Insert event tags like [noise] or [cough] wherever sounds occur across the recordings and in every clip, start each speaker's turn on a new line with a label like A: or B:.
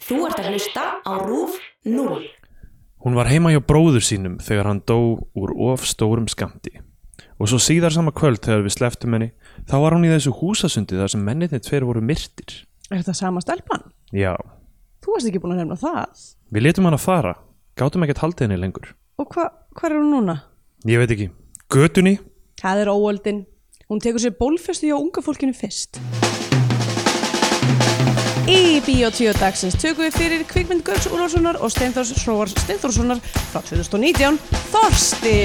A: Þú ert að hlusta á RÚF 0.
B: Hún var heima hjá bróður sínum þegar hann dó úr of stórum skamti. Og svo síðar sama kvöld þegar við sleftum henni, þá var hún í þessu húsasundi þar sem mennirni tveir voru myrtir.
C: Er þetta sama stelpan?
B: Já,
C: Þú varst ekki búin að nefna það.
B: við letum hann að fara, gátum ekkert haldið henni lengur.
C: Og hva, hvað er hún núna?
B: Ég veit ekki, götunni?
C: Það er óöldin. Hún tekur sér bólfestu hjá unga fólkinu fyrst. Í Bíotvíu dagsins tökum við fyrir kvikmynd Gauks Úlfarssonar og Steinþórs Hróars Steinþórssonar frá 2019, Þorsti!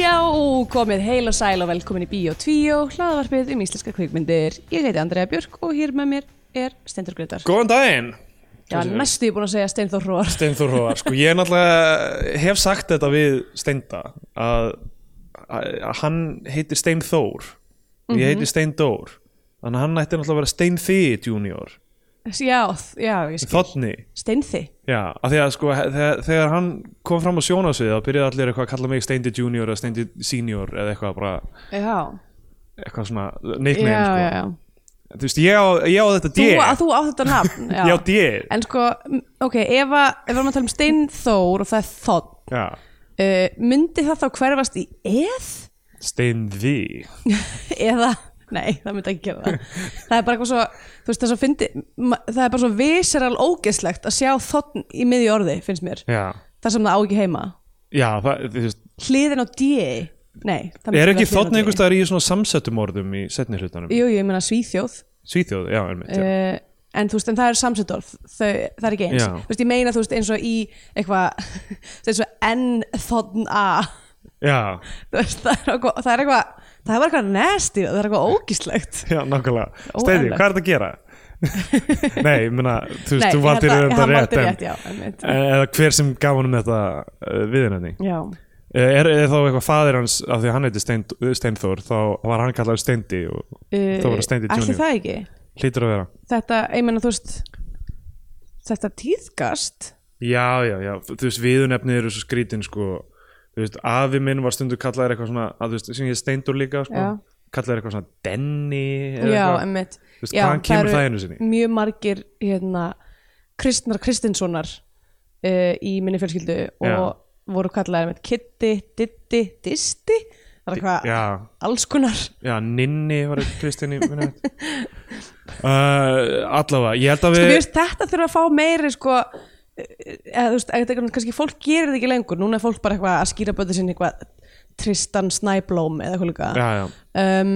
C: Já, komið heil og sæl og velkomin í Bíotvíu, hlaðvarpið um íslenska kvikmyndir. Ég heiti Andrea Björk og hér með mér er Steinþór Gretar.
B: Góðan daginn!
C: Já, næstu ég búin að segja Steinþór Hróar.
B: Steinþór Hóðar, sko ég er náttúrulega hef sagt þetta við Steinda að, að, að hann heitir Steinþór og ég heiti Steindór þannig að hann ætti náttúrulega að vera Steinþi junior,
C: Já, já, ég skil.
B: þotni
C: Steinþi.
B: Já, af því að sko he- þegar, þegar hann kom fram á sjónasvið þá byrjaði allir eitthvað að kalla mig Steindi junior eða Steindi senior eða eitthvað bara
C: Já,
B: eitthvað svona
C: já,
B: nickname sko.
C: já, já.
B: Þú veist, ég á, ég á þetta D
C: Þú, að þú á þetta
B: [laughs]
C: nafn já.
B: Ég á D
C: En sko, m- ok, ef, að, ef við erum að tala um Steinþór og það er þótt
B: Já,
C: uh, myndi það þá hverfast í eð?
B: Steinði
C: [laughs] Eða, nei, það myndi ekki gera það
B: [laughs]
C: Það er bara eitthvað svo, þú veist það er svo fyndi ma- það er bara svo viseral ógeslegt að sjá þóttn í miðju orði, finnst mér
B: Já,
C: þar sem það á ekki heima
B: já það, þú veist
C: Hliðin á D Nei, það myndi
B: Er
C: vera
B: ekki
C: hliðin á
B: þotn
C: D.
B: einhverstaðar í svona samsettum orðum í setni hlutanum?
C: Jú, jú, ég meina Svíþjóð
B: Svíþjóð, já, einmitt, já.
C: uh, en þú veist, en það er samsettorf þau, það er ekki eins,
B: Já.
C: þú veist, ég meina þú veist eins og í eitthvað [laughs] eins og N-þotn A
B: já,
C: þú veist, það er eitthvað það er eitthvað, það var eitthvað nasty það er eitthvað ógíslegt
B: já, nákvæmlega.
C: Óeðlilegt.
B: Steini, hvað er þetta að
C: [laughs]
B: gera? Nei, ég meina, þú veist, þú valdir þetta rétt,
C: rétt já, einmitt.
B: en, Eh, eða hver sem gaf honum þetta uh, viðinni.
C: já,
B: Eh, Er, er þá eitthvað faðir hans, af því að hann heiti Steind, Steinþór, þá var hann kallar Steindi og þá var hann Steindi
C: Eh, ætli
B: Junior.
C: það ekki
B: Hlýtur að vera.
C: þetta, ég meina þú veist þetta tíðgast
B: Já, já, já, þú veist, viðunefnið eru svo skrítin, sko, þú veist, afi minn var stundu kallaðir eitthvað svona, að þú veist, sem ég Steindur líka, sko,
C: Já.
B: kallaðir eitthvað svona Denny, eða
C: já,
B: eitthvað.
C: einmitt
B: Þú veist,
C: Já,
B: hvaðan kemur
C: eru
B: það einu sinni?
C: mjög margir hérna, kristnar kristinssonar uh, í minni fjölskyldu og
B: Já.
C: voru kallaðir með kitti, ditti, disti það er hvað
B: Já,
C: alls konar
B: já, Ninni var eitt Kristín í minni veit. uh, Allavega, ég held að
C: sko,
B: við
C: mér finnst þetta þurfa að fá meiri sko eh, eða þú veist, eitthvað, kannski fólk gerir þetta ekki lengur núna er fólk bara eitthvað að skýra bötu sinni eitthvað Tristan Snæblóm eða eitthvað líka
B: Já, já,
C: um,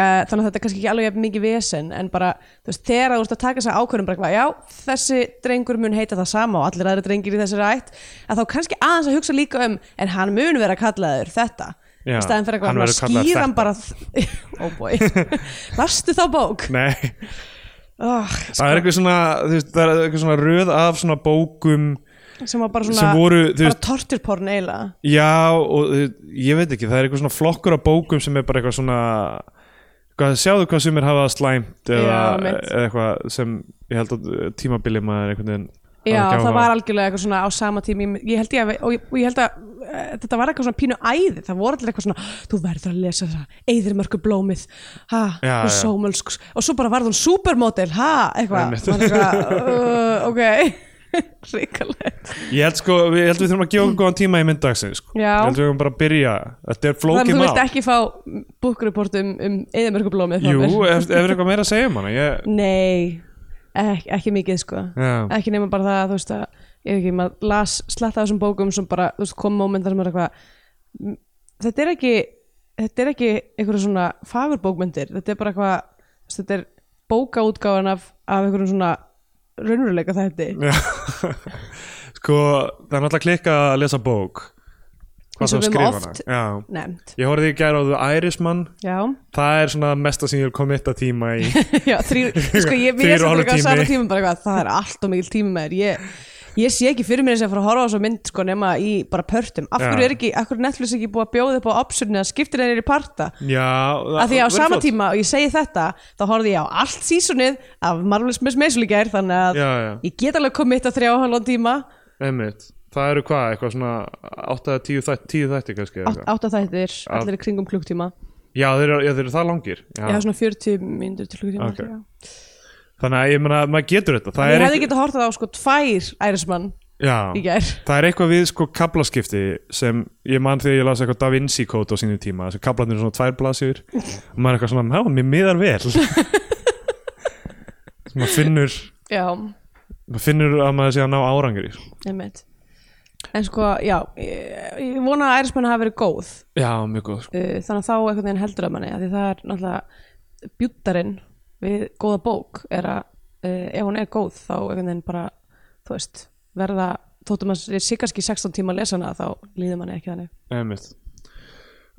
C: uh, þannig að þetta er kannski ekki alveg jafn mikið vesen en bara, þú veist, þegar þú ert að taka þess að ákvörðum bara eitthvað, já, þessi drengur mun heita það sama og allir aðri drengir í þessari ætt að þá kannski aðeins að hugsa líka um en hann mun vera kallaður þetta
B: Já,
C: í staðin fyrir
B: hann
C: eitthvað
B: verður kallaður
C: skýran bara [laughs] oh boy,
B: [laughs]
C: lastu þá bók
B: nei [laughs]
C: oh,
B: Það er eitthvað svona, þú veist, það er eitthvað svona röð af svona bókum
C: sem var bara svona
B: sem voru, þú
C: bara
B: veist,
C: torturporn eiginlega
B: já og þú veist, ég veit ekki, það er eitthvað svona flokkur af bókum sem er bara eitthvað svona hvað, sjáðu hvað sumir hafa það slæmt eða,
C: Já, mitt.
B: eða eitthvað sem ég held að eh, tímabilið maður einhvern veginn hafi
C: Já,
B: ekki áhuga
C: það
B: á.
C: var algjörlega eitthvað svona á sama tími ég held ég að, og ég, og ég held að uh, þetta var eitthvað svona pínu æði, það voru allir eitthvað svona þú verður að lesa það, eðirmörku blómið ha,
B: Já,
C: og
B: já.
C: sómölsk og svo bara varð hún supermodel, ha, eitthvað
B: Einmitt.
C: Maður
B: [laughs]
C: eitthvað, uh, ok [laughs] ríkalegt
B: Ég held sko, við, ég held við þurfum að gefa okkur góðan tíma í mynddagsinn sko.
C: Já.
B: Ég held við þurfum bara að byrja Þetta er
C: þannig
B: flókið
C: að þú
B: mál
C: vilt ekki fá búkruport um, um eðirmörku blómið
B: Jú, ef, ef er eitthvað meira að segja um hana ég,
C: Nei, ekki, ekki mikið sko
B: Já.
C: ekki nema bara það að þú veist að ég veit ekki, maður las sletta á þessum bókum sem bara, þú veist, kom moment þar sem er eitthvað m, þetta er ekki þetta er ekki einhverja svona fagurbókmyndir, þetta er bara eitthvað þú veist, þetta er bókaútgáfan af, af einhverjum svona raunveruleika þætti
B: Já. [laughs] Sko, það er náttúrulega klikka að lesa bók Hvað
C: Eins og
B: það
C: við
B: skrifa
C: höfum
B: hana
C: oft-
B: Já.
C: nefnd,
B: Ég horfði í gæra á The Irishman
C: já,
B: Það er svona mesta sem ég vil komitta tíma í
C: [laughs] já þrýr, sko
B: Þrír
C: ég við
B: og
C: erum
B: hálfur
C: eitthvað á
B: tími.
C: sama tíma bara eitthvað, það er allt og mikil tími með þér, ég ég sé ekki fyrir mér þess að fara að horfa á svo mynd sko nema í bara pörtum af
B: Já.
C: hverju er ekki, af hverju er Netflix ekki búið að bjóða upp á optionið að skiptir þeir í parta
B: Já, það-
C: af því að á
B: verið
C: sama
B: flott.
C: tíma og ég segi þetta þá horfði ég á allt sísunnið af Marvelous Miss Maisel í gær þannig að
B: Já, já.
C: ég get alveg komið þetta þrjá og hálfan tíma
B: Einmitt. Það eru hvað, eitthvað svona 8-10 þætti, 10 þætti kannski eða
C: átt-
B: eitthvað.
C: átta þættir, allir í kringum klukktíma
B: Já, þeir eru, já, þeir eru það langir já.
C: ég hafa svona 40 myndur til klukktíma
B: Ok.
C: okay.
B: Þannig að ég meina, maður getur þetta Það,
C: ég
B: er,
C: hefði
B: eitthvað,
C: getað hortað á sko tvær ærismann í
B: já,
C: gær
B: það er eitthvað við sko kaplaskipti sem ég man þegar ég las eitthvað Da Vinci kót á sínum tíma þessi kaplarnir eru svona tvær blasjur og maður er eitthvað svona, já, mér miðar vel
C: [laughs]
B: Svo maður finnur
C: já,
B: maður finnur að maður sé að ná árangri sko.
C: einmitt en sko, já, ég, ég vona að ærismann hafi verið góð
B: Já, mjög góð sko.
C: uh, þannig að þá einhvern veginn heldur að manni af því það er náttúrulega bjúttarinn við góða bók er að uh, ef hún er góð þá einhvern veginn bara þú veist, verða þóttum að ég sé kannski 16 tíma að lesa hana þá líður manni ekki þannig
B: Einmitt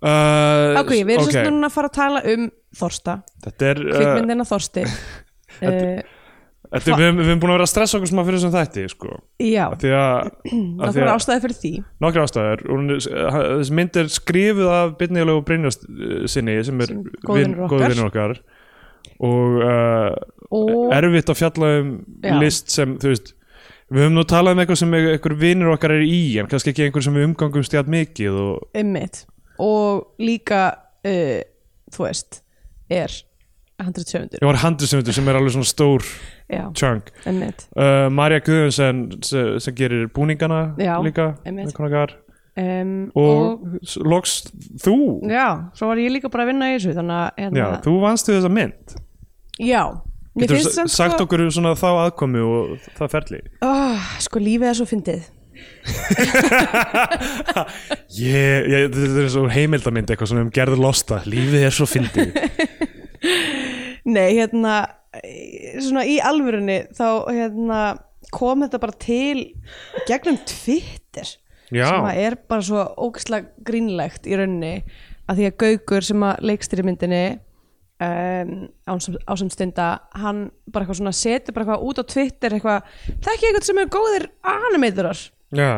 B: uh,
C: Ok, við erum
B: ok.
C: okay. sérst núna að fara að tala um Þorsta,
B: Þetta er, uh,
C: kvikmyndina Þorsti
B: Eh, [laughs]
C: uh,
B: þetta er við, við erum búin að vera að stressa okkur sem að fyrir þessum þætti sko.
C: Já,
B: Af því
C: [clears throat]
B: að, að, því
C: náttúrulega
B: að
C: ástæði fyrir því
B: nokkra ástæður og hún er- þessi mynd er skrifuð af Byrnilegu og Brynjast uh, sinni sem er
C: Sem góður vinur okkar.
B: vinur okkar og uh,
C: og
B: erfitt að fjalla um
C: Já.
B: list sem þú veist við höfum nú talað um eitthvað sem einhver vinnur okkar er í en kannski ekki einhver sem við umgangum stjátt mikið og
C: ymmit og líka uh, þú veist, er 170
B: ég var handisöfundur sem er alveg svona stór
C: Já,
B: chunk
C: ymmit
B: uh, Marja Guðunsen sem, sem gerir búningana
C: Já,
B: líka
C: einmitt.
B: vinkona okkar.
C: um,
B: og, og loks þú
C: Já, svo var ég líka bara að vinna í þessu þannig að hérna,
B: Já, þú vannst við þessa mynd
C: já mér
B: Getur
C: finnst sem
B: sagt
C: sko,
B: okkur um svona þá aðkomi og það
C: [laughs]
B: ferli
C: oh, sko lífið er svo fyndið
B: Ég, ég, þetta er svo heimildamind eitthvað svona um gerður losta, lífið er svo fyndið
C: [laughs] Nei, hérna eh, svona í alvörunni þá hérna kom þetta bara til gegnum Twitter
B: Já.
C: sem að er bara svo ógæslega grínlegt í rauninni að því að Gaukur sem að leikstýri myndinni um, á sem stunda hann bara eitthvað svona setur bara eitthvað út á Twitter eitthvað, þekki eitthvað sem er góðir animatorar
B: Já,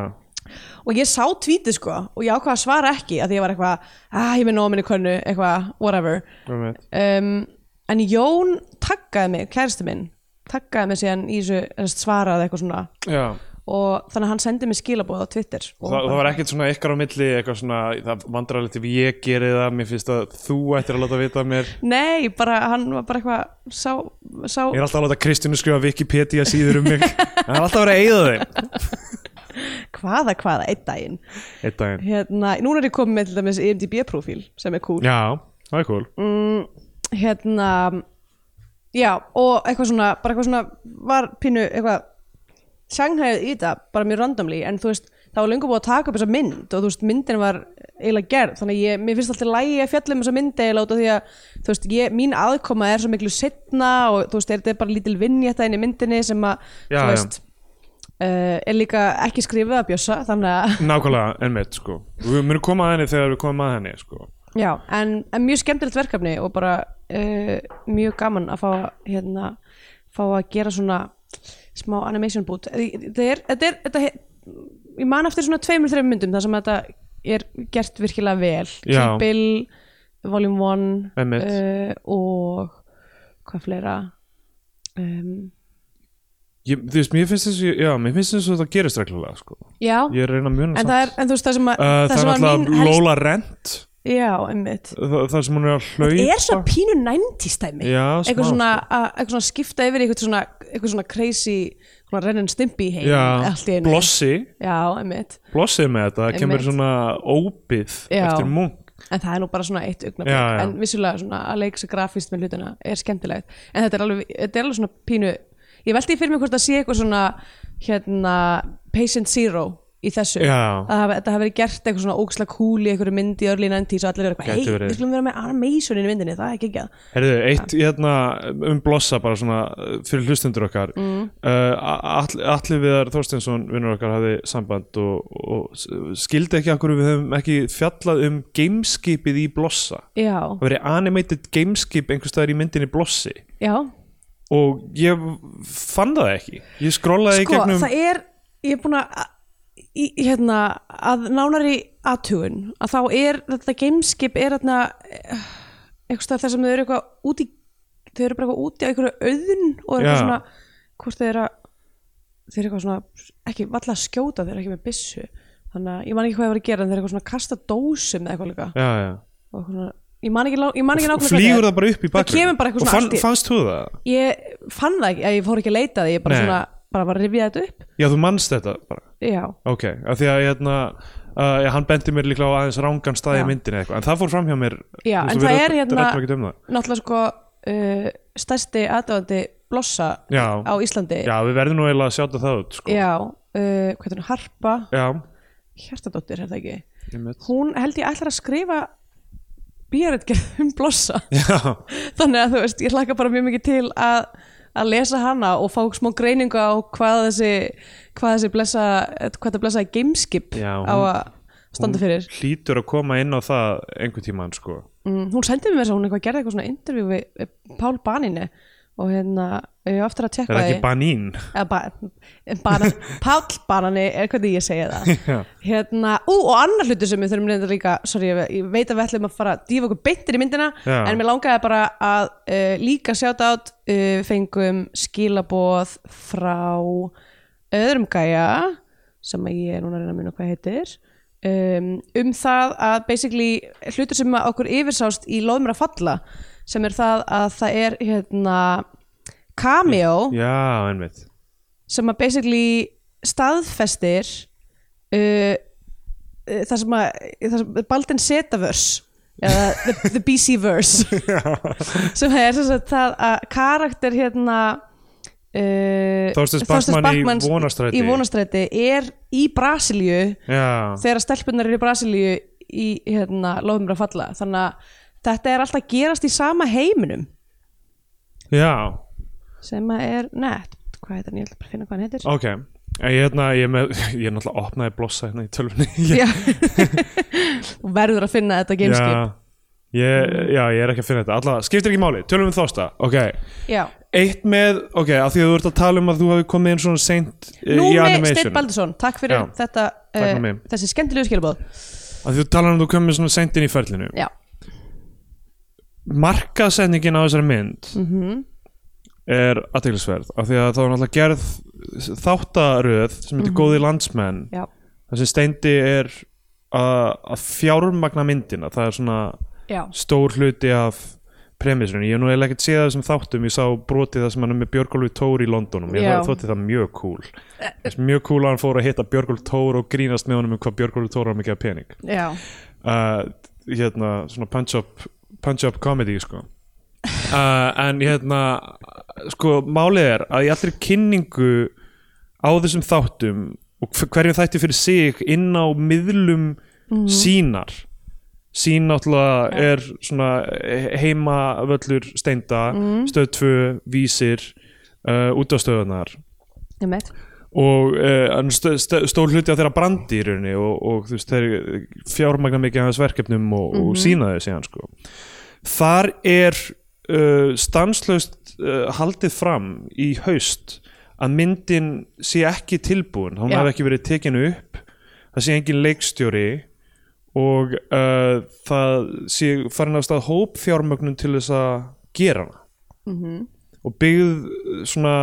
C: og ég sá tvítið sko og ég ákvað að svara ekki að því ég var eitthvað ah, ég minn óminni könnu, eitthvað, whatever
B: einmitt.
C: um, en Jón takkaði mig, kæristi minn takkaði mig síðan í þessu þessu svaraði eitthvað svona
B: já.
C: og þannig að hann sendi mig skilaboð á Twitter sko. og
B: Það, það var ekkert svona ykkar á milli eitthvað svona, það vandrar litt ef ég geri það mér finnst að þú ættir að láta vita af mér
C: nei, bara hann var bara eitthvað sá, sá
B: Ég er alltaf að láta Kristínu skrifa Wikipedia síður
C: [laughs]
B: um mig Það er alltaf að vera að eigða þeim
C: hvaða hvaða einn daginn
B: Eitt daginn
C: hérna, núna er ég komið með til dæmis IMDb-profíl sem er cool
B: Já, það er cool
C: Mm. hérna já og eitthvað svona bara eitthvað svona var pínu eitthvað sjanghæðið í þetta bara mjög randomli en þú veist það var lengur búið að taka upp þessa mynd og þú veist myndin var eiginlega gerð þannig að ég, mér finnst alltaf lægi að fjalla um þessa mynd eiginlega út af því að þú veist ég, mín aðkoma er svo miklu setna og þú veist er þetta bara lítil vinn í þetta inn í myndinni sem að
B: Já,
C: þú
B: já.
C: veist Uh, er líka ekki skrifið að bjössa þannig að
B: Nákvæmlega, einmitt sko Við munum koma að henni þegar við komum að henni sko
C: Já, en, en mjög skemmtilegt verkefni og bara uh, mjög gaman að fá, að, hérna, fá að gera svona smá animation boot þetta er, þetta er þetta, he- ég man eftir svona tveimur, þreimur myndum þar sem þetta er gert virkilega vel
B: Já.
C: Kill Bill Volume 1
B: Einmitt.
C: uh, og hvað fleira um,
B: ég, Þú veist, mér finnst þessu, já, mér finnst þessu að það gerist reglulega sko
C: Já,
B: Ég er að reyna að muna
C: en það er en þú veist það sem að
B: Uh, það er
C: sem var
B: náttúrulega
C: mín helst-
B: Lola Rent
C: Já, einmitt
B: það, það sem hún er að hlaupa
C: er svo pínu næntistæmi
B: Já, smá, sko.
C: eitthvað svona, að- eitthvað svona skipta yfir í eitthvað svona, eitthvað svona crazy svona rennin stimpi heim allt í
B: Já,
C: einu.
B: blossi,
C: já, emmitt
B: blossið með þetta það kemur
C: Einmitt.
B: svona óbyð
C: Já.
B: eftir munk
C: en það er nú bara svona eitt augnablik
B: Já, já.
C: en vissulega svona að leik sig grafist með hlutina er skemmtilegt en þetta er alveg, þetta er alveg svona pínu ég veldi fyrir mig hvort það sé eitthvað svona hérna, patient zero í þessu
B: Já.
C: að hafa- þetta hafi verið gert eitthvað svona ógislega cool í einhverju myndi örlíð 90s og allir eru eitthvað,
B: Gæti
C: hei,
B: verið."
C: við skulum vera með animation í myndinni, það er ekki ekki
B: Herðu, eitt hérna um blossa bara svona uh, fyrir hlustundur okkar mm. uh, Allir viðar Þorsteinsson vinnur okkar hafði samband og, og s- skildi ekki okkur við höfum ekki fjallað um gameskipið í blossa
C: já,
B: það verið animated gameskip einhvers staðar í myndinni blossi
C: já
B: og ég fann það ekki ég skrollaði í
C: sko,
B: gegnum
C: það er ég er búin að í, hérna, að nánari aðtugun að þá er þetta gameskip er þarna eh, einhvers staðar þar sem þau eru eitthvað úti þau eru bara eitthvað úti á einhverju auðun og
B: Já.
C: eru eitthvað svona hvort þau eru að þau eru eitthvað svona ekki valla að skjóta þau eru ekki með byssu þannig að ég man ekki hvað þau voru að gera en þau eru eitthvað svona að kasta dósum eða eitthvað líka
B: já, já.
C: og eitthvað svona, ég man ekki, lá- ég man ekki
B: Og
C: nákvæmlega
B: flýgur
C: hvað
B: það bara upp í
C: Það
B: bakgrunn
C: kemur bara eitthvað
B: og
C: svona
B: fann,
C: allt í-
B: fannst þú það?
C: er. ég fann það ekki, ég fór ekki að leita að því ég bara
B: Nei.
C: svona, bara var að rifja þetta upp
B: já, þú manst þetta bara
C: já,
B: ok, af því að hérna Uh, já, hann bendi mér líklega á aðeins rángan staði
C: Já.
B: í myndinni eitthvað, en það fór fram hjá mér þú
C: Já,
B: veist,
C: en
B: við
C: það
B: ræddum-
C: er hérna-
B: ræddum ekkert um það.
C: náttúrulega sko uh, stærsti aðdáðandi blossa
B: Já.
C: á Íslandi
B: já, við verðum nú eiginlega að sjáta það út sko.
C: Já, uh, hvað er hún, Harpa
B: já,
C: Hjartadóttir er það ekki
B: einmitt.
C: hún held ég ætlar að skrifa bíaritgerð um blossa
B: [laughs]
C: [laughs]
B: já,
C: þannig að þú veist, ég hlakka bara mjög mikið til að, að lesa hana og fá smá greiningu á hvað þessi hvað þessi blessa, hvað það blessa gameskip
B: Já, hún-
C: á að standa fyrir
B: Hún hlýtur að koma inn á það einhvern tímann sko.
C: mm, hún sendi mér þess að hún eitthvað gerði eitthvað svona intervjú við við Pál Baninu og hérna, ég á eftir að
B: er
C: tekka
B: það ekki banín [laughs]
C: eða ba banan, Páll banani er hvernig ég segja
B: [laughs] Já.
C: það hérna, ú og annar hlutu sem við þurfum reynda líka sorry, ég, ég veit að við ætlum að fara að dýfa okkur beintir í myndina,
B: Já.
C: en mér langaði bara að uh, líka sjáta át uh, fengum skilaboð frá öðrum gæja sem að ég er núna að reyna að muna hvað heitir um, um það að basically hlutur sem að okkur yfirsást í loðmur að falla sem er það að það er hérna cameo
B: já, einmitt
C: sem að basically staðfestir uh, uh, það sem að það sem, Baldin Setaverse eða the, the BC
B: [laughs]
C: verse sem það er sem sagt, það að karakter hérna uh,
B: Þorsteins Bachmann í Vonarstræti.
C: í Vonarstræti er í Brasilíu
B: já,
C: þegar að stelpunar eru í Brasilíu í hérna, lofum mér að falla þannig að þetta er alltaf gerast í sama heiminum
B: já,
C: sem að er, nett, hvað heitir hann, ég ætla bara að finna hvað hann heitir
B: ok En Ég, hérna, ég, er með, [laughs] ég er náttúrulega opnaði blossa hérna í tölvunni [laughs] ég,
C: Já. [laughs] Þú verður að finna þetta gameskip
B: ég, já, ég er ekki að finna þetta Alla, Skiptir ekki máli, tölum við þósta Ok,
C: Já,
B: eitt með, ok, af því að þú ert að tala um að þú hafi komið inn svona seint eh, í
C: Númi Steinn
B: animation
C: Baldursson, takk fyrir
B: Já.
C: þetta
B: Takk fyrir
C: eh,
B: mig.
C: þessi skemmtilegu skilabóð
B: Af því þú talar um að þú komið svona seint inn í ferlinu
C: Já,
B: markaðsendingin á þessari mynd er aðteglisverð af því að þá er náttúrulega gerð þáttaröð sem heitir góði landsmenn
C: já,
B: þar sem steindi er að, að fjármagna myndina það er svona
C: já
B: stór hluti af premissunni, ég hef nú eiginlega ekkert séð það sem þáttum ég sá brotið það sem hann er með Björgólfi Tór í Londonum, ég
C: Já.
B: það, þótti það mjög cool Þess, mjög cool að hann fór að hitta Björgólfi Tór og grínast með honum um hvað Björgólfi Tór var mikið að pening
C: Já,
B: uh, hérna svona punch-up punch-up comedy sko uh, en hérna sko málið er að í allri kynningu á þessum þáttum og hver- hverjum þætti fyrir sig inn á miðlum sínar sín náttúrulega er svona heima völlur steinda, stöð 2 vísir, uh, útastöðunar
C: ég meitt
B: og uh, stó, stór hluti á þeirra brandi í rauninni og, og þú veist þeir fjármagna mikið af hans verkefnum og, og sína þau síðan sko þar er uh, stanslaust uh, haldið fram í haust að myndin sé ekki tilbúin hún
C: Já.
B: hafi ekki verið tekin upp það sé engin leikstjóri og uh, það sé farin af stað hópfjármögnun til þess að gera hana og byggð uh, svona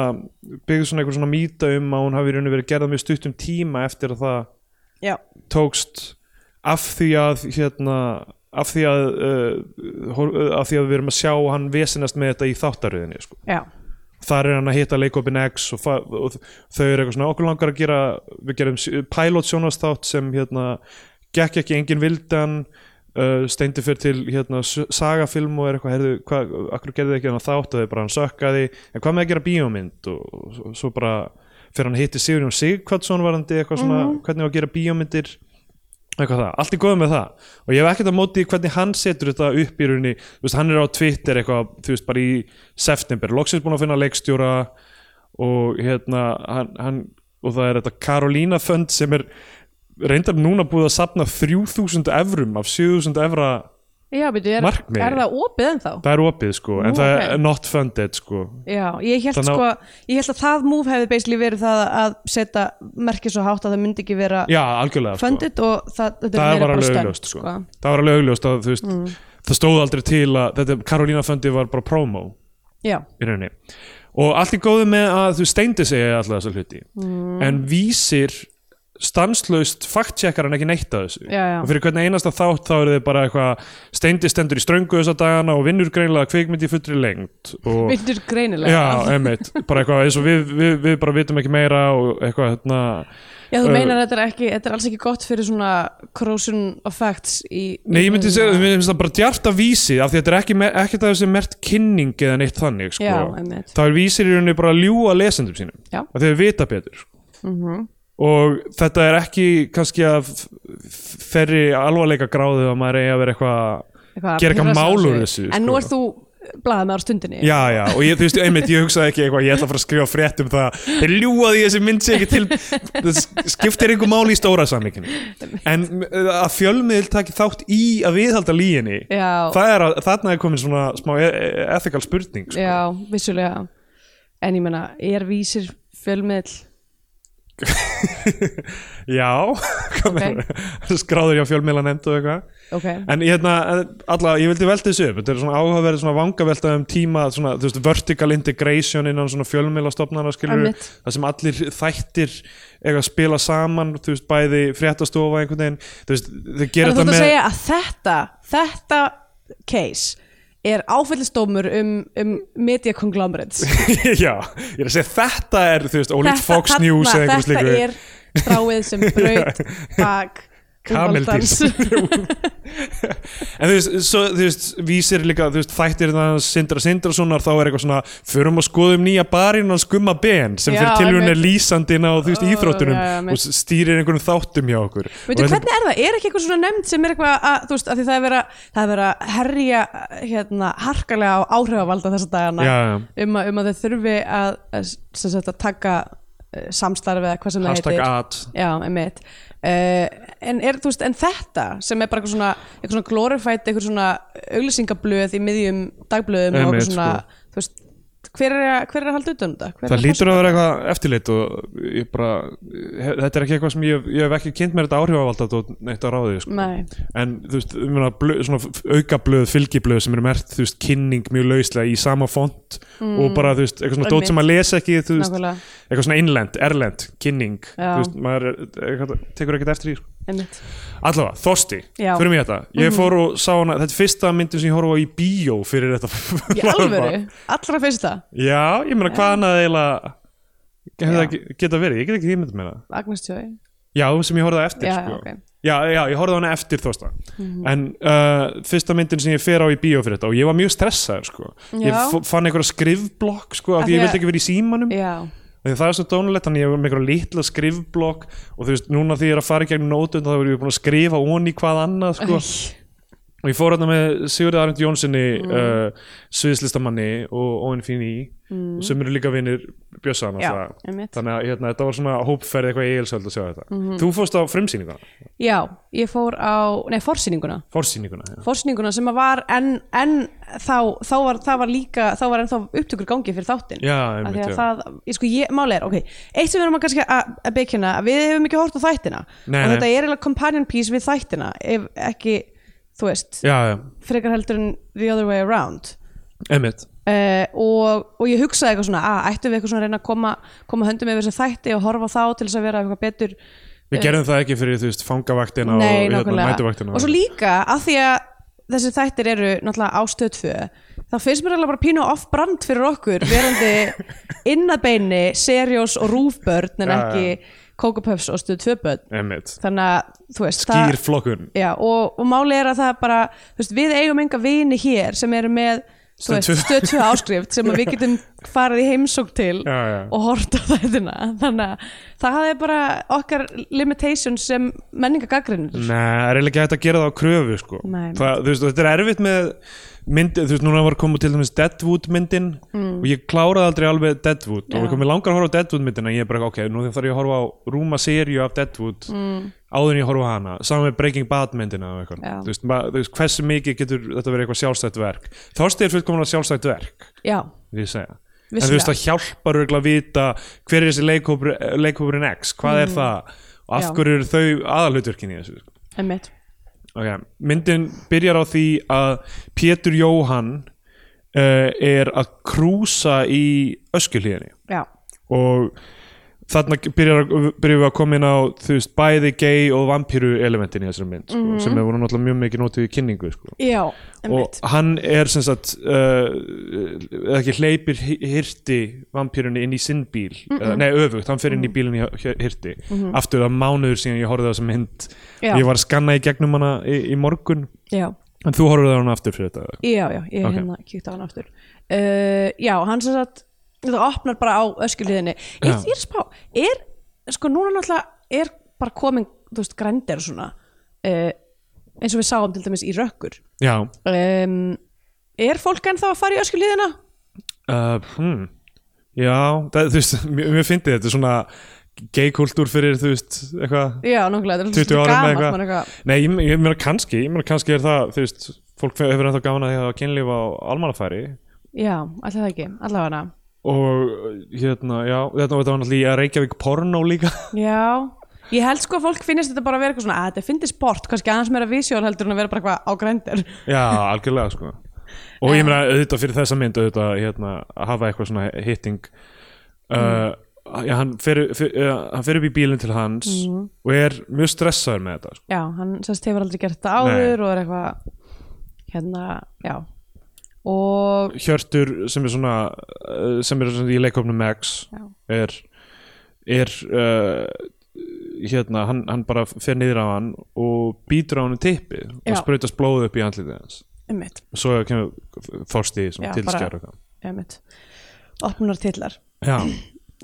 B: byggð svona einhver svona mýta um að hún hafi í rauninu verið gerða mjög stuttum tíma eftir að það
C: Já,
B: tókst af því að hérna af því að, uh, hor- uh, af því að við erum að sjá hann vesinast með þetta í þáttaröðinni sko.
C: já,
B: þar er hann að hitta leikopin X og, fa- og þau eru eitthvað svona okkur langar að gera við gerum s- pilot sjónastátt sem hérna gekk ekki engin vildan uh, steindi fyrir til hérna s- sagafilm og er eitthvað heyrðu, hva, akkur gerði ekki hann þátt og þau bara hann sökkaði en hvað með að gera bíómynd og, og, og svo bara fyrir hann hitti Sigurjón Sigvatsson varandi eitthvað svona hvernig á að gera bíómyndir eitthvað það, allt er góð með það og ég hef ekkert að móti hvernig hann setur þetta upp í rauninni, þú veist, hann er á Twitter eitthvað, þú veist, bara í september loksins búin að finna leikstjóra og hérna, hann, hann og það er þetta Karolína Fund sem er reyndar núna búið að sapna 3000 evrum af 7000 evra
C: já, byrju, er,
B: Markmiði.
C: er það opið ennþá?
B: það er opið sko, en
C: Nú,
B: það
C: ok.
B: er not funded sko
C: Já, ég held
B: Þannig að-
C: sko, ég held að það múf hefði basically verið það að setja merkið svo hátt að það myndi ekki vera
B: já, algjörlega sko.
C: fundið og það, þetta
B: það
C: er
B: var
C: meira Mm. bara
B: alveg
C: stönd,
B: augljóst sko. það var alveg augljóst að þú veist það stóð aldrei til að þetta Karolína fundi var bara promo
C: Já,
B: í rauninni og allt í góðu með að þú steindi segja alltaf þessa hluti
C: Mm.
B: en vísir stanslaust faktjekkar en ekki neitt að þessu
C: Já, já.
B: og fyrir hvernig einasta þátt þá eru þið bara eitthvað steindi stendur í ströngu þessa dagana og vinnur greinlega kvikmynd í fullri lengt og
C: myndur greinilega
B: Já, einmitt, bara eitthvað eins og við, við, við bara vitum ekki meira og eitthvað hérna
C: Já, þú
B: Uh,
C: meinar að þetta er ekki, þetta er alls ekki gott fyrir svona corrosion effects í
B: Nei, ég myndi segja, mér finnst það bara djart að vísi af því þetta er ekki, me- ekkert að þessi mert kynning eða neitt þannig, sko
C: Já, einmitt.
B: Það er vísir í rauninni bara að ljúga lesendum sínum
C: Já.
B: af því þeir vita betur sko.
C: Mhm.
B: og þetta er ekki kannski að ferri alvarleika gráðu að maður eigi að vera eitthvað gera eitthvað
C: hressa
B: mál úr
C: þessu.
B: þessu,
C: En nú
B: sko.
C: ert þú blaðið með á stundinni
B: Já, já, og ég, þú veist, einmitt, ég hugsaði ekki eitthvað, ég ætla að fara að skrifa frétt um það þeir ljúga því þessi mynd sé ekki til það s- skiptir einhver máli í stóra samlíkinu en uh, að fjölmiðl taki þátt í að viðhalda líginni
C: Já.
B: það er að, þarna er komin svona smá e- e- ethical spurning sko.
C: Já, vissulega En ég meina, er vísir fjölmiðl
B: já [laughs] okay. skráður hjá fjölmiðla nefnd og eitthvað
C: Ok,
B: en ég, hérna, alla, ég vildi velta þessu upp þetta er svona áhugaverð svona vangavelta um tíma svona, þú veist, vertical integration innan svona fjölmiðlastofnana skilur
C: Einmitt.
B: það sem allir þættir eiga að spila saman, þú veist, bæði fréttastofa einhvern veginn, þú veist, þau
C: þannig
B: gera
C: að þú
B: þetta
C: ert að
B: með
C: segja að þetta þetta case er áfællistómur um, um media conglomerates
B: [laughs] já, ég er að segja þetta er, þú veist, ólíkt
C: Þetta-
B: Fox
C: þarna-
B: News eða einhvers
C: Þetta
B: líku
C: er stráið sem braut
B: [laughs]
C: bak
B: Kameldýrs.
C: úlfaldans.
B: en þú veist, svo, þú veist, vísir líka þú veist, þættir þannig Sindra Sindrasonar þá er eitthvað svona, förum að skoðum nýja barinn hans Gumma Ben sem
C: Já,
B: fyrir tilhjörn er
C: einmitt.
B: lýsandin á, þú veist,
C: Ó,
B: íþróttunum
C: já, já, einmitt.
B: og stýrir einhverjum þáttum hjá okkur
C: Veitu,
B: Og þetta-
C: hvernig er það? Er ekki eitthvað svona nefnd sem er eitthvað að, þú veist, að því það er verið að, það er verið að herja hérna, harkalega á áhrifavalda þessa dagana
B: Já, já.
C: Um, að, um að þau þurfi að, að, sem sagt, að taka eh, samstarfi eða hvað sem það
B: hashtag
C: heitir.
B: at
C: Já, einmitt. Uh, en, er, þú veist, en þetta sem er bara eitthvað svona, eitthvað svona glorified, eitthvað svona auglýsingablöð í miðjum dagblöðum og
B: Einmitt, sko.
C: eitthvað svona, þú veist, hver er, að- hver er að halda utan um þetta? Hver er
B: Það
C: að passa
B: lítur að vera eitthvað eftirlit og ég bara, eh, he- þetta er ekki eitthvað sem ég, ég hef ekki kynnt mér þetta áhrifavaldat og neitt á ráði sko.
C: Nei.
B: en þú veist, um hana, blö, svona f- aukablöð, fylgiblöð sem eru mert, þú veist, kynning mjög lauslega í sama font og bara, þú veist, eitthvað svona dót sem að lesa ekki, þú veist,
C: Mm. Nákvæmlega.
B: eitthvað svona innlend, erlend, kynning, þú
C: Já.
B: veist, maður er, eitthvað, tekur ekkert eftir í sko.
C: Einmitt.
B: Allavega, Þorsti,
C: Já. Mhm.
B: fyrir mig þetta Ég fór og sá hana, þetta er fyrsta myndin sem ég horfa á í bíó fyrir þetta [laughs]
C: Í alvöru, allra fyrsta.
B: Já, ég meina hvað annað eiginlega hefði
C: Já.
B: það ge- geta verið, ég get ekki ímynd með það
C: Agnes Tjói.
B: Já, sem ég horfði á eftir
C: Já,
B: sko.
C: já, ok. Mhm.
B: já, já, ég horfði á hana eftir þósta En uh, fyrsta myndin sem ég fer á í bíó fyrir þetta og ég var mjög stressaður sko. Ég
C: Já.
B: f- fann einhverja skrifblokk sko, af
C: Af
B: því ég
C: því að-
B: vildi ekki verið í símanum
C: Já,
B: Því það er svo dónulegt, þannig ég var með einhverja litla skrifblokk og þú veist, núna því ég er að fara í gegnum nótund þá er ég búin að skrifa onni hvað annað sko. og ég fór hérna með Sigurði Arnd Jónssoni
C: Mm.
B: uh, sviðslistamanni og Óin Fíní mm. sem eru líka vinir Bjössan
C: Já, einmitt. Mhm.
B: þannig að hérna, þetta var svona hópferð eitthvað eigilsöld að sjá þetta þú fórst á frumsýninguna,
C: já, ég fór á, nei, forsýninguna
B: forsýninguna já.
C: Forsýninguna sem að var en, en þá, þá var, það var líka þá var ennþá upptökur gangi fyrir þáttinn
B: Já,
C: Af
B: einmitt,
C: því að
B: já.
C: það, ég sko, ég, máli er, ok Eitt sem við erum að kannski að, að byggja hérna, að við hefum ekki hort á þættina
B: Nei,
C: og
B: nei.
C: þetta er eiginlega companion piece við þættina ef ekki, þú veist
B: já, já,
C: frekar heldur en the other way around
B: emitt
C: Uh, og, og ég hugsaði eitthvað svona að ættum við eitthvað svona að reyna að koma, koma höndum yfir þessi þætti og horfa á þá til þess að vera eitthvað betur
B: við gerðum það ekki fyrir þú veist fangavaktina
C: Eh. Nei,
B: og hérna,
C: nákvæmlega
B: mætuvaktina
C: og svo líka að því að þessi þættir eru náttúrulega ástöð tvö þá finnst mér alveg bara pínu off-brand fyrir okkur
B: [laughs]
C: verandi innadbeini seriós og rúfbörn en
B: Já,
C: ekki kókupöfs og stöð tvö börn
B: emitt,
C: þannig að þú veist það-
B: skýr flokkun
C: já, og, og máli er að það bara þú veist, við eigum enga vini hér sem eru með þú
B: Stöð
C: veist,
B: tvö. [laughs]
C: stöð tvö áskrift sem að við getum farið í heimsók til
B: Já, já.
C: og hort á þættina þannig að það er bara okkar limitations sem
B: Nei,
C: menningagagrinir
B: það er eiginlega ekki hægt að gera það á kröfu sko.
C: Nei.
B: það, þú veist, og þetta er erfitt með mynd, þú veist, núna var komið til dæmis Deadwood myndin
C: Mm.
B: og ég kláraði aldrei alveg Deadwood og ég komið langar að horfa á Deadwood myndina ég er bara, ok, nú þarf ég að horfa á rúma seríu af Deadwood mm. áður en ég horfa á hana, saman með Breaking Bad myndina og eitthvað.
C: Já.
B: þú veist, ma- þú veist, hversu mikið getur þetta verið eitthvað sjálfstætt verk Þorsti er fullkomlega sjálfstætt verk
C: Já,
B: vil ég segja en þú
C: Vissulega.
B: veist það hjálpar örugglega að vita hver er þessi leikhópur, leikhópurinn X hvað er það og af
C: Mm. Já.
B: hverju eru þau aðalhutverkinni í þessu sko.
C: emmitt
B: okay. myndin byrjar á því að Pétur Jóhann uh, er að krúsa í öskjuhlíðinni
C: Já,
B: og þarna byrjar, byrjum við að koma inn á þú veist, bæði gay og vampíru elementin í þessari mynd sko, sem hefur náttúrulega mjög mikið nótið í kynningu sko
C: Já
B: og
C: emmitt
B: hann er sem sagt uh, eða ekki hleypir hi- hirti vampýrunni inn í sinn bíl eða, nei öfugt, hann fer inn í bílinni hjá- hirti aftur það er mánuður síðan ég horfði á þessa mynd
C: Já.
B: ég var að skanna í gegnum hana í, í morgun
C: Já
B: en þú horfður það hana aftur fyrir þetta eða?
C: Já, já, ég
B: Ok.
C: hérna kíkt á hann aftur uh, Já, hann sem sagt þetta opnar bara á öskjuliðinni ég,
B: Já.
C: ég er að spá, er, sko núna náttúrulega er bara komin, þú veist, grændir og svona uh, eins og við sáum til dæmis í rökkur
B: já,
C: um, Er fólk ennþá að fara í öskjuliðina?
B: uh, hmm. já það, þú veist, mér, mér fyndi þetta er svona gaykultúr fyrir þú veist, eitthvað
C: Já, nákvæmlega, þetta
B: 20
C: er svolítið
B: árum
C: gamalt,
B: eða
C: maður
B: eitthvað Nei, ég, ég meina kannski, ég meina kannski er það þú veist, fólk hefur ennþá gaman að því að hafa kynlíf á almannafæri
C: Já, alltaf það ekki, allavega
B: og hérna, já, þetta var þetta var náttúrulega í Reykjavík porno líka
C: Já, ég held sko að fólk finnist þetta bara að vera eitthvað svona að þetta finnst sport, kannski aðeins meira vísjól heldur en að vera bara eitthvað á grændir
B: já, algjörlega sko og ég meina auðvitað fyrir þessa mynd auðvitað hérna, að hafa eitthvað svona hitting
C: Mm.
B: uh, já, hann, fer, fer, uh, hann fer upp í bílinn til hans
C: Mm.
B: og er mjög stressaður með þetta sko.
C: Já, hann sérst hefur aldrei gert þetta áður og er eitthvað hérna, já og
B: Hjörtur sem er svona uh, sem er svona í leikofnum X
C: Já.
B: er er uh, hérna, hann, hann bara fer niður á hann og býtur á hann um tippið
C: Já.
B: og sprautast blóð upp í andlitið hans
C: einmitt,
B: svo kemur Forsti sem
C: Já,
B: tilskjör
C: bara- einmitt opnunar titlar
B: já,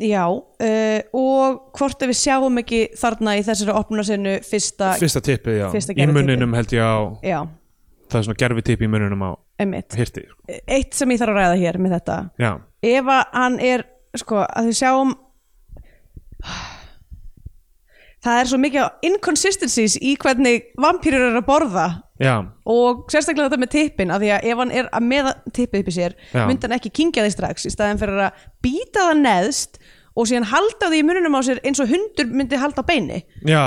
C: Já, uh, og hvort ef við sjáum ekki þarna í þessari opnunarsinu fyrsta,
B: fyrsta tippið já,
C: Fyrsta
B: í
C: gervitippið.
B: muninum held ég á
C: já,
B: það er svona gerfi í muninum á
C: einmitt
B: hirti, sko.
C: Eitt sem ég þarf að ræða hér með þetta
B: já,
C: ef að hann er sko, að við sjáum það er svo mikið á inconsistencies í hvernig vampýrur eru að borða
B: já
C: og sérstaklega þetta með tippin af því að ef hann er að meða tippið upp í sér
B: Já.
C: myndi hann ekki kingja því strax í staðan fyrir að býta það neðst og síðan halda því í mununum á sér eins og hundur myndi halda á beini [laughs]
B: já,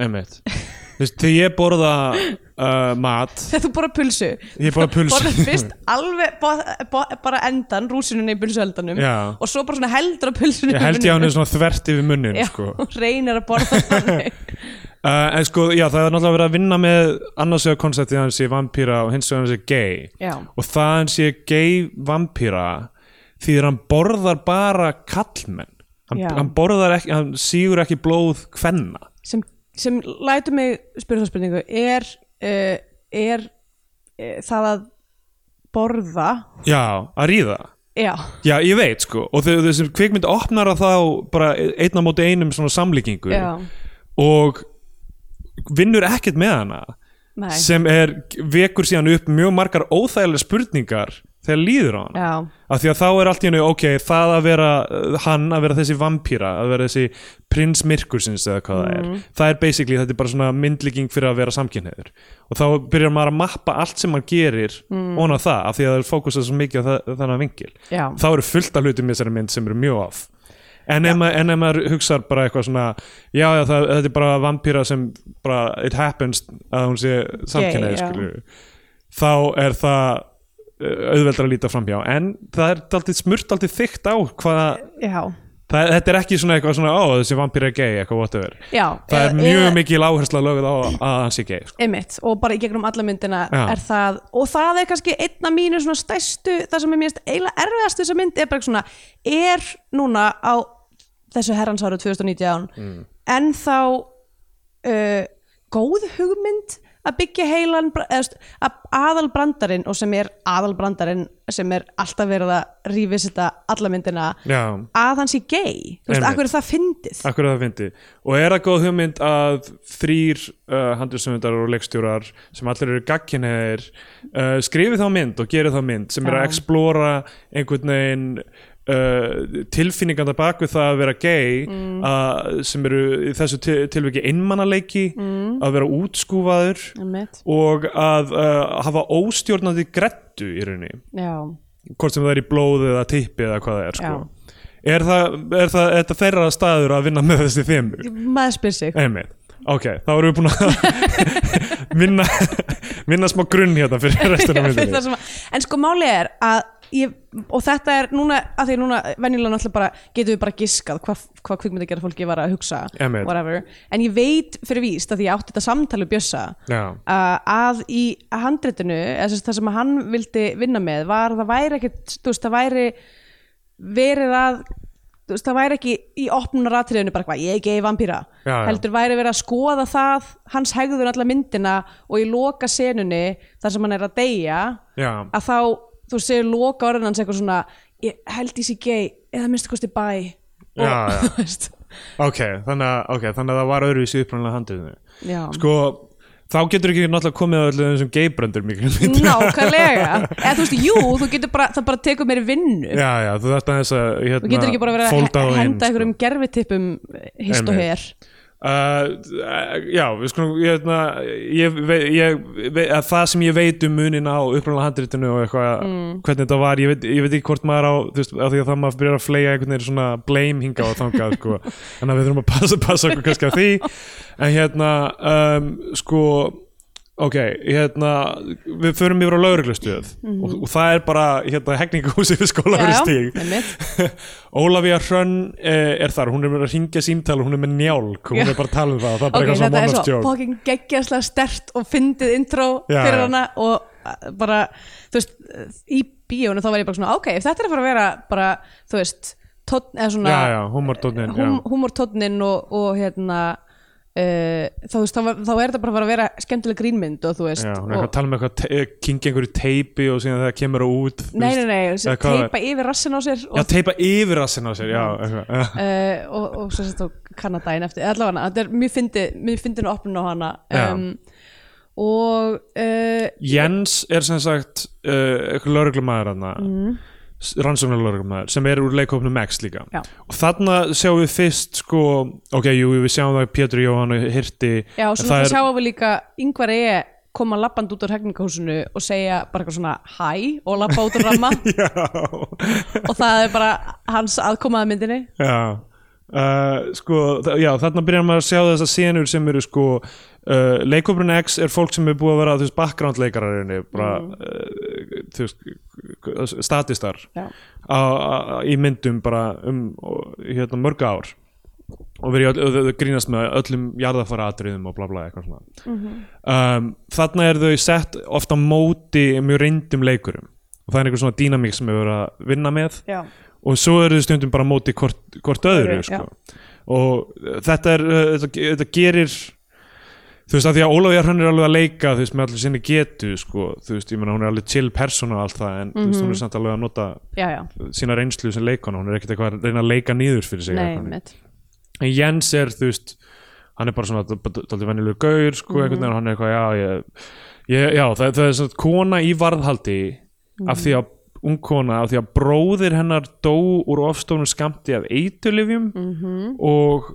B: einmitt þú veist, þegar ég borða uh, mat
C: þegar þú borða pulsu
B: Ég borða pulsu.
C: Borðar fyrst alveg bo, bo, bara endan, rúsinunni í pulsueldanum
B: Já.
C: og svo bara svona heldur á
B: [laughs]
C: pulsunum
B: ég held ég á hann er svona þvert yfir munin
C: Já,
B: sko. uh,
C: hún reynir að borða þannig
B: [laughs] en sko, já, það er náttúrulega verið að vinna með annars vegar konceptið að hann sé vampíra og hins vegar hann sé gay
C: Já,
B: og það að hann sé gay vampíra því að hann borðar bara kallmenn hann,
C: Já.
B: hann borðar ekki, hann sígur ekki blóð kvenna
C: sem, sem lætur mig spyrja þá spurningu er, uh, er uh, það að borða
B: Já, að ríða
C: Já,
B: Já, ég veit sko og þau- þessi kvikmynd opnar að þá bara einn á móti einum svona samlíkingu
C: já,
B: og vinnur ekkert með hana
C: nei
B: sem er, vekur síðan upp mjög margar óþægilega spurningar þegar líður á hana
C: Já,
B: af því að þá er allt í hennu, ok, það að vera uh, hann, að vera þessi vampíra að vera þessi prins myrkursins eða hvað það er, það er basically, þetta er bara svona myndlíking fyrir að vera samkynhneður og þá byrjar maður að mappa allt sem maður gerir mm. á það, af því að það er fókusað svo mikið á það, þannig vingil
C: já,
B: þá eru fullt af hlutum í þessari mynd sem eru mjög off en ef, maður, en ef maður hugsar bara eitthvað svona já, já það, þetta er bara vampýra sem bara, it happens að hún sé
C: Gay,
B: samkynnaði
C: já.
B: skilju þá er það uh, auðveldra að líta framhjá en það er daldið smurt aldrei þykkt á hvaða
C: já,
B: Það, þetta er ekki svona eitthvað svona, ó, þessi vampýra er gay, eitthvað whatever.
C: já
B: Það er
C: eða-
B: mjög
C: eða-
B: mikil áhersla lögð á að hann sé gay, sko.
C: Einmitt, og bara í gegnum alla myndina
B: Já.
C: er það, og það er kannski einna mínu svona stæstu, það sem er mjög eiginlega erfiðast þess að mynd er bara eitthvað svona, er núna á þessu herransáru 2019 mm. en þá uh, góð hugmynd að byggja heilan bra- eða, st- að aðalbrandarinn og sem er aðalbrandarinn sem er alltaf verið að rífisita alla myndina
B: Já.
C: að hann sé gay, þú veist,
B: Einmitt.
C: akkur er það fyndið
B: Akkur er það fyndi og er það góð hugmynd að þrýr uh, handriðsöfundar og leikstjórar sem allir eru gagkinniðir uh, skrifi þá mynd og geri þá mynd sem er að
C: Já.
B: explora einhvern veginn uh, tilfinninganda bak við það að vera gay að, sem eru í þessu til, tilviki einmannaleiki að vera útskúfaður
C: Einmitt.
B: og að uh, hafa óstjórnandi grettu í rauninni
C: Já,
B: hvort sem það er í blóð eða tippi eða hvað það er sko.
C: Já.
B: er það, er það, er það þeirra staður að vinna með þessi þemur
C: maður spyr sig
B: einmitt, ok, þá erum við búin að [laughs] vinna vinna smá grunn hérna
C: [laughs]
B: fyrir restina af
C: Fyrir það
B: myndinni
C: sem að- en sko máli er að ég, og þetta er núna, að því núna venjulega náttúrulega bara, getum við bara giskað hvað hva kvikmynd að gera fólki var að hugsa
B: Einmitt.
C: whatever, en ég veit fyrir víst að því ég átti þetta samtali bjössa
B: Já.
C: uh, að í handritinu eða sem sagt það sem hann vildi vinna með var að það væri ekkert, þú veist, það væri verið að þú veist, það væri ekki í opnunar atriðinu bara hvað, ég er gei vampíra
B: Já, já.
C: heldur væri verið að skoða það hans hegður alla myndina og í loka senunni þar sem hann er að deyja
B: Já.
C: að þá, þú veist, segir loka orðin hans eitthvað svona, ég held í sig gei eða minnstu kosti bæ og,
B: Já, já.
C: [laughs] þú veist,
B: ok, þannig að, okay, þannig að það var öðruvísi upprunalega handið
C: Já.
B: sko, þá getur ekki náttúrulega komið að öllu þessum geibröndur mikil mynd
C: [laughs] nákvæmlega eða þú veist, jú, þú getur bara, það bara tekur meiri vinnu
B: [laughs] já, já, þú þarft aðeins að hérna,
C: Þú getur ekki bara verið að
B: folda
C: he-
B: þá inn,
C: henda
B: sko.
C: einhverjum gerfitippum hist og
B: Einmitt.
C: her
B: Uh, já, við skulum ég, hefna, ég, vei- ég, vei- að það sem ég veit um munin á upprunalega handritinu og eitthvað, hvernig þetta var ég veit, ég veit ekki hvort maður á, þú veist, af því að það maður byrjar að fleja einhvern veginn svona blame hinga og þangað, sko, en við þurfum að passa, passa okkur kannski að því, en hérna um, sko ok, hérna, við förum yfir á lauruglustuð og, og það er bara hérna, hegninguhúsi við skólarustíg
C: einmitt.
B: [laughs] Ólafía Hrönn eh, er þar, hún er með að ringja símtal og hún er með njálk, hún er bara að tala um það það er bara
C: ok,
B: eitthvað
C: þetta
B: svona
C: er svo
B: mannastjók
C: fokkin geggjastlega stert og fyndið intro
B: Já,
C: fyrir
B: já.
C: hana og uh, bara, þú veist, uh, í bíónu þá var ég bara svona, ok, ef þetta er að fara að vera bara, þú veist, tótt, eða svona
B: já, já, humortónin
C: hum, humortótnin og, og hérna uh, þá, þú veist, þá, var- þá er þetta bara að fara að vera skemmtileg grínmynd og þú veist
B: Já, hún er eitthvað
C: og,
B: að tala um eitthvað, te- eh, kingi einhverju teipi og síðan þegar kemur það út þú
C: nei,
B: veist,
C: nei, nei,
B: eða hvað það er.
C: teipa Mm. yfir rassin á sér og
B: Já, teipa yfir rassin á sér, já, eitthvað
C: uh, og, og svo sett og kannadaginn eftir allavega, þetta er mjög fyndið mjög fyndin opnun á hana um,
B: Já.
C: og uh,
B: Jens er sem sagt uh, eitthvað lauruglumæður hann mm. rannsóknar lauruglumæður sem er úr leikofnum Max líka
C: Já.
B: og þarna sjáum við fyrst sko, ok, jú, við sjáum það Pétur Jóhann og Hirti
C: já,
B: en
C: og svo
B: það
C: náttúrulega
B: er-
C: sjáum við líka yngvar eigi koma lappand út úr hefningahúsinu og segja bara eitthvað svona hæ og lappa út úr
B: [laughs]
C: ramma
B: Já
C: og það er bara hans aðkomaða myndinni
B: Já, uh, sko, þa- já þarna byrjar maður að sjá þessar senur sem eru sko uh, leikopurinn X er fólk sem er búið að vera þú veist, background leikarar bara, mm. uh, þú veist, statistar
C: Já.
B: á, á, í myndum bara um og, hérna, mörg ár og verið öll, öll, öll, grínast með öllum jarðafara atriðum og bla bla eitthvað svona um, þarna er þau sett ofta móti mjög reyndum leikurum og það er einhver svona dýnamík sem við verið að vinna með
C: já,
B: og svo eru þau stundum bara á móti hvort, hvort öðru
C: Öðru,
B: sko. og uh, þetta er uh, þetta, þetta gerir þú veist að því að Ólafía hann er alveg að leika þú veist með allir sinni getu sko. þú veist ég meina hún er alveg chill persóna og allt það en þú veist hún er samt alveg að nota
C: já, já,
B: sína reynslu sem leikona hún er ekkert eitthvað að reyna að leika nýður fyrir sig eða eitthvað.
C: nei, mitt
B: en Jens er þú veist hann er bara svona daldið venjulegu gaur sko, einhvern veginn, og hann er eitthvað já, ég, ég, já það, það er svona kona í varðhaldi af því að ung kona af því að bróðir hennar dó úr ofstofnum skamti af eitulifjum og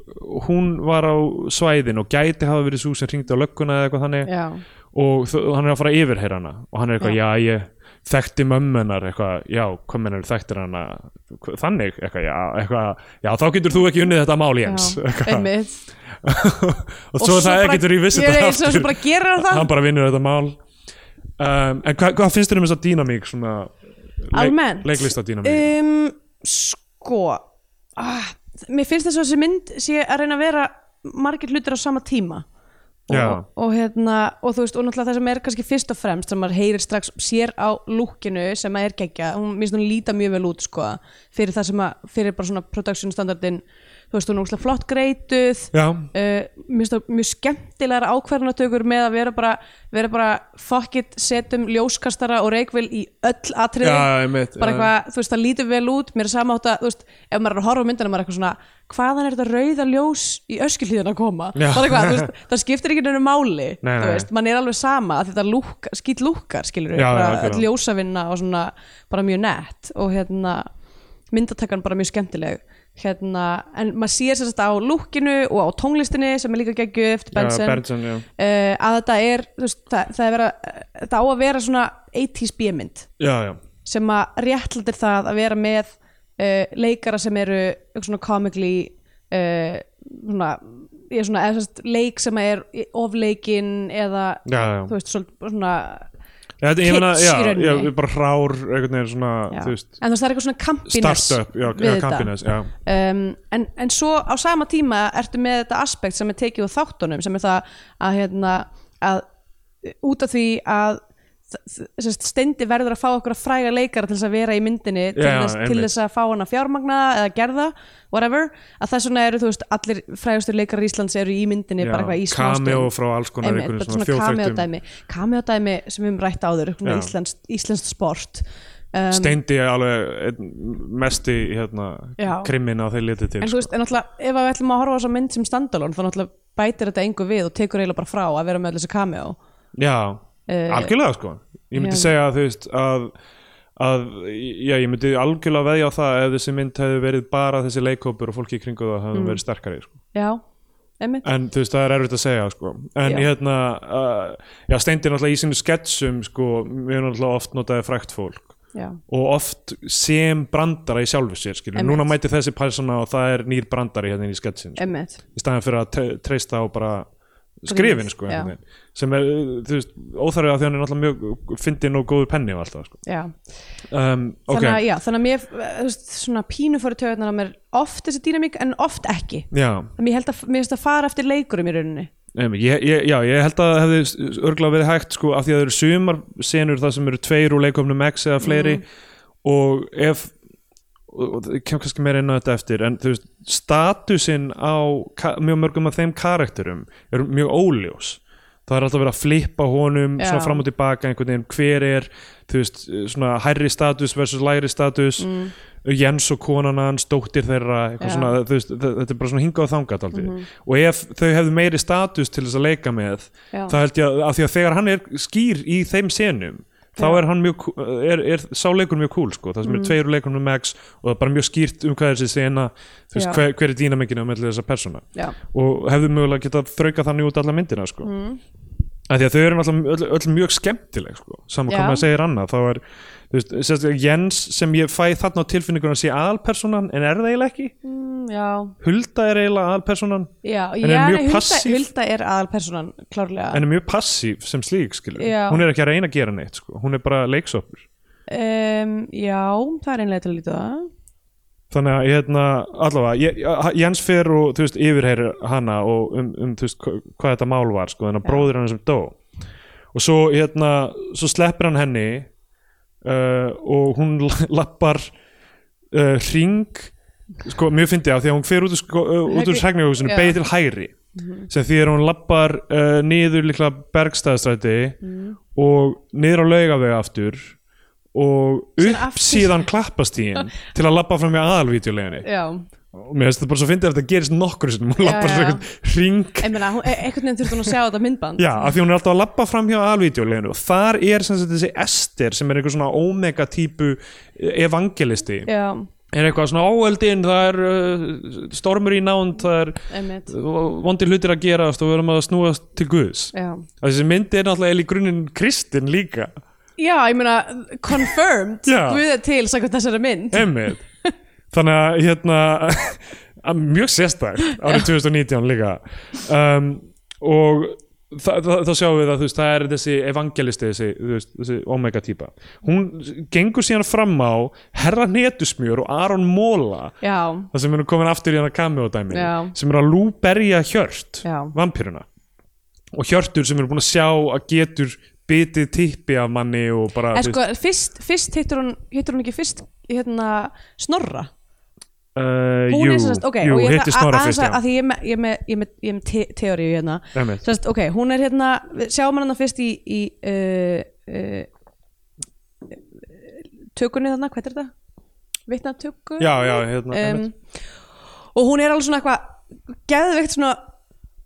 B: hún var á svæðin og gæti hafa verið svo sem hringdi á lögguna eða eitthvað þannig
C: já,
B: og þ- hann er að fara yfir hér hana og hann er eitthvað, já, ég þekkti mömmunar eitthvað, já, hvað mennur þekktir hana hv- þannig, eitthvað, já, eitthvað já, þá getur þú ekki unnið þetta mál [laughs] Jens
C: já,
B: eitthvað.
C: einmitt
B: og svo er það ekki getur í vissi
C: Ég er eins og svo bara gera það
B: hann bara vinnur þetta mál um, en hvað, hvað finnst þér um þessa dýnamík svona
C: Almennt?
B: leiklista dýnamík
C: um, sko ah, mér finnst þess að þessi mynd sé að reyna að vera margir hlutir á sama tíma
B: Já.
C: og, og hérna og þú veist, og náttúrulega það sem er kannski fyrst og fremst sem maður heyrir strax sér á lúkinu sem að er geggja, hún minnst hún líta mjög vel út sko, fyrir það sem að, fyrir bara svona production standardin þú veist, hún er ógeðslega flott greituð
B: Já,
C: uh, mjög, mjög skemmtilegar ákvarðanatökur með að vera bara, vera bara fuck it, setjum ljóskastara og reykvel í öll atriði
B: Já, einmitt,
C: bara
B: já.
C: eitthvað, þú veist, það lítur vel út mér er samátt að, þú veist, ef maður er að horfa á myndina maður er eitthvað svona, hvaðan er þetta rauða ljós í öskilíðan að koma
B: Já.
C: bara eitthvað, þú veist, það skiptir ekki nefnum máli
B: Nei,
C: þú
B: nei.
C: veist, mann er alveg sama að þetta lúk, skýt lúkar, skilur
B: Já, já,
C: bara
B: algjörlega.
C: öll ljósavinna og svona bara mjög nett og hérna myndatakkan bara mjög skemmtileg hérna, en maður sér sérst á lúkinu og á tónlistinni sem er líka geggju eftir Benson,
B: já, Benson já.
C: Uh, að þetta er þú veist, það, það er vera, þetta á að vera svona 80s bímynd
B: já, já,
C: sem að réttlætir það að vera með uh, leikara sem eru eitthvað svona comically uh, svona, ég er svona eða sérst, leik sem er ofleikinn eða
B: já, já.
C: þú veist svona, svona
B: Já, þetta- ég meina,
C: kitsch í
B: já,
C: rauninni.
B: já, við bara hrár einhvern veginn svona,
C: Já.
B: þú veist
C: en þú veist það er eitthvað svona campiness
B: startup, já,
C: við
B: já,
C: þetta.
B: campiness, já.
C: um, en, en svo á sama tíma ertu með þetta aspekt sem er tekið úr þáttunum sem er það að, hérna, að út af því að sérst, stendi verður að fá okkur að fræga leikara til þess að vera í myndinni til,
B: Já,
C: þess, til
B: einmitt.
C: þess að fá hana fjármagna eða gerða, whatever að þess vegna eru, þú veist, allir frægastur leikar Íslands eru í myndinni,
B: Já,
C: bara eitthvað í smástund
B: cameo frá alls konar
C: Einmitt,
B: einhverjum
C: bara
B: svona
C: svona
B: þjóðþekktum-
C: kameodæmi kameodæmi sem við höfum rætt áður
B: Já.
C: íslenskt, íslenskt sport um,
B: Steindi er alveg einn mesti hérna,
C: Já.
B: krimmin á þeir litið til
C: En þú veist, en alltaf, ef að við ætlum að horfa á þess mynd sem standalón, þá náttúrulega bætir þetta engu við og tekur eiginlega bara frá að vera með allir þessi cameo.
B: Já, algjörlega sko Ég myndi
C: Eh, já.
B: segja að þú veist að, að já, ég myndi algjörlega veðja á það ef þessi mynd hefði verið bara þessi leikhópur og fólki í kringu það
C: Mm.
B: hefði verið sterkari sko.
C: Já, einmitt.
B: en þú veist, það er erfitt að segja sko. en
C: Já.
B: hérna uh, já, Steindi náttúrulega í sínum sketsum sko, mjög náttúrulega oft notaði frækt fólk
C: Já,
B: og oft sem brandara í sjálfu sér skilur,
C: Einmitt.
B: núna mæti þessi persóna og það er nýr brandari hérna inn í sketsin sko.
C: einmitt.
B: í staðan fyrir að tre- treysta á bara skrifin sko
C: já.
B: einhvern veginn. sem er, þú veist, óþarfið að því hann er náttúrulega mjög fyndin og góður penni og alltaf sko.
C: Já.
B: um, ok,
C: Þannig að, já, þannig að mér, þú veist, svona pínu fóru töðunar að mér oft þessi dýnamík en oft ekki.
B: já,
C: Þannig ég held að, mér finnst að fara eftir leikurum í rauninni.
B: nefnir, ég, ég, já ég held að það hefði örgla verið hægt sko af því að það eru sumar senur það sem eru tveir úr leikumnum X eða fleiri
C: Mhm.
B: og ef og og það kemur kannski meira inn á þetta eftir en þú veist, statusinn á ka- mjög mörgum af þeim karakterum er mjög óljós það er alltaf verið að flippa honum
C: Já.
B: svona fram og tilbaka einhvern veginn hver er þú veist, svona hærri status versus læri status Jens og konan hans, dóttir þeirra eitthvað
C: Mm. Já.
B: svona, þú veist, þe- þetta er bara svona hingað og þangað aldrei,
C: Mhm.
B: og ef þau hefðu meiri status til þess að leika með
C: Já.
B: það held ég að, að því að þegar hann er skýr í þeim senum þá
C: Já. Mhm.
B: er hann mjög, kú- er, er sáleikur mjög cool sko, það sem er tveir leikur með Max og það er bara mjög skýrt um hvað er þessi sena þú veist,
C: Já.
B: hver, hver er dýnamengina með þessa persóna
C: Já.
B: og hefðu mögulega getað þrauka þannig út alla myndina sko mm.
C: Mhm.
B: að því að þau eru alltaf öll, öll mjög skemmtileg sko, saman
C: Já.
B: hvað maður segir annað þá er, þú veist, sérstaklega Jens sem ég fæ þarna á tilfinningunum að sé aðalpersonan en er það eiginlega ekki,
C: Mm, já,
B: Hulda er eiginlega aðalpersonan
C: já,
B: er
C: já,
B: mjög
C: nei, Hulda,
B: passív.
C: Hulda er aðalpersonan, klárlega.
B: en er mjög passív sem slík skilur,
C: Já.
B: hún er ekki að reyna að gera neitt sko, hún er bara leiksopur
C: um, já, það er einlega til að líta á það.
B: þannig að hérna, allavega ég, Jens fer og þú veist yfirheyrir hana og um, um þú veist hva- hvað þetta mál var sko, þannig að bróðir hann sem dó og svo hérna, svo sleppir hann henni uh, og hún [laughs] la- lappar uh, ring sko, mjög fyndi á því að hún fer út úr, sko, uh, út úr
C: Hægri-
B: segnihúsinu,
C: Já. Mhm.
B: beið til hægri sem því að hún lappar uh, niður líklega bergstæðstræti
C: Mhm.
B: og niður á laugavega aftur og
C: Síðan
B: upp
C: aftur.
B: síðan
C: [laughs]
B: klappastíin til að lappa fram í aðalvídeoleginni
C: Já.
B: og mér finnst þetta bara svo fyndið að þetta gerist nokkur sinnum, hún
C: Já,
B: lappar
C: já.
B: svo einhvern ring
C: Ég meina, hún- e- einhvern veginn þurfti hún að sjá þetta myndband.
B: já, af því hún er alltaf að lappa fram hjá aðalvídeoleginu og þar er sem sagt þessi Ester sem er einhver svona omega típu eh, evangelisti
C: Já,
B: er eitthvað svona óöldin, það er uh, stormur í nánd, það er
C: einmitt.
B: vondir hlutir að gerast og við erum að snúast til Guðs
C: Já.
B: þessi myndi er náttúrulega eiginlega í grunninn kristin líka
C: Já, ég meina, confirmed
B: Já.
C: Guð er til samkvæmt þessari mynd
B: Einmitt. Þannig að hérna [laughs] að mjög sérstækt árið 2019 líka um, og þa- þa- þá sjáum við að þú veist, það er þessi evangelisti þessi, þú veist, þessi omega típa hún gengur síðan fram á Herra Netusmjör og Aron Móla
C: Já,
B: það sem eru komin aftur í hana kameodæmi
C: Já.
B: sem eru að lúberja hjört
C: Já.
B: vampiruna og hjörtur sem eru búin að sjá að getur bitið tippi af manni og bara
C: en
B: þú
C: sko, fyrst, fyrst hittur hún hittur hún ekki fyrst hérna, snorra
B: uh,
C: hún
B: jú,
C: er sérst, ok,
B: jú
C: og ég
B: hitti Snorra fyrst já.
C: að, að því ég er með, ég er með, ég er með, ég er með te teóriu hérna
B: Einmitt.
C: sérst, ok, hún er hérna, við sjáum hann fyrst í, í uh, uh, tökunni þarna, hvað er þetta? vitna tökunni?
B: já, já, hérna
C: um,
B: einmitt.
C: og hún er alveg svona eitthvað geðveikt svona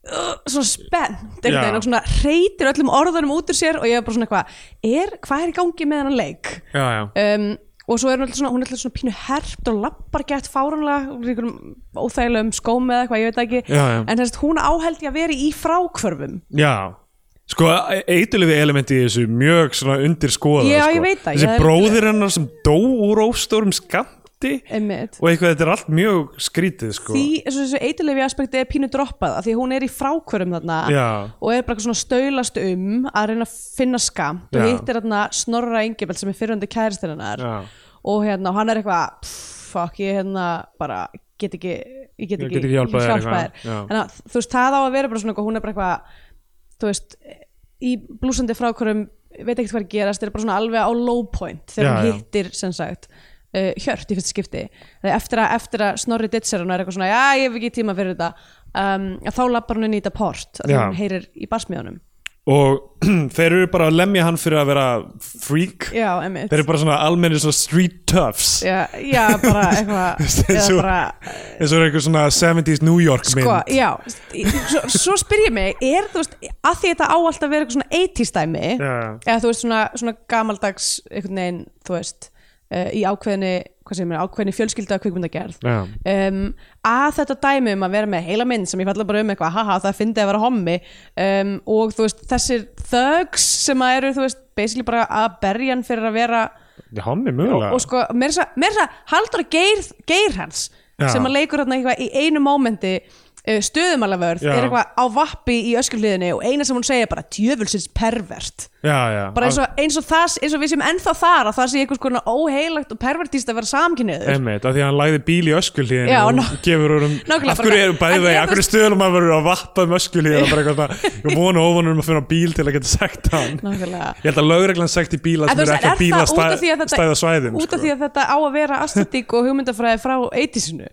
C: uh, svona spennt
B: Já.
C: einhvern veginn og svona reytir öllum orðunum út úr sér og ég er bara svona eitthvað, er, hvað er í gangi með hennan leik
B: já, já,
C: um, og svo er hún alltaf svona, hún er alltaf svona pínu herpt og lappar gett fáránlega úr einhverjum óþægilegum skóm eða eitthvað, ég veit það ekki
B: Já, já.
C: en þess að hún áhældi að vera í frákvörfum
B: já sko, eitilöfi elementi í þessu mjög svona undir skoða
C: Já,
B: sko.
C: ég veit það, ég
B: þessi
C: er-
B: bróðir hennar sem dó úr óstórum skamti
C: einmitt
B: og eitthvað, þetta er allt mjög skrítið sko.
C: því þessu, þessu eitilefi aspekti er pínu droppað af því að hún er í frákvörum þarna
B: Já.
C: og er bara eitthvað svona stöylast um að reyna að finna skamt og
B: Já.
C: hittir þarna Snorra Engibald sem er fyrrandi kæristir hennar
B: Já.
C: og hérna, og hann er eitthvað "Pff, fuck, ég hérna bara get ekki ég get
B: Ég
C: ekki,
B: get ekki hjálpað þér
C: hjálpa
B: eitthvað, já.
C: Þannig að, þú veist, það á að vera bara svona eitthvað, hún er bara eitthvað þú veist, í blúsandi frákvörum veit ekkert hvað er að gerast, er bara svona alveg á low point þegar
B: Já,
C: hún
B: já.
C: hitt hittir sem sagt uh, Hjört í fyrsta skipti Þegar eftir að, eftir að Snorri ditser hann og er eitthvað svona já ég hef ekki tíma fyrir þetta um, að þá lappar hann inn í þetta port að
B: Já.
C: hann heyrir í barsmiðunum
B: og [clears throat] þeir eru bara að lemja hann fyrir að vera freak
C: já emmitt
B: þeir eru bara svona almennir svona street toughs
C: já, já bara
B: [laughs]
C: eitthvað eða
B: Svo-
C: bara
B: eins og er einhver svona 70s New York mynd
C: sko já svo, svo spyr ég mig er þú veist að því þetta á alltaf að vera eitthvað svona 80s dæmi
B: Já.
C: eða þú veist svona, svona gamaldags einhvern veginn þú veist uh, í ákveðinni hvað segir mér ákveðinni fjölskylda kvikmyndagerð
B: Já.
C: um, að þetta dæmi um að vera með heila mynd sem ég falla bara um eitthvað, haha það fyndi að vera hommi um, og þú veist þessir thugs sem að eru þú veist basically bara að berja hann fyrir að vera
B: Já, hann er mögulega
C: og sko, mér er það haldur að geir, geir hans
B: Já.
C: sem að leikur hann eitthvað í einu mómenti stuðumalavörð,
B: Já.
C: er eitthvað á vappi í öskulhliðinni og eina sem hún segir er bara djöfulsins pervert
B: já, já.
C: bara eins og, eins og, það, eins og við sem ennþá þar að það sé einhvers konar óheilagt og pervertist að vera samkynniður
B: Einmitt, af því að hann lagði bíl í öskulíðin
C: Já,
B: og
C: ná-
B: gefur honum
C: Nákvæmlega,
B: af hverju
C: bara-
B: eru bæði
C: en
B: vegi,
C: ég
B: af hverju
C: veist-
B: stöðlum að verður að vappa um öskulíðin og bara eitthvað svona, ég vonu óvanum að finna bíl til að geta sagt hann
C: Nákvæmlega.
B: ég held að lögreglan sagt í bíla
C: En
B: sem
C: þú
B: eru
C: veist,
B: ekki að bíla
C: það út af því að þetta-
B: stæða sko. svæðum
C: út af því að þetta á að vera astetík og hugmyndafræði frá 80-sinu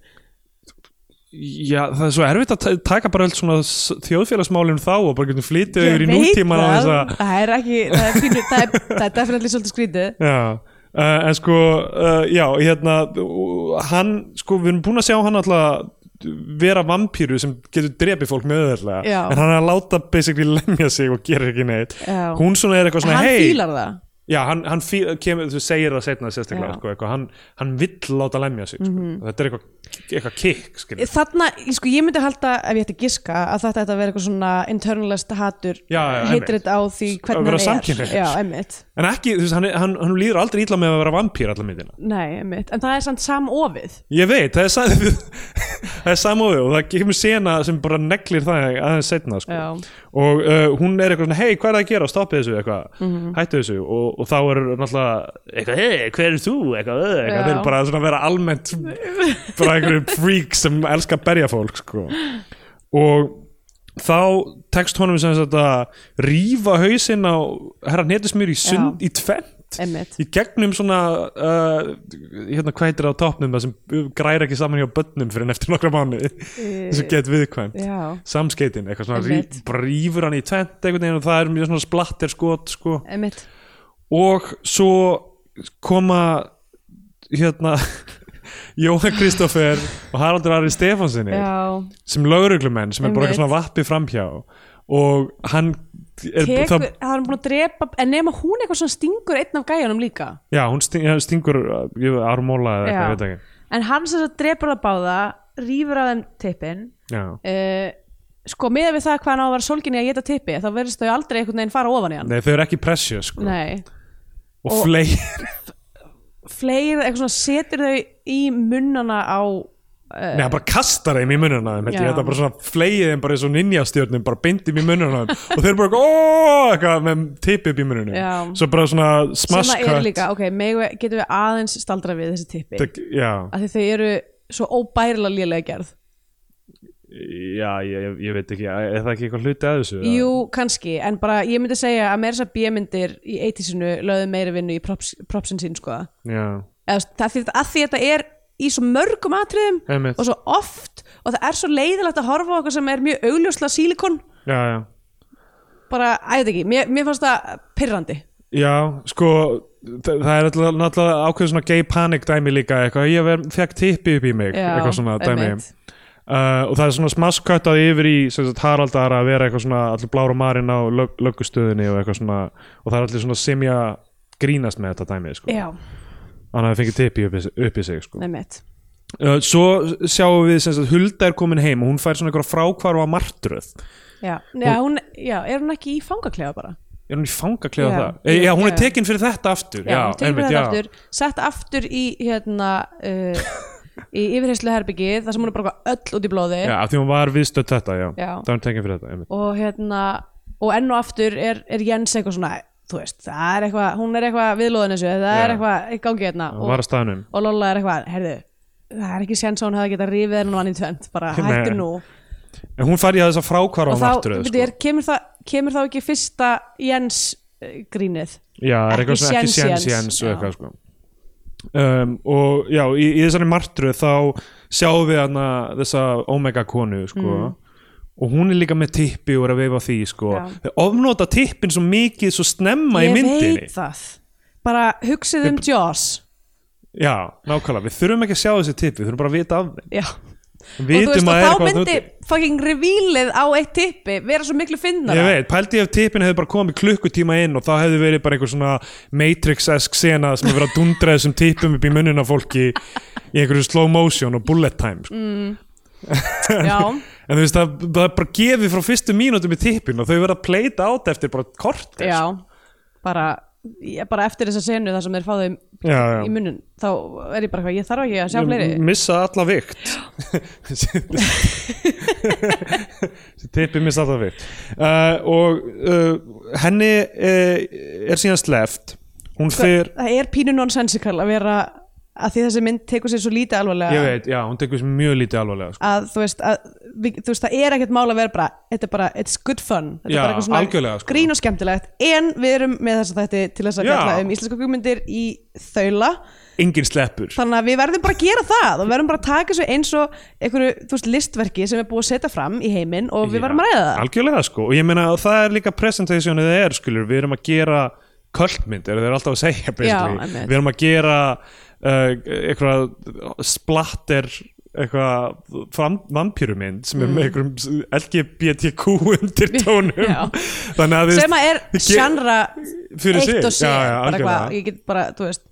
B: Já, það er svo erfitt að ta- taka bara öll svona s- þjóðfélagsmálin þá og bara getum flytið yfir í nútíman á þess að
C: það er ekki það er, pínu, það er, það er definitely svolítið skrítið
B: Já, uh, en sko uh, já, hérna uh, hann, sko, við erum búin að sjá hann alltaf vera vampíru sem getur drepið fólk með öðvöldlega
C: Já.
B: en hann er að láta basically lemja sig og gera ekki neitt
C: Já.
B: hún svona er eitthvað svona,
C: hann
B: hei
C: fílar það
B: já, hann, hann fí, kemur, þú segir það setna sérstaklega,
C: Já.
B: sko, eitthvað, hann, hann vill láta lemja sig, sko, þetta er eitthvað eitthvað kikk, skiljum
C: þarna, ég- sko, ég myndi halda ef ég ætti að giska að þetta ætti að vera eitthvað svona internalist hatur
B: Já, já, einmitt.
C: heitrit á því
B: Að vera
C: hvernig hann
B: samkynhneigður.
C: er já, emmitt
B: en ekki, þú veist, hann, hann, hann líður aldrei illa með að vera vampír allar myndina
C: Nei, einmitt. en það er samt samofið
B: Ég veit, það er, sa- [laughs] það er samofið og það kemur sena sem bara neglir það aðeins setna sko.
C: Já.
B: og uh, hún er eitthvað svona, hei, hvað er það að gera, stoppið þessu eitthvað,
C: Mhm.
B: hættu þessu og, og þá er náttúrulega eitthvað, hei, hver er þú eitthvað, uh,
C: Já.
B: eitthvað, þeir bara svona vera
C: [laughs]
B: almennt bara einhverju freak sem elska að berja fólk sko. og þá tekst honum sem sagt að rífa hausinn á herra netusmjör í sund í tvent
C: Einmitt.
B: í gegnum svona uh, hérna hvað heitir það á topnum það sem græra ekki saman hjá börnum fyrir en eftir nokkra mánu þessu get viðkvæmt
C: Eh, já,
B: samskeitin, eitthvað svona rí,
C: Einmitt.
B: bara rífur hann í tvent einhvern veginn og það er mjög svona splatter skot sko.
C: emmitt
B: og svo koma hérna [laughs] Jóhann Kristoffer og Haraldur Ari Stefánsinni
C: já,
B: sem lauruglumenn sem er bara
C: Einmitt.
B: eitthvað svona vappi framhjá og hann er,
C: tekur,
B: það,
C: það er búin að drepa en nema hún eitthvað svona stingur einn af gæjanum líka
B: já, hún sting, já, stingur ármóla eða eitthvað,
C: Já.
B: ég veit ekki
C: en hann sem þetta drepur það báða rýfur að þeim tippin
B: já,
C: uh, sko miða við það hvað hann á að vera sólginni að geta tippi þá verðist þau aldrei einhvern veginn fara ofan í hann
B: nei þau eru ekki pressjö sko
C: nei,
B: og,
C: Og-
B: og flei
C: fleiri eitthvað svona setur þau í munnana á
B: Nei, hann bara kastar þeim í mununa þeim, held ég
C: Já.
B: þetta bara svona fleið þeim bara eins og ninjastjörnum bara bindum í mununa þeim og þeir bara óóóó eitthvað með tipi upp í mununum
C: Já.
B: svo bara svona smash
C: sem það er
B: cut
C: líka, ok, megu, getum við aðeins staldra við þessi tippi
B: Þetta- já,
C: af því þau eru svo óbærilega lélega gerð
B: já ég, ég- ég veit ekki, er það ekki eitthvað hluti að þessu? eða?
C: Jú, kannski, en bara ég myndi segja að meira þess að B-myndir í 80-sinu lögðu meiri vinnu í props, propsin sín sko.
B: Já,
C: Eða, þú veist, það, því, að því þetta er í svo mörgum atriðum
B: Einmitt.
C: og svo oft og það er svo leiðilegt að horfa á okkur sem er mjög augljóslega sílikon
B: já, já
C: bara, að ég veit ekki, mér, mér fannst það pirrandi
B: Já, sko þa- það er alltaf- náttúrulega ákveðið svona gay panic dæmi líka, eitthvað, ég ver, fekk tippi upp í mig, eitthvað svona dæmi
C: einmitt.
B: uh, og það er svona smaskköttað yfir í sem sagt, Haraldar að vera eitthvað svona allir blára marinn á lög, löggustöðinni og eitthvað svona, og það er allir svona semja grínast með þetta dæmi, sko
C: Já,
B: hann hafi fengið tippi upp, í- upp í sig, sko
C: nefnitt
B: uh, Svo sjáum við sem sagt, Hulda er komin heim og hún fær svona eitthvað frákvarfa martröð
C: Já, já, hún, já, er hún ekki í fangaklefa bara?
B: er hún í fangaklefa
C: Já.
B: það? Eh, Já, hún er
C: Já.
B: tekin fyrir þetta aftur
C: Já, hún tekur
B: einmitt,
C: þetta
B: já.
C: aftur, sett aftur í hérna uh, í yfirheysluherbyggi þar sem hún er bara eitthvað öll út í blóði
B: Já, af því hún var viðstödd þetta, já.
C: Já.
B: Það var tekið fyrir þetta, einmitt.
C: og hérna og enn og aftur er, er Jens eitthvað svona þú veist, það er eitthvað, hún er eitthvað viðlóðin þessu, það
B: Já.
C: er eitthvað í gangi hérna
B: Hún var að staðnum.
C: og Lolla er eitthvað, heyrðu það er ekki séns að hún hefði getað rífið henni hann í tvend bara
B: Nei.
C: hættu nú
B: En hún fær í þess að sko. frákvara á
C: og þá,
B: martröð,
C: veitir, er, kemur, það, kemur þá ekki fyrsta Jens eh, grínið
B: Já, er eitthvað svona ekki
C: séns,
B: séns, séns og
C: já.
B: eitthvað, sko. Um, og já, í, í þessari martröð þá sjáum við hana þessa omega konu, sko. Og hún er líka með tippi og er að veifa því, sko.
C: Mm. Já.
B: Þau ofnota tippin svo mikið, svo snemma í
C: ég
B: myndinni.
C: veit það bara hugsið um Joss
B: Já, nákvæmlega. Við þurfum ekki að sjá þessi tippi, við þurfum bara að vita af þeim.
C: Já.
B: Við
C: og þú veist
B: vitum að það
C: og
B: er
C: þá
B: eitthvað
C: myndi
B: úti.
C: fucking revílið á eitt tippi vera svo miklu finnara
B: Ég veit, pældi ég ef tippin hefði bara komið klukkutíma inn og það hefði verið bara einhver svona Matrix-esk sena sem hefur verið að dundra þessum tippum upp í munnuna fólki í einhverju slow motion og bullet time sko.
C: Mm. Já,
B: [laughs] en þú veist, það, það er bara gefið frá fyrstu mínútum í tippin og þau verða að pleita át eftir bara kort
C: já bara, ég, bara eftir þessa senu þar sem þeir fáðu í,
B: já, já.
C: í munnun þá er ég bara hvað, ég þarf ekki að sjá fleiri
B: M- missa alla vikt [laughs] þessi tippi missa alla vikt uh, og uh, henni uh, er síðan sleft hún fer
C: Það er pínu nonsensical að vera að því þessi mynd tekur sér svo lítið
B: Ég
C: alvarlega
B: veit, já, hún tekur þessu mjög lítið alvarlega sko.
C: að þú veist, að, við, þú veist það er ekkert mál að vera bara, þetta er bara, it's good fun þetta
B: Já,
C: er bara eitthvað svona
B: algjörlega, sko.
C: grín og skemmtilegt en við erum með þess að þetta til þess að
B: Já.
C: fjalla um íslenska kvikmyndir í þaula
B: Engin sleppur
C: þannig að við verðum bara að gera það og við verðum bara að taka þessu eins og einhverju þú veist, listverki sem er búið að setja fram í heiminn og við verðum að ræða það
B: Algjörlega sko, og ég meina að það er líka presentationið er, skilur, við erum að gera kvöldmynd, er þeir alltaf að segja basically.
C: einmitt.
B: við erum að gera uh, eitthvað splatter eitthvað fram- vampírumynd sem
C: Mm.
B: er með einhverjum LGBTQ undir tónum
C: [laughs] Já.
B: þannig að við
C: sem að er
B: ge-
C: sjanra
B: Fyrir sig,
C: eitt og sér
B: já, já,
C: bara
B: algjörlega.
C: hvað, ég get bara, þú veist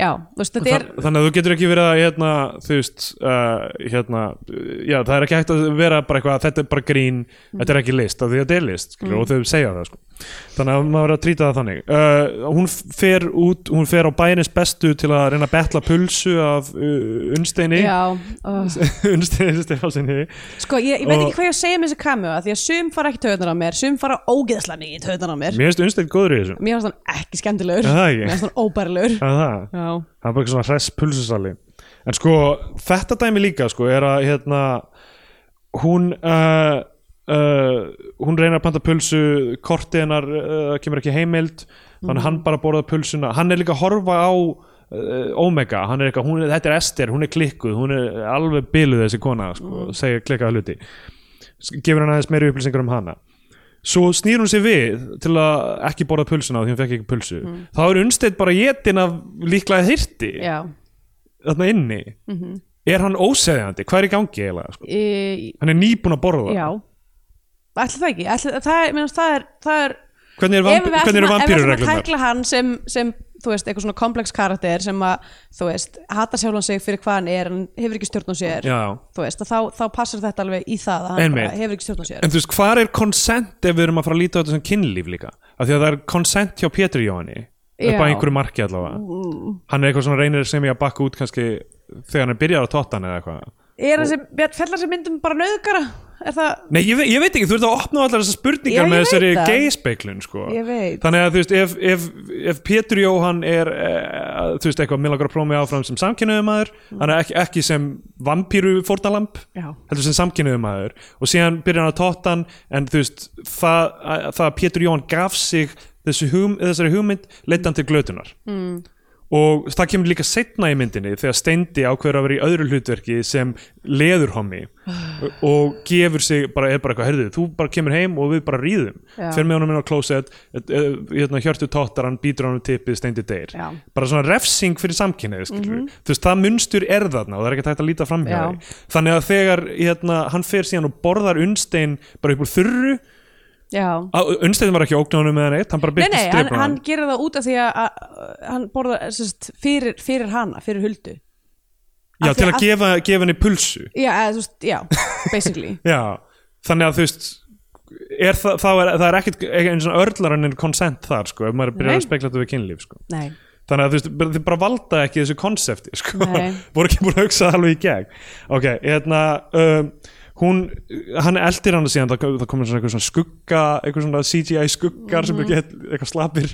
C: já, þú veist, þetta er
B: Þann- þannig að þú getur ekki verið að hérna, þú veist uh, hérna, já, það er ekki hægt að vera bara eitthvað, þetta er bara grín þetta er ekki list, af því að þetta er list skilur,
C: Mm.
B: og þau segja það, sko. þannig að maður verið að trýta það þannig uh, hún fer út hún fer á bæjarins bestu til að reyna að betla pulsu af uh, unnsteini
C: já, oh. ó.
B: [laughs] unnsteini Stefánsinni
C: sko, ég, ég veit
B: Og-
C: ekki hvað ég að segja með þessi kamjóa því að sum fara ekki töðunar á mér, sum fara ógeðslega mikið töðunar á mér,
B: mér finnst unnstein góður í þessu
C: mér finnst hann ekki skemmtilegur
B: Já, það ekki.
C: mér finnst hann óbærilegur
B: það er það
C: já,
B: það er bara eitthvað svona hress pulsusali en sko þetta dæmi líka sko er að hérna hún uh, uh, hún reynir að panta pulsu kortið hennar uh, kemur ekki heimild þannig
C: Mhm.
B: að hann bara borða pulsuna hann er líka að horfa á uh, Omega, hann er eitthvað, hún, er- þetta er Esther hún er klikkuð, hún er alveg byluð þessi kona sko,
C: Mhm.
B: mm. segja klikkaða hluti S- gefur hann aðeins meiri upplýsingar um hana svo snýr hún sér við til að ekki borða pulsuna af því hún fekk ekki pulsu þá er unnstætt bara jetin af líklega þyrti
C: Mhm. já Mhm.
B: þarna inni er hann óseðjandi, hvað er í gangi eiginlega sko?
C: Í-
B: hann er nýbúin að borða
C: Já Ætli það ekki, ætli, það, er, minnast, það er, það er
B: hvernig er
C: ef
B: vamp-
C: við ætlum
B: hvernig eru
C: að- ef við ætlum að
B: vampýrureglunar
C: tækla hann sem, sem þú veist, eitthvað svona komplex karakter sem að, þú veist, hata sjálfan sig fyrir hvað hann er, hann hefur ekki stjórn á sér
B: Já.
C: þú veist, að þá, þá passar þetta alveg í það að hann
B: Einmitt.
C: bara hefur ekki stjórn á sér
B: en þú veist, hvað er consent ef við erum að fara að líta á þetta sem kynlíf líka af því að það er consent hjá Pétur Jóhanni upp
C: Já.
B: á einhverju marki allavega hann er eitthvað svona reynir sem ég að bakka út kannski þegar hann byrjar að totta hann eða eitthvað
C: Er þessi, fellar þessi myndum bara nöðgara? Er það,
B: Nei, ég, ve ég veit ekki, þú ert að opna á allar þessar
C: Já,
B: spurningar
C: ég
B: með
C: veit
B: þessari
C: það.
B: geispeiklun sko.
C: Ég veit.
B: Þannig að þú veist, ef, ef, ef Pétur Jóhann er eh, þú veist, eitthvað, mér langar að prófa mig áfram sem samkynniðum maður, hann er ekki, ekki sem vampíru fórtalamb
C: Mm. Já.
B: heldur sem samkynniðum maður og síðan byrjar hann að totta hann en þú veist, það, að- það að Pétur Jóhann gaf sig þessu hugm, þessari hugmynd leitt hann til glötunar mm. og það kemur líka setna í myndinni þegar Steindi ákveður að vera í öðru hlutverki sem
C: [sighs]
B: leðurhommi og gefur sig, bara, er bara eitthvað herðu, þú bara kemur heim og við bara ríðum
C: Já.
B: fyrir með honum inn á klósett eh, eh, hérna, hjörtu tóttar, hann býtur honum tippið Steindi deyr,
C: Já. Mhm.
B: bara svona refsing fyrir samkynneið, skilur við, þú veist, það munstur er þarna og það er ekki hægt að líta fram hjá
C: Já.
B: því þannig að þegar hérna, hann fer síðan og borðar unnstein bara upp úr þurru
C: já
B: unnstein var ekki ógnanum með hann eitt, hann bara
C: Nei,
B: byrti
C: nei, hann,
B: stripuna
C: hann gerir það út af því að, að hann borðar sérst, fyrir, fyrir hana, fyrir huldu
B: já,
C: af því
B: til að,
C: að-
B: gefa, gefa henni pulsu
C: Já, eða, þú veist,
B: [laughs]
C: já, basically
B: Já, þannig að þú veist er það, það, er, það er ekkit eins og örlar en konsent þar sko, ef maður byrjar
C: Nei.
B: að spekla þetta við kynlíf sko.
C: Nei,
B: þannig að þú veist, bara- þið bara valda ekki þessu konsepti sko.
C: Nei.
B: [laughs] voru ekki búin að hugsa það alveg í gegn ok, hérna um, hún, hann eldir hana síðan það, það komið svona eitthvað svona skugga eitthvað svona CGI skuggar
C: Mhm.
B: sem ekki eitthvað slapir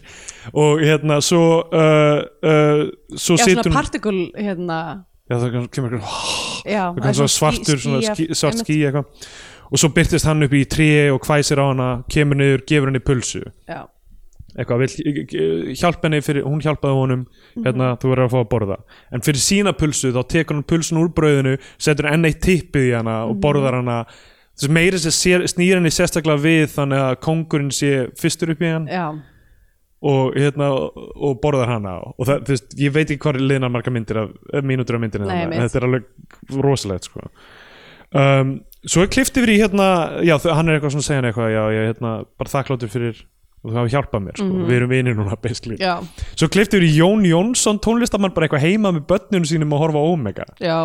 B: og hérna svo uh, uh, svo
C: já,
B: situr
C: svona
B: hún
C: particle, hérna
B: já, það kemur eitthvað
C: Já,
B: eitthvað svona svartur svona skí, svart skí eitthvað og svo byrtist hann upp í trí og hvæsir á hana kemur niður, gefur henni pulsu
C: Já,
B: eitthvað, vill, hjálp henni fyrir, hún hjálpaði honum hérna, þú verður að fá að borða en fyrir sína pulsu þá tekur hann pulsun úr brauðinu setur enn eitt tippið í hana og borðar hana þess meira sem sér- snýr henni sérstaklega við þannig að kongurinn sé fyrstur upp í hann
C: já,
B: og, hérna, og borðar hana og það, þú veist, ég veit ekki hvað er liðnar marga myndir af, eh, mínútur af myndinni
C: Nei,
B: þarna, en
C: einmitt.
B: þetta er alveg rosalegt sko um, svo er klift yfir í hérna já, þau- hann er eitthvað svona að segja hann eitthvað já, ég er hérna, bara þakkláttur fyrir og þú hafa hjálpað mér, sko. við erum vinir núna basically.
C: Mhm. já,
B: svo klift yfir í Jón Jónsson tónlistamann bara eitthvað heima með börnunum sínum að horfa á Omega,
C: já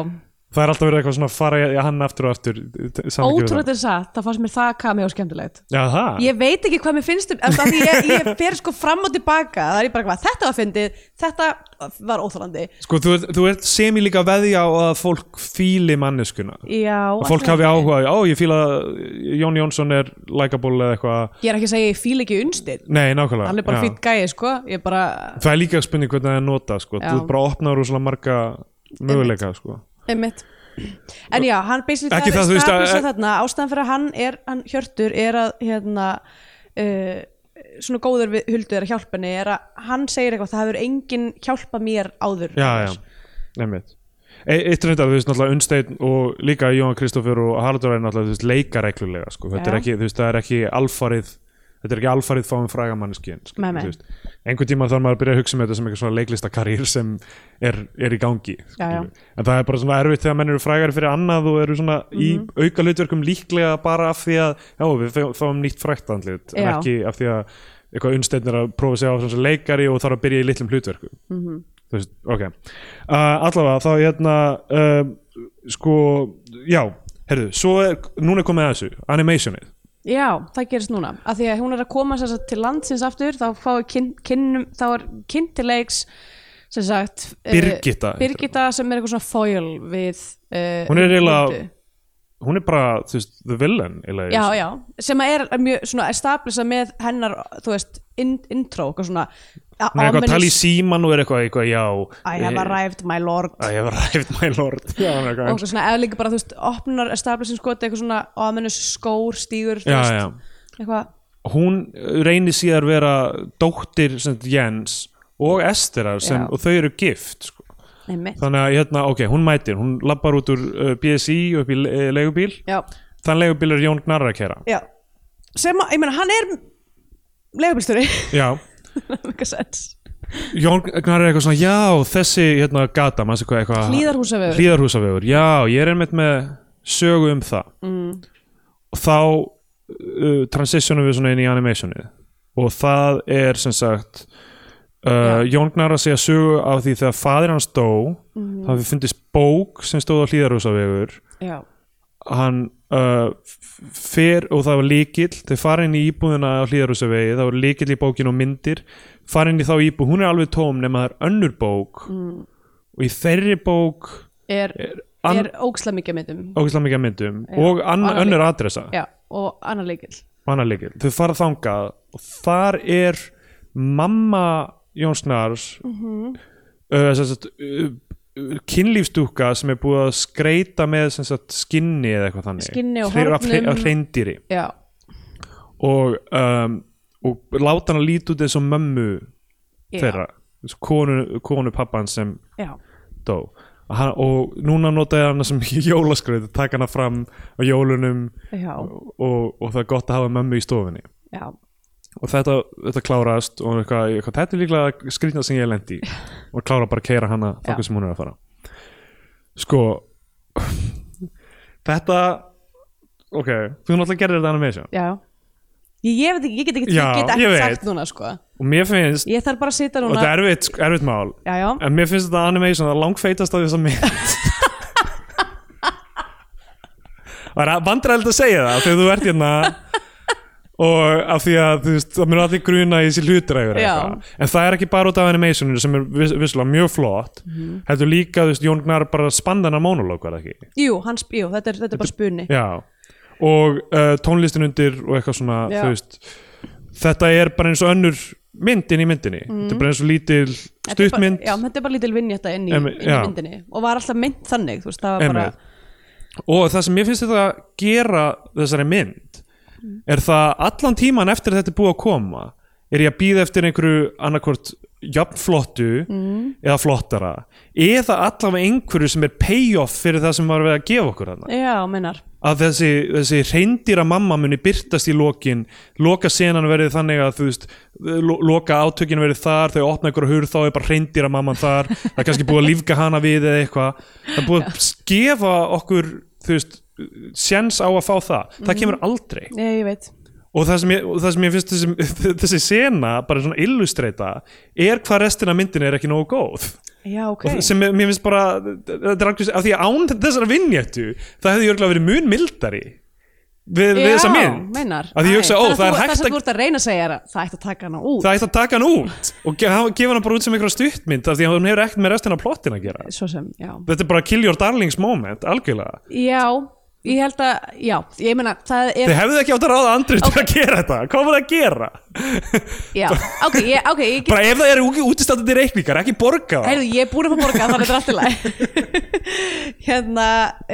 B: það er alltaf verið eitthvað svona að fara í- í hann aftur og aftur
C: Ótrúlega þetta er satt, það fannst mér það kami á skemmtilegt
B: já, það,
C: Ég veit ekki hvað mér finnst um, af því ég, ég fer sko fram og tilbaka það er ég bara hvað, þetta var fyndið, þetta var óþólandi
B: sko þú ert, þú ert semi líka að veðja á að fólk fíli manneskuna
C: Já,
B: að fólk
C: ætli-
B: hafi áhuga, á, ég fíla að Jón Jónsson er likeable eða eitthvað
C: Ég er ekki að segja, ég fíl ekki unnstinn
B: nei, nákvæmlega
C: Hann er bara
B: já.
C: fýtt gæi, sko Ég er bara,
B: það er líka spurning hvernig það er nota sko.
C: Já.
B: þú ert bara opnar úr svona marga möguleika sko.
C: einmitt En já, hann basically
B: Ekki það, þú veist,
C: establisha
B: að-
C: þarna, ástæðan fyrir að hann er hann hjörtur er að hérna uh, svona góður við huldu er að hjálpa henni er að hann segir eitthvað það hefur enginn hjálpa mér áður
B: já, já, nefnit E, eitt reyndar, þú veist, náttúrulega Unnsteinn og líka Jóhann Kristófur og Haraldur er náttúrulega þú veist, leika reglulega, sko, þetta er
C: Já.
B: ekki þú veist, það er ekki alfarið, þetta er ekki alfarið fáum frægamanneskinn, sko,
C: Nei, nei.
B: þú veist einhvern tíma þarf maður að byrja að hugsa um þetta sem eitthvað svona leiklistakarýr sem er, er í gangi
C: Já, já.
B: skilur við. en það er bara svona erfitt þegar menn eru frægari fyrir annað og eru svona
C: Mhm.
B: í auka hlutverkum líklega bara af því að já, við fá- fáum nýtt frægt andlit en
C: Já.
B: ekki af því að eitthvað unnsteinn er að prófa sig á sem leikari og þarf að byrja í litlum hlutverkum mm
C: Mhm.
B: -hmm. veist, ok uh, allavega þá hérna uh, sko, já herðu, svo er, núna er komið að þessu animationið
C: já, það gerist núna af því að hún er að koma sér sagt til landsins aftur þá, fái kyn, kynnum, þá er kynntilegs sem sagt eh,
B: Birgitta.
C: Birgitta sem er eitthvað svona foil við uh,
B: Hún er eiginlega- hún er bara, þú veist, the villain eiginlega í þessu.
C: já, já, sem að er mjög svona establisha með hennar, þú veist in, intro, eitthvað svona uh,
B: hún er eitthvað að tala í síman og er eitthvað, eitthvað já
C: I have arrived my lord
B: I have arrived my lord já, hún er
C: og
B: eitthvað,
C: eitthvað svona, eða líka bara, þú veist, opnar establishin sko, þetta er eitthvað svona ominous skór stígur, þú
B: já,
C: veist,
B: já.
C: eitthvað
B: hún reynir síðar vera dóttir sem sagt, Jens og Esterar sem,
C: Já.
B: og þau eru gift sko.
C: einmitt,
B: þannig að hérna, ok, hún mætir hún lappar út úr uh, BSI upp í uh, leigubíl
C: já,
B: þann leigubíl er Jón Gnarra að kera
C: já sem að, ég meina, hann er [laughs] legubílstjóri,
B: já,
C: eitthvað sens
B: Jón Gnarra er eitthvað svona já, þessi hérna gata, maður sé hvað eitthvað
C: Hlíðarhúsavegur.
B: Hlíðarhúsavegur, já, ég er einmitt með sögu um það mm. og þá uh, transitionum við svona inn í animationið og það er sem sagt uh, Jón Gnarra segja sögu af því þegar faðir hans dó mm. þá hafi fundist bók sem stóð á Hlíðarhúsavegur
C: já,
B: hann uh, f- fer og það var líkill þau fara inn í íbúðina á hlýðarhúsavegi það var líkill í bókinu og myndir fara inn í þá íbúð, hún er alveg tóm nema það er önnur bók mm. og í þeirri bók
C: er,
B: er,
C: er,
B: an,
C: er ógsla mikið myndum
B: ógæslega mikið af myndum og ann,
C: annar
B: önnur adressa
C: já, og annar leikill
B: og annar líkill, þau fara þangað og þar er mamma Jónsnars mm -hmm.
C: Mhm.
B: uh, sem sagt, uh, uh, kynlífstúka sem er búið að skreita með sem sagt, skinni eða eitthvað þannig
C: Skinni og
B: Hre- af hre-
C: hornum.
B: af hreindýri
C: já,
B: og, um, og láta hann líti út eins og mömmu
C: já,
B: þeirra þessu konu, konu pappan sem
C: já,
B: dó og, hann, og núna notaði hann sem [laughs] jólaskraut taka hana fram á jólunum
C: já,
B: og, og það er gott að hafa mömmu í stofunni
C: já
B: og þetta, þetta klárast og hún eitthvað, eitthvað, þetta er líklega skrýtna sem ég lendi og klára bara að keira hana þangað sem hún er að fara sko [laughs] þetta ok, þú náttúrulega gerir þetta animation
C: Já Ég, ég veit ekki, ég get ekki,
B: Já,
C: ég get
B: ég
C: ekki
B: veit.
C: sagt núna sko
B: og mér finnst,
C: Ég þarf bara að sita
B: og
C: núna
B: þetta er erfitt, erfitt mál
C: Já, já,
B: en mér finnst þetta animation það langfeitast af þess að mynd Það er vandræðilegt að segja það þegar þú ert hérna og af því að þú veist, það mér allir gruna í þessi hlutræður
C: Já.
B: en það er ekki bara út af animationinu sem er viss, visslega mjög flott
C: Mhm.
B: heldur líka, þú veist, Jón Gnar bara spandana monológ var það ekki
C: jú, hans, jú, þetta er, þetta er bara spunni
B: Já, og uh, tónlistin undir og eitthvað svona,
C: Já.
B: þú veist þetta er bara eins og önnur myndin í myndinni, þetta er bara eins og lítil
C: Mhm. Þetta er bara-
B: stuttmynd
C: Já, þetta er bara lítil vinn í þetta inn í,
B: Em-
C: inn í
B: já.
C: myndinni Og var alltaf mynd þannig, þú veist, það var bara
B: Einmitt. og það sem ég finnst þetta að gera þessari mynd er það allan tíman eftir að þetta er búið að koma er ég að býða eftir einhverju annarkvort jafnflottu mm. eða flottara eða allavega einhverju sem er payoff fyrir það sem var við að gefa okkur þarna
C: Já, meinar
B: að þessi, þessi reyndýra mamma muni byrtast í lokin loka senan verið þannig að þú veist lo- loka átökin verið þar þau opna ykkur hurð þá er bara reyndýra mamman þar það er kannski búið að lífga hana við eða eitthvað það er búið að gefa okkur þú veist, sjens á að fá það það kemur aldrei
C: Ég, ég veit
B: og það sem ég, og það sem ég finnst þessi, [laughs] þessi sena, bara svona illustreita er hvað restina myndin er ekki nógu góð
C: Já, ok
B: okay. sem mér mér finnst bara þetta er algjör, af því að án þessara vinnjættu það hefði jörglega verið mun mildari við, við
C: Já,
B: þessa mynd
C: meinar
B: af því
C: Æ,
B: ég hugsa, ó, það
C: þannig þú-
B: er
C: Það
B: hægt
C: sem
B: að
C: þú ert að reyna að segja er að það ætti að taka hana út
B: það ætti að taka hann út og ge- hafa- gefa hann bara út sem einhverja stuttmynd af því að hann hefur ekkert með restina af plottin að gera
C: Svo sem, já
B: þetta er bara kill your darlings moment algjörlega,
C: Já, ég held að, já, ég meina, það er
B: þið hefðu ekki átt að ráða andrið til að gera þetta, hvað var það að gera
C: Já, ok, ég, ok, ég get
B: bara ef það eru útistandandi reikningar, ekki borga það
C: Heyrðu, ég er búin að fá borga þannig að þetta er alltaf læg [laughs] Hérna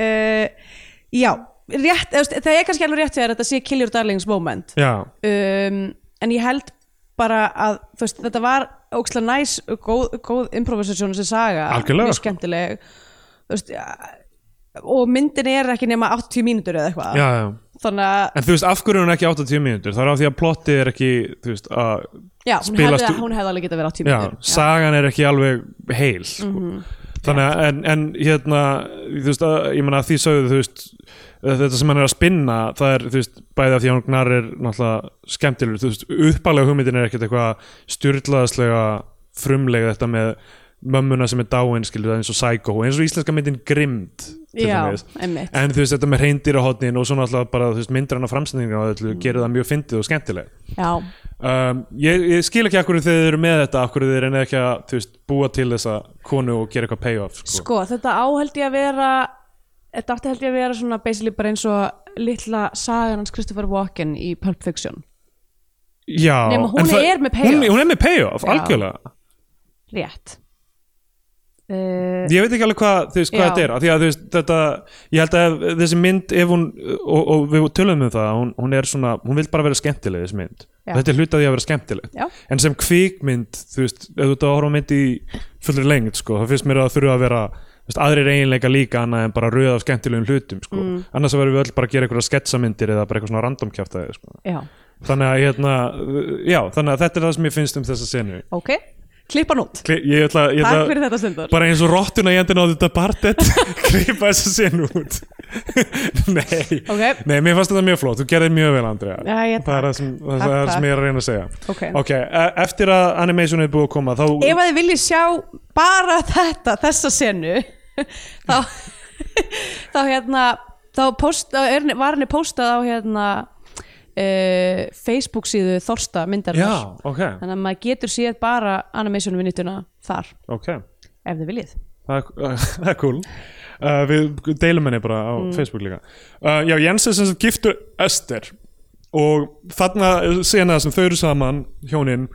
C: uh, Já, rétt, eða, þú veist, það er kannski alveg rétt þegar þetta sé Kill Your Darlings moment
B: já,
C: um, En ég held bara að þú veist, þetta var ókslega næs og góð, góð improvisasjón sem saga
B: Algjörlega,
C: Mjög
B: sko.
C: skemmtileg þú veist, ja, Og myndin er ekki nema 80 mínútur eða eitthvað
B: já, já
C: Þannig að
B: En þú veist, af hverju er hún ekki 80 mínútur? Það er af því að plottið er ekki, þú veist, að
C: já, hún,
B: spilast
C: hefði,
B: ú-
C: hún hefði alveg getað verið 80
B: já,
C: mínútur
B: sagan er ekki alveg heil sko.
C: Mhm.
B: þannig að en, en hérna þú veist að, ég meina að því sögðu þú veist þetta sem hann er að spinna það er þú veist bæði að því að hann gnar er náttúrulega skemmtilegur þú veist uppalega hugmyndin er ekkert eitthvað styrlaðslega frumlega þetta með mömmuna sem er dáin skilur það eins og psycho eins og íslenska myndin grimd til
C: Já,
B: dæmis.
C: einmitt.
B: en þú veist þetta með reyndirahotnin og svona alltaf bara þú veist myndrann og framsendingar og öllu gerir það mjög fyndið og skemmtilegt
C: Já,
B: Um, ég, ég skil ekki akkur þegar þið eru með þetta akkur þið reynið ekki að þú veist, búa til þessa konu og gera eitthvað payoff sko.
C: Sko, þetta áhaldi að vera þetta átti held ég að vera svona basically bara eins og litla sagan hans Christopher Walken í Pulp Fiction
B: Já,
C: Nema hún
B: en
C: er með payoff.
B: hún, hún er með payoff,
C: Já.
B: algjörlega
C: rétt
B: ég
C: uh,
B: veit ekki alveg hvað, þú veist, hvað
C: Já.
B: þetta er af því að þú veist, þetta, ég held að ef- þessi mynd ef hún, og, og við tölum um það hún, hún er svona, hún vil bara vera skemmtileg þessi mynd,
C: Já.
B: þetta er hlutað því að vera skemmtileg
C: Já.
B: en sem kvikmynd, þú veist ef þú ert að horfa á mynd í fullri lengd sko, það finnst mér að þurfa að vera þú veist, aðrir eiginleika líka annað en bara rauð af skemmtilegum hlutum sko.
C: Mm.
B: annars verðum við öll bara að gera einhverja sketsamyndir eða bara eitthvað svona random kjaftaði sko.
C: Já,
B: þannig að hérna, já, þannig að þetta er það sem ég finnst um þessa senu
C: ok, klippan út
B: Kli- ég ætla, ég ætla,
C: Takk fyrir þetta stundur
B: bara eins og rottuna í endin á þetta
C: [laughs]
B: partet klippa þessa senu út nei,
C: Ok.
B: nei, mér fannst þetta mjög flott þú gerðir mjög vel Andrea
C: Já, ég-
B: það er það sem, það,
C: Takk,
B: það er
C: takk.
B: sem ég er að reyna að segja
C: Ok.
B: e- eftir að animation er búið að koma þá
C: Ef að þið viljið sjá bara þetta, þessa senu
B: [laughs]
C: þá þá hérna þá post, þá er, var henni postað á hérna uh, Facebook síðu Þorsta
B: já,
C: myndarinnar
B: ok,
C: þannig að maður getur séð bara animationum vinnituna þar
B: ok
C: ef þið viljið
B: það er, [laughs] það er cool uh, við deilum henni bara á Facebook líka uh, já, Jens er sem sagt giftur Öster og þarna sena sem þau eru saman hjónin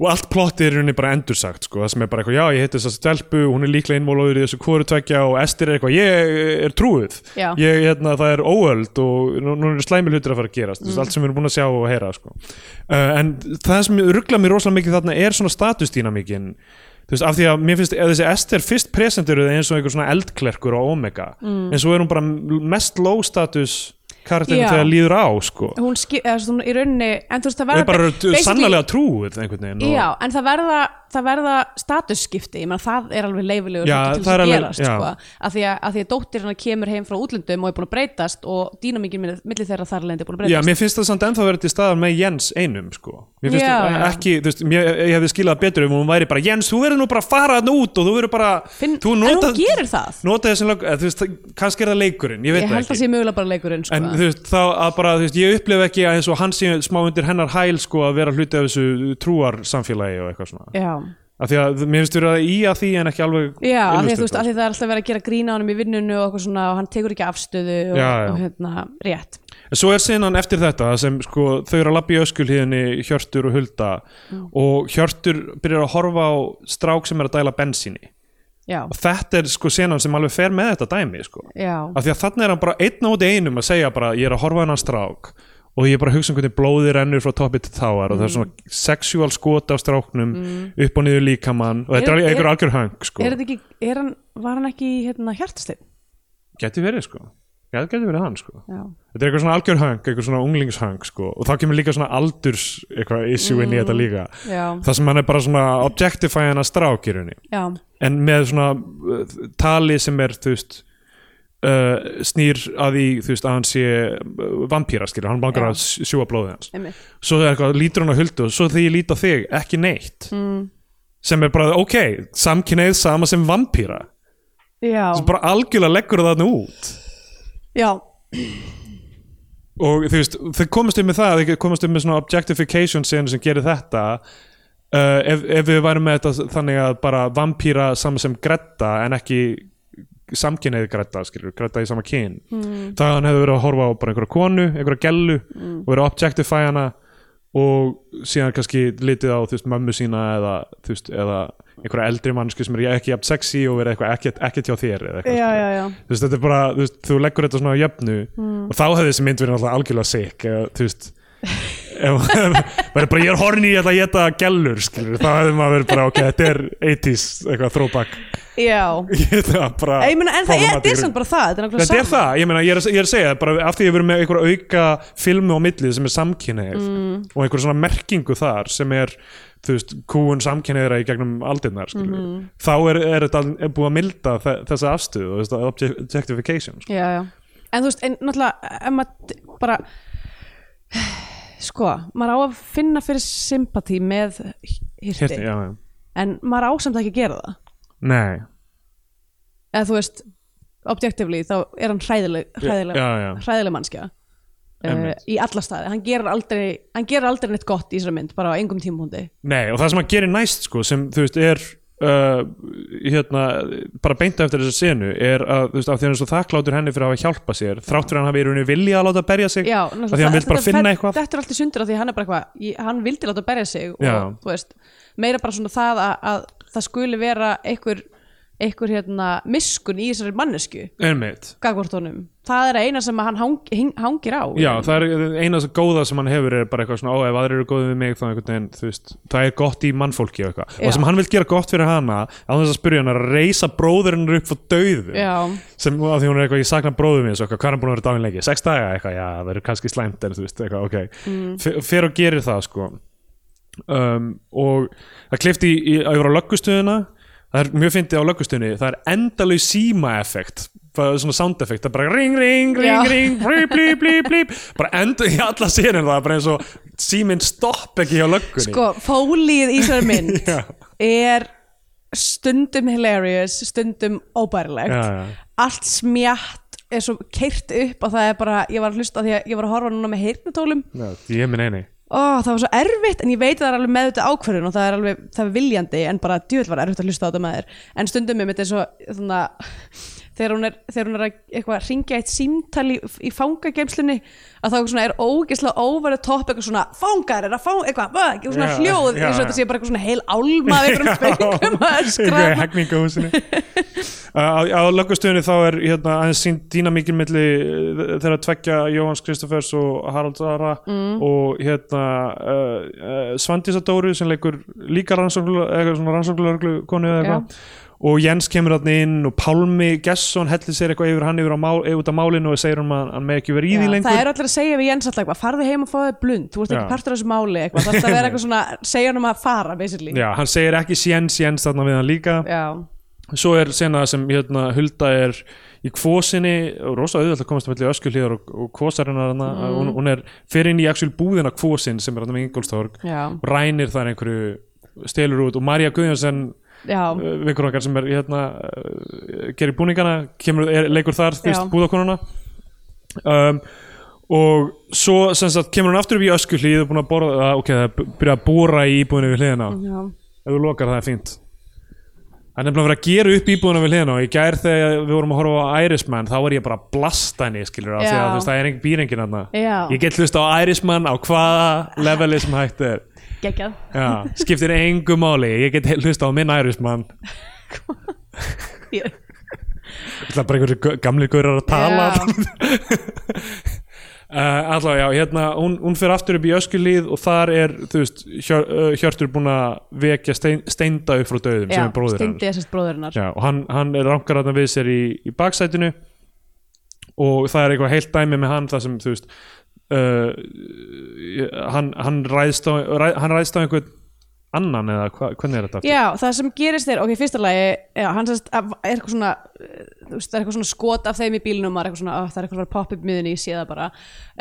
B: og allt plottið er í rauninni bara endursagt sko, það sem er bara eitthvað, já ég heiti þess að stelpu hún er líklega innmólaður í þessu kvoru tvekja og Ester er eitthvað, ég er trúið
C: Já.
B: ég, hérna, það er óöld og nú, nú er slæmi hlutir að fara að gerast mm. allt sem við erum búin að sjá og heyra sko. uh, en það sem ruggla mér rosalega mikið þarna er svona statusdýnamíkin þú veist, af því að mér finnst að þessi Esther fyrst presentur eins og einhver svona eldklerkur á Omega en svo er hún bara mest low status karakterin
C: Mm. Já.
B: þegar líður á sko.
C: hún skip, eða svona í rauninni en þú veist það
B: hún er
C: verða
B: bara
C: basically-
B: sannlega trúið einhvern veginn og-
C: já, en það verða, það verða statusskipti, ég meina það er alveg leifilegur
B: Já,
C: hlutur
B: það
C: til þess
B: er
C: að
B: alveg-
C: gerast
B: já.
C: sko, að því að, að því að dóttir hennar kemur heim frá útlöndum og er búin að breytast og dýnamíkin milli milli þeirra þar lendi er búin að
B: Já,
C: breytast
B: mér finnst það samt ennþá verið til staðar með Jens einum sko. Mér finnst
C: Já,
B: það
C: já.
B: ekki, þú veist, mér, ég hefði skilað betur ef hún væri bara Jens, þú verður nú bara að fara hann út og þú verður bara
C: Finn-
B: þú
C: en hún gerir það.
B: Nota þessin lög, eða þú veist, það- kannski er það leikurinn, ég veit
C: ég
B: það
C: held
B: ekki
C: að sé mögulega bara leikurinn sko.
B: En þú veist, þá að bara, þú veist, ég upplif ekki að eins og hann sé smá undir hennar hæl sko að vera hluti af þessu trúarsamfélagi og eitthvað svona.
C: já,
B: Af því að mér finnst verið að í að því en ekki alveg
C: já að því að þú veist
B: illustrate.
C: að því að það er alltaf verið að gera grína á honum í vinnunnu og, eitthvað svona, og hann tekur ekki afstöðu og,
B: Já, já.
C: og hérna, rétt
B: En svo er sinnan eftir þetta sem sko þau eru að labba í öskulhíðinni Hjörtur og Hulda
C: Mm.
B: og Hjörtur byrjar að horfa á strák sem er að dæla bensíni
C: já,
B: og þetta er sko sinnan sem alveg fer með þetta dæmi sko.
C: já,
B: af því að þannig er hann bara einn át einum að segja bara ég er að horfa á hennar strák og ég er bara að hugsa um hvernig blóði rennur frá toppi til táar og
C: Mm.
B: það er svona sexual skot af stráknum upp og niður líkamann og þetta
C: Er-
B: er,
C: Mm. er-
B: einhver algjör höng sko.
C: er þetta ekki er hann, var hann ekki í, hérna hjartasteinn
B: geti verið sko Já, það geti verið hann sko
C: já,
B: þetta er eitthvað svona algjör höng, eitthvað svona unglingshöng sko. og þá kemur líka svona aldurs eitthvað issue inn í þetta líka
C: Mm, já,
B: það sem hann er bara svona objectify hann að strák í rauninni
C: já,
B: en með svona uh, tali sem er þú veist uh, snýr að því þú veist að hann sé uh, vampíra skilur, hann bangar
C: Já.
B: að sj- sjúga blóðið hans
C: einmitt
B: svo er eitthvað, lítur hann á huldu og svo þegar ég lít á þig, ekki neitt mm. sem er bara ok, samkynneið sama sem vampíra
C: Já,
B: sem bara algjörlega leggur það þarna út
C: já,
B: og þú veist, þau komast um með það þau komast um með svona objectification senu sem gerir þetta uh, ef, ef við værum með þetta þannig að bara vampíra saman sem gretta en ekki samkynneið gretta, skilur, gretta í sama kyn mm.
C: Hmm.
B: það að hann hefði verið að horfa á bara einhverja konu, einhverja gellu og verið að objectify hana og síðan kannski litið á þú veist, mömmu sína eða, þú veist, eða einhverja eldri mannsku sem er ekki jafn sexy og verið eitthvað ekkert, ekkert hjá þér eða eitthvað,
C: já,
B: skilur.
C: já, já.
B: þú veist, þetta er bara, þú veist, þú leggur þetta svona á jöfnu
C: Mm.
B: og þá hefði þessi mynd verið náttúrulega algjörlega sick, eða, þú veist ef [laughs] maður er bara, ég er horni ég ætla að geta gellur, skilur, þá hefði maður verið bara, ok, þetta er 80s, eitthvað throwback, [laughs]
C: já.
B: ég þetta bara
C: Ég meina, en það er, þetta er samt bara það, þetta er nákvæmlega
B: Þetta er það, ég meina, ég er, að- ég er að segja bara af því ég verið með einhver auka filmu á millið sem er samkynneið
C: Mm.
B: og einhver svona merkingu þar sem er þú veist, kúun samkynneðra í gegnum aldinnar, skilur,
C: Mhm.
B: þá er, er þetta er búið að milda þe- þessa afstöðu þú veist, object- objectification, sko.
C: Já, já. En þú veist, en náttúrulega, ef maður d- bara, sko, maður á að finna fyrir sympati með hirti,
B: Hérni, já, já.
C: en maður á samt ekki að gera það.
B: Nei,
C: Eða þú veist, objectively, þá er hann hræðileg, hræðileg,
B: Já, já.
C: hræðileg mannskja. Uh,
B: Einmitt.
C: í alla staði, hann gerir aldrei hann gerir aldrei neitt gott í þessari mynd, bara á engum tímpúndi
B: nei, og það sem að gera næst sko, sem þú veist er uh, hérna, bara beinta eftir þessa senu er að þú veist, af því hann er svo þakklátur henni fyrir að hafa hjálpa sér, þrátt fyrir að hann hafi í rauninni vilja að láta berja sig,
C: Já,
B: af því hann vil bara finna eitthvað
C: Þetta er alltaf sundur af því að hann er bara eitthvað ég- hann vildi láta berja sig og
B: Já.
C: þú veist, meira bara svona það að, að það skuli vera einhver, einhver hérna, miskun í þessari mannesku
B: Einmitt.
C: gagvart honum, það er að eina sem að hann hang, hing, hangir á
B: Já, það er eina þess góða sem hann hefur er bara eitthvað svona, ó, ef aðrir eru góðið við mig þá einhvern veginn, þú veist, það er gott í mannfólki og eitthvað,
C: Já.
B: og sem hann vil gera gott fyrir hana á þess að spyrja hann er að reysa bróðurinn upp frá dauðu,
C: Já.
B: sem að því hún er eitthvað, ég sakna bróður minn, hvað er hann búin að vera dáin lengi sex daga, eitthvað, já, það verður kannski slæmt en þú veist, eitthvað, ok, mm. fer og gerir það sko, um, og það klifti í, í, yfir á löggustuðina það er mjög fyndið á löggustuðinni það er endalaug síma-effekt bara svona sound-effekt, það er bara ring, ring, ring,
C: Já.
B: ring, blíp, blíp, blíp, blíp bara enda í alla sérinn það er bara eins og síminn stopp ekki hjá löggunni
C: Sko, fólið í þessari mynd
B: [laughs] Já.
C: er stundum hilarious, stundum óbærilegt
B: Já, já.
C: allt smjatt er svo keirt upp og það er bara, ég var að hlusta því að ég var að horfa núna með heyrnatólum
B: Já, ég minn eini
C: Ó, það var svo erfitt, en ég veit að það er alveg meðvitað ákvörðun og það er alveg, það er viljandi en bara djúvel var erfitt að hlusta á þetta með þér en stundum er mitt eins og þannig þegar hún er, þegar hún er að eitthvað ringja eitt símtal í, í fangageimslunni að þá svona er ógeðslega óverið topp eitthvað svona fangar er að fá eitthvað, bæ, eitthvað svona
B: Já,
C: hljóð
B: já,
C: eins og
B: já.
C: þetta sé bara eitthvað svona heil álma
B: [laughs]
C: af einhverjum spengum að
B: Eitthvað í
C: skrafa [laughs]
B: hegningarhúsinu á, á löggustöðunni þá er hérna, aðeins sínt dýnamíkin milli uh, þeirra tveggja Jóhans Kristoffers og Harald Ara
C: Mm.
B: og hérna uh, uh, Svandísadóru sem leikur líka eh, rannsóknulörglu konu eða
C: Já.
B: eitthvað og Jens kemur hann inn og Pálmi Gesson hellir sér eitthvað yfir hann yfir á mál, yfir út af málinu og segir hann að hann með ekki verið í því lengur
C: það er allir að segja við Jens alltaf eitthvað farðu heim og fáðu þér blund, þú ert
B: Já.
C: ekki partur af þessu máli eitthvað, það er að vera eitthvað svona segja hann um að fara basically
B: Já, hann segir ekki Jens Jens þarna við hann líka
C: Já.
B: svo er sena sem hérna, Hulda er í kvosinni og rosa auðvitað að komast að melli öskulíðar og, og kvosarinnar hana,
C: Mm.
B: hún, hún er fyrir inn í actual búðina kvosin sem er hann með Ingolstorg
C: Já.
B: og rænir þar einhverju stelur út og Marja Guðjónsson
C: Já.
B: vinkur okkar sem er hérna, uh, gerir búningana, kemur, er, leikur þar þú veist
C: Já.
B: búðakonuna um, og svo sem sagt, kemur hún aftur upp í öskulíð og búin að borða, ok, það er byrjað að bóra í íbúðinu við hliðina
C: Já.
B: ef þú lokar það er fínt Það er nefnilega verið að gera upp íbúðuna við hliðina og í gær þegar við vorum að horfa á Irishman þá var ég bara að blasta henni skilur af því að
C: Já.
B: þú veist, það er engin býringin hann
C: Já.
B: Ég get hlust á Irishman á hvaða leveli sem hægt er
C: geggjað
B: Já, skiptir engu máli ég get hlust á minn Irishman
C: Ég-
B: Það er bara einhverju gau- gamli gaurar að tala
C: Já.
B: [laughs] uh, Allá, já, hérna hún, hún fer aftur upp í öskulíð og þar er þú veist, hjör, uh, Hjörtur búin að vekja stein, steinda upp frá döðum sem
C: Já,
B: er bróðir hans
C: steindi þessast bróðurinnar
B: Já, og hann, hann er rankar þarna við sér í, í baksætinu og það er eitthvað heilt dæmi með hann það sem þú veist uh, hann, hann, ræðst á, ræð, hann ræðst á einhvern annan eða hva, hvernig er þetta aftur?
C: Já, það sem gerist er, ok, fyrsta lagi já, hann sérst, er eitthvað svona eh, þú veist, það er eitthvað svona skot af þeim í bílnum maður er eitthvað svona, "Ah, það er eitthvað að fara að poppa upp miðunni, ég sé það bara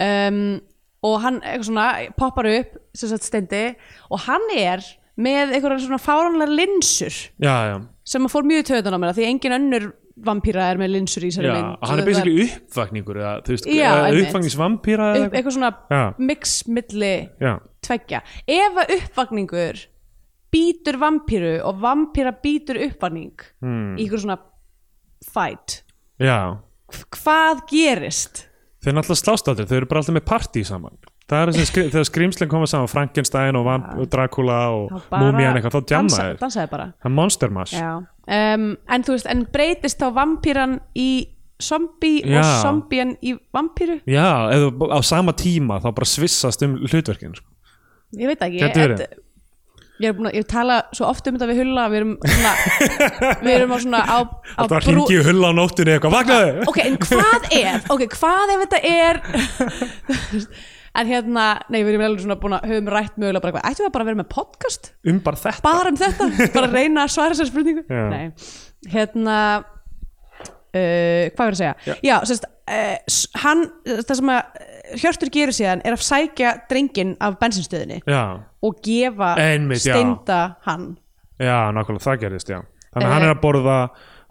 C: um, og hann eitthvað svona poppar upp, sem sagt steindi og hann er með eitthvað svona fáránlega linsur
B: Já, já,
C: sem að fór mjög töðan á mér af því engin önnur vampíra er með linsur í sér
B: já
C: mynd
B: hann
C: Svo
B: er basically uppvakningur eða, þú veist,
C: Já,
B: eða
C: einmitt.
B: uppvakningsvampíra
C: það
B: eða
C: er upp, eitthvað svona
B: Já.
C: mix milli
B: Já,
C: tveggja ef að uppvakningur býtur vampíru og vampíra býtur uppvakning
B: Hmm.
C: í ykkur svona fight
B: já
C: H- hvað gerist?
B: þeir náttúrulega slást aldrei, þau eru bara alltaf með partí saman það er þessi, skri- þegar skrýmslinn koma saman Frankenstein og, vamp, og Dracula og
C: Þá bara
B: Múmían eitthvað, þá djamma
C: dansa-
B: þeir
C: dansaði bara
B: það er Monster Mash
C: um, en þú veist, en breytist þá vampíran í zombie og
B: Já.
C: zombien í vampíru
B: Já, eða á sama tíma þá bara svissast um hlutverkin sko.
C: ég veit ekki
B: Gæti verið.
C: en- ég er búin að, ég tala svo oft um þetta við hulla við erum svona,
B: [laughs]
C: við erum á svona á, á
B: Það ringi í hull á nóttunni eitthvað, vaknaðu!
C: ok, en hvað ef ok, hvað ef þetta er en hérna, nei, við erum alveg svona búin að höfum rætt mögulega bara eitthvað, ættum við að bara vera með podcast
B: Um bara þetta
C: bara um þetta, bara að reyna að svara þessar spurningu
B: Já.
C: nei, hérna uh, hvað verður að segja já, já sérst, uh, s- hann það sem að eh, Hjörtur gerir síðan er að sækja drengin af bensinstöðinni
B: Já,
C: og gefa
B: Einmitt, já.
C: steinda hann
B: já, nákvæmlega, það gerist, já Þannig að hann
C: Eh.
B: er að borða,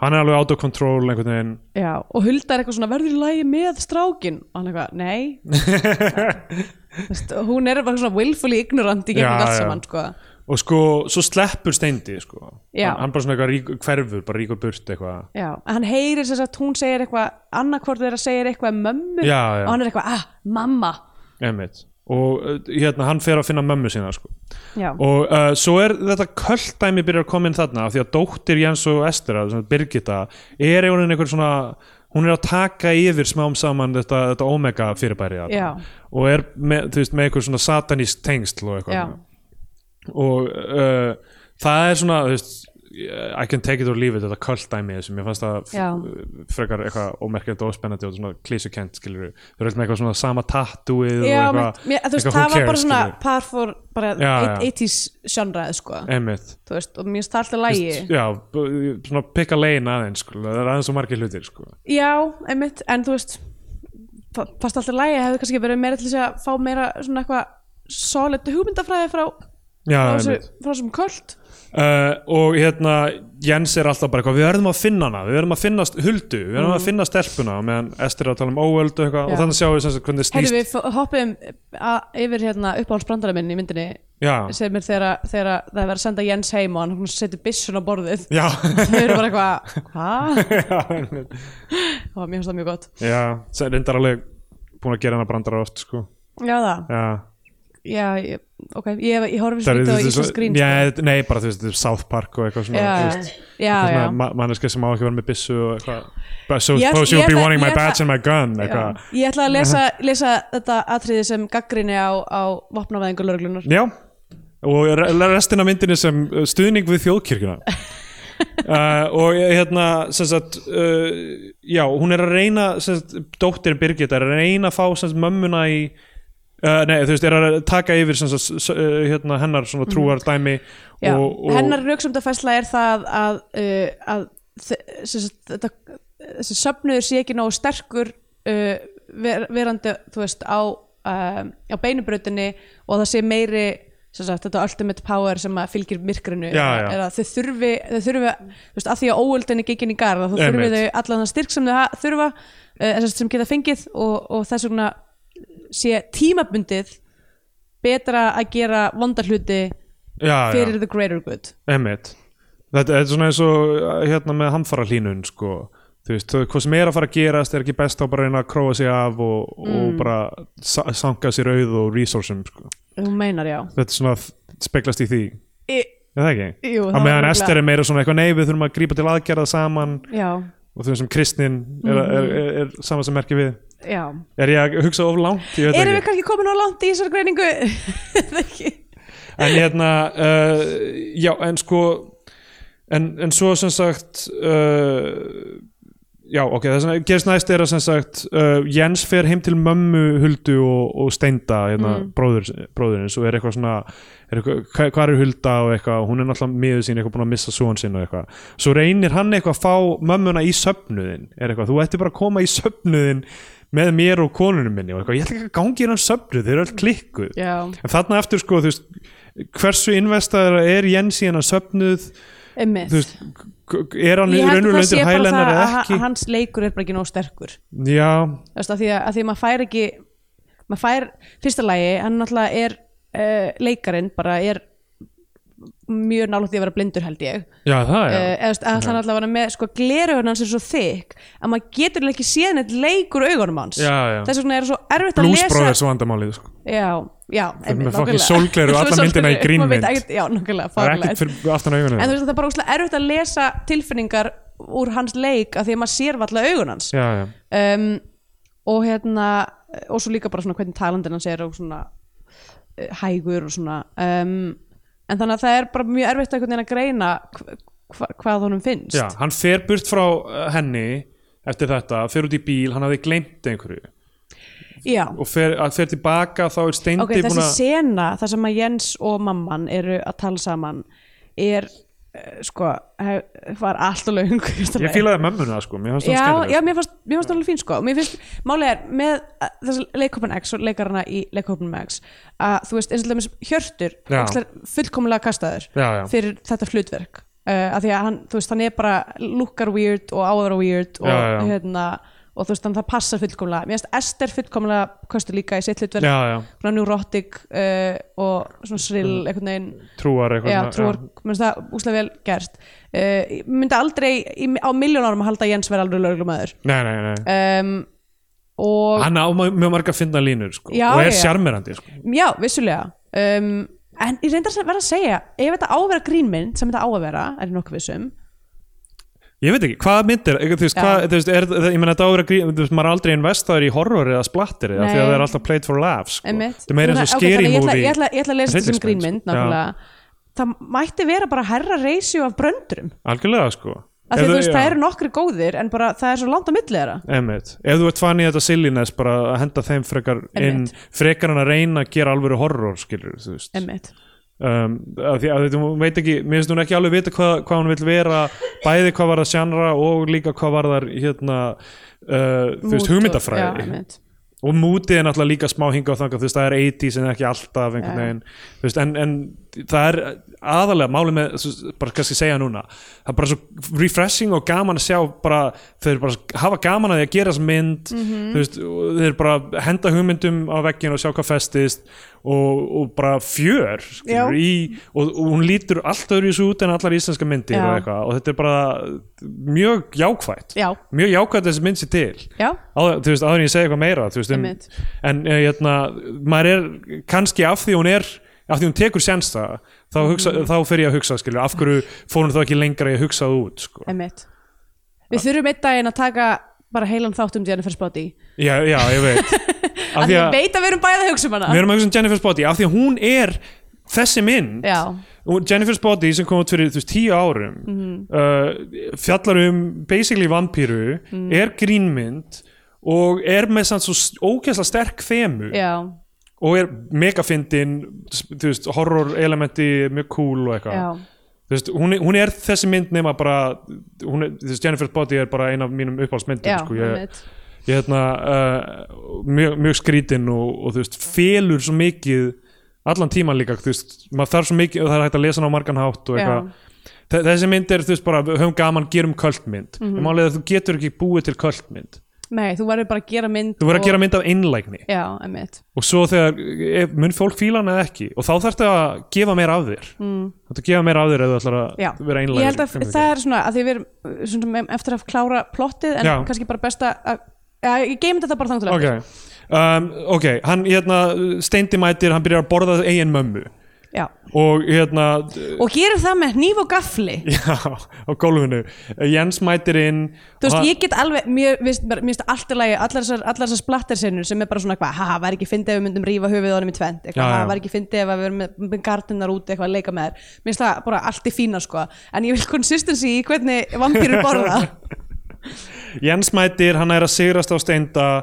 B: hann er alveg out of control einhvern veginn
C: já, og Hulda er eitthvað svona verður í lagi með strákin og hann eitthvað, nei
B: [laughs]
C: Þvist, hún er bara svona willfully ignorant í gegnum
B: Já,
C: allt
B: já.
C: saman sko.
B: Og sko, svo sleppur steindi, sko
C: Já.
B: hann, hann bara svona eitthvað rík, hverfur, bara ríkur burt eitthvað
C: já, en hann heyrir þess að hún segir eitthvað annarkvort þeirra segir eitthvað um mömmu
B: Já, já.
C: og hann er eitthvað, ah, mamma
B: Einmitt Og uh, hérna, hann fer að finna mömmu sína, sko
C: já,
B: Og uh, svo er þetta kölldæmi byrjar að koma inn þarna af því að dóttir Jens og Estera, sem sagt Birgitta, er einhvern einhver svona hún er að taka yfir smám saman þetta, þetta omega fyrirbæri þarna.
C: Já.
B: og er með, þú veist, með einhver svona satanísk tengsl og eitthvað
C: já,
B: og uh, það er svona þú veist, I can take it or leave it þetta kölldæmi sem ég fannst að f-
C: Já.
B: frekar eitthvað ómerkjönd og óspennandi og svona klísukent skilur þau eru með eitthvað svona sama tattooið
C: já
B: og
C: mér,
B: eitthvað,
C: mér, þú veist,
B: eitthvað who
C: það var bara
B: cares,
C: svona
B: skilurðu.
C: par for bara
B: Já, Eh. já.
C: 80s sjónraði sko,
B: einmitt
C: þú veist, og mér finnst það alltaf lægi
B: já, b- svona pikka legin aðeins sko. það er aðeins svo margir hlutir sko.
C: já, einmitt, en þú veist fa- fannst alltaf lægi, hefði kannski verið meira til þess að fá meira svona eitthvað solid hugmyndafræði frá
B: já,
C: frá
B: Ah, einmitt.
C: þessu- frá þessum kvöld
B: Uh, og hérna Jens er alltaf bara eitthvað, við verðum að finna hana við verðum að finna st- huldu, við verðum að finna stelpuna og meðan Ester er að tala um óöld og eitthvað
C: Mm. Já.
B: og þannig sjáum við sem sagt hvernig
C: Herru,
B: snýst
C: við fó- hoppum að, yfir hérna uppáhaldsbrandara minn í myndinni
B: já,
C: [laughs] sem er þegar, þegar það er verið að senda Jens heim og hann hún setur byssun á borðið
B: já, [laughs]
C: þau eru bara eitthvað, hvað?
B: já, einmitt.
C: og mér finnst það mjög gott
B: já sem reyndar alveg búin að gera hana brandara oft sko.
C: já það,
B: já,
C: já, ég, ok ég, ég
B: Það
C: horfi svo
B: eru-
C: lítið
B: þetta
C: á
B: er svo-
C: Íslands
B: já,
C: grín sko.
B: þetta- nei, bara þú veist, þetta er South Park og eitthvað svona,
C: já,
B: þú
C: já,
B: veist,
C: já,
B: svona
C: já.
B: ma- manneska sem á ekki að vera með byssu og eitthvað But so
C: Ég ætla-
B: suppose
C: ég
B: you'll be
C: ætla-
B: wanting my
C: ég ætla-
B: badge and my gun
C: Já.
B: eitthvað,
C: Ég ætla að lesa, lesa þetta atriði sem gaggrinni á, á vopnavæðingu lauruglunar
B: Já, og re- restin af myndinni sem uh, stuðning við þjóðkirkjuna
C: [laughs]
B: uh, og ég- hérna sem sagt, uh, já, hún er að reyna sem sagt, dóttir Birgit er að reyna að fá sem sagt, mömmuna í Uh, nei, þú veist, er að taka yfir sem sagt, s- uh, hérna, hennar svona trúar dæmi
C: Mhm. Já,
B: og, og
C: hennar rauksumdafæsla er það að, uh, að þe- sem sagt, þetta, þessi söfnuður sé ekki nógu sterkur uh, ver, verandi þú veist, á, um, á beinubrautinni og það sé meiri sem sagt, þetta ultimate power sem að fylgir myrkrinu
B: Já, já.
C: er að þau þurfi, þau þurfi þú veist, að því að óöldinni gekkin í garð að þú
B: Einmitt.
C: þurfi þau allan það styrk sem þau ha- þurfa uh, sem sagt, sem geta fengið og, og þess vegna sé tímabundið betra að gera vondar hluti
B: já,
C: fyrir
B: já,
C: the greater good
B: emmitt þetta, þetta er svona eins og uh, hérna með hamfara hlínun sko, þú veist, þau- hvað sem er að fara að gerast er ekki best að bara reyna að króa sig af og,
C: Mm.
B: og bara sa sanka sér auð og resursum sko.
C: þú meinar já
B: þetta er svona að speglast í því
C: I,
B: er það ekki?
C: Jú,
B: að
C: það
B: meðan
C: var
B: Ester er meira svona eitthvað nei við þurfum að grípa til aðgerða saman
C: já,
B: og þú veist sem kristnin
C: Mm.
B: er, er, er, er saman sem merki við
C: já
B: er ég að hugsa of langt? Ég veit
C: erum við
B: ekki
C: kannski komin á langt í þessar greiningu Það ekki
B: en hérna uh, já en sko en, en svo sem sagt uh, já ok það sem gerist næst er að sem sagt uh, Jens fer heim til mömmu Huldu og, og Steinda hérna, bróður, bróðurins og er eitthvað svona er eitthvað, hva- hvað er Hulda og eitthvað og hún er náttúrulega miður sín eitthvað búin að missa svoan sín og eitthvað svo reynir hann eitthvað að fá mömmuna í söfnuðin er eitthvað þú ætti bara að koma í söfnuðin með mér og konunum minni og eitthvað ég ætla ekki að gangi hérna söfnuð þeir eru allt klikkuð
C: Já.
B: en þarna eftir sko þú veist hversu investaður er Jens í hennar söfnuð
C: Einmitt.
B: þú veist k- k- er hann
C: ég held að það sé
B: raunulöndir
C: bara það
B: hælennar
C: að
B: eða
C: ha-
B: ekki
C: hans leikur er bara ekki nóg sterkur
B: já,
C: Þú veist, að því að, að því að maður fær ekki maður fær, fyrsta lagi hann náttúrulega er uh, leikarinn bara er mjög nálægt því að vera blindur held ég
B: já það
C: Eh, eða þú veist, að hann alltaf var með sko gleraugun hans er svo þykk að maður getur eiginlega ekki séð neitt leikur augunum hans
B: Já, já.
C: þess vegna er svo erfitt að
B: Blues
C: lesa
B: Brothers vandamálið sko.
C: já, já, einmitt,
B: með fucking
C: nákvæmlega.
B: sólgleru alla myndina
C: Svo
B: í
C: sólgleru, maður veit
B: grínmynd.
C: ekkert- já, nákvæmlega,
B: það er
C: fáránlegt.
B: ekkert fyrir aftan augunum
C: en þú veist það er bara óslega erfitt að lesa tilfinningar úr hans leik af því að maður sér valla augun hans
B: já, já,
C: um, og hérna og svo líka bara svona hvernig talandinn hans er og svona eh, hægur og svona um, en þannig að það er bara mjög erfitt einhvern veginn að greina hva, hva, hvað honum finnst
B: já, hann fer burt frá uh, henni eftir þetta, fer út í bíl hann hafði gleymt einhverju
C: Já.
B: og fer, að fer tilbaka þá er steindi
C: ok, þessi
B: búin að
C: sena þar sem að Jens og mamman eru að tala saman er eh, sko, hef, var allt og löng
B: ég fílaði mömmuna sko, mér fannst það
C: já,
B: skemmtilegt
C: já, mér fannst, mér fannst alveg fín sko mér finnst, málið er með að- þessa leikópin X og leikarana í leikópin X að þú veist, eins og dæmis Hjörtur
B: Já.
C: Axlar fullkomlega kastaður
B: Já, já.
C: fyrir þetta hlutverk uh, af því að hann, þú veist, hann er bara lukkar weird og áður weird og,
B: Já, já.
C: Hérna, og þú veist, þannig að það passar fullkomlega mér finnst Esther fullkomlega kastu líka í sitt hlutverk
B: já, já,
C: svona neurotic uh, og svona srill einhvern veginn
B: trúar eitthvað
C: Já,
B: Mm. svona,
C: trúar, mér finnst það úslega vel gerst uh, ég myndi aldrei í, á miljónárum að halda að Jens vera alveg lögreglumæður
B: nei, nei, nei
C: um, og
B: hann á ma- mjög marga að finna línur sko,
C: Já,
B: og er
C: já.
B: sjarmerandi sko.
C: já, vissulega um, en ég reyndar að vera að segja ef þetta á að vera grínmynd sem þetta á að vera er ég nokkuð um, vissum
B: Sko, ég veit ekki, hvað myndir, þú veist,
C: Já.
B: hvað, þú veist er, það- ég meina þetta ára grín, þú veist, maður er aldrei investaður í horror eða splattir eða
C: Nei.
B: því að það er alltaf played for laughs sko.
C: einmitt.
B: það er meira eins og
C: Þannig- ok,
B: scary
C: þannig ég ætla-
B: movie
C: ég ætla, ég ætla að lesa þetta sem
B: hryllingsmynd,
C: grínmynd
B: sko. Já,
C: nákvæmlega það mætti vera bara herra reysju af bröndurum
B: algjörlega sko
C: af því
B: Ef
C: að þú
B: já.
C: veist, það eru nokkri góðir en bara það er svo langt á milli þeirra
B: Einmitt. Ef þú ert fann í þetta silliness bara að henda þeim frekar inn
C: Einmitt.
B: frekar hann að reyna að gera alvöru horror skilur, þú veist
C: einmitt
B: um, að því að þú veit ekki, mér finnst hún ekki alveg vita hvað, hvað hún vil vera bæði hvað var það sjannra og líka hvað var það hérna, uh, þú veist,
C: Mút og-
B: hugmyndafræði
C: já, einmitt.
B: og mútið er náttúrulega líka smá hinga og þangað þú veist, það er 80 sem er ekki alltaf einhvern
C: Já.
B: veginn, þú veist, en, en það er aðalega málið með þú veist, bara kannski segja núna, það er bara svo refreshing og gaman að sjá bara þau eru bara að hafa gaman að því að gera þess mynd þú
C: Mhm.
B: veist, og þau eru bara að henda hugmyndum á veggin og sjá hvað festist og, og bara fjör skilur,
C: Já.
B: í, og, og hún lítur allt öðru í þessu út en allar íslenska myndir
C: Já.
B: og, eitthvað, og þetta er bara mjög jákvætt
C: Já.
B: mjög jákvætt að þessi mynd sér til
C: Já.
B: áður, þú veist, áður en ég segi eitthvað meira þú veist, um,
C: Einmitt.
B: en eh, hérna, maður er kannski af því hún er af því hún tekur sjans það þá,
C: Mhm.
B: hugsa, þá fer ég að hugsa skilur, af hverju fór hún þá ekki lengra í að hugsa það út sko.
C: Einmitt.
B: Ah.
C: Við þurfum einn daginn að taka bara heilan þátt um Jennifer's Body
B: já, já, ég
C: [laughs]
B: veit af
C: að
B: því
C: ég
B: að
C: veit að við erum bæði að hugsa um hana
B: við erum að hugsa um Jennifer's Body af því að hún er þessi mynd
C: Já,
B: og Jennifer's Body sem kom út fyrir þú veist, tíu árum
C: Mhm.
B: uh, fjallar um basically vampíru
C: Mhm.
B: er grínmynd og er með samt svo s- ógeðslega sterk þemu
C: já,
B: og er megafindin þú veist, horror elementi mjög cool og eitthvað
C: já
B: Þú veist, hún, er- hún er þessi mynd nema bara hún er, þú veist, Jennifer's Body er bara ein af mínum uppáhaldsmyndum
C: Já,
B: sko, ég,
C: einmitt
B: ég hérna uh, mjög, mjög skrítin og, og þú veist, felur svo mikið allan tíman líka, þú veist maður þarf svo mikið, það er hægt að lesa hana á margan hátt og eitthvað
C: Já.
B: Þe- þessi mynd er, þú veist, bara við höfum gaman, gerum kvöldmynd
C: Mhm.
B: mm -hmm. málega þú getur ekki búið til kvöldmynd
C: Nei, þú verður bara að gera mynd
B: þú verður að gera mynd af einlægni
C: Já, einmitt
B: og svo þegar ef- mun fólk fíla hana eða ekki og þá þarftu að gefa meira af þér mm. þarftu að gefa meira af þér ef þú ætlar að
C: Já.
B: vera einlæg
C: Ég held að það er svona að því við erum svona, með- eftir að klára plottið en
B: Já.
C: kannski bara best að Já, ég geymd þetta bara þangt
B: ok, um, ok, hann hérna steindi mætir, hann byrjar að borða eigin mömmu
C: Já,
B: og hérna [laughs]
C: og gerir það með hníf og gafli
B: já, á gólfinu Jens mætir inn og
C: Þú veist,
B: hann-
C: ég get alveg, mér mér finnst mér finnst allt í lagi, allar þessar, allar þessar splattersinnur sem er bara svona eitthvað, haha, væri ekki fyndið ef við myndum rífa höfuð honum í tvend,
B: Já,
C: eitthvað,
B: já.
C: haha, væri ekki fyndið ef við erum með, með gardinnar úti eitthvað að leika með þær. Mér finnst það bara allt í fína, sko, en ég vil consistency í hvernig vampýrur borða.
B: [laughs] Jens mætir, hann er að sigrast á steinda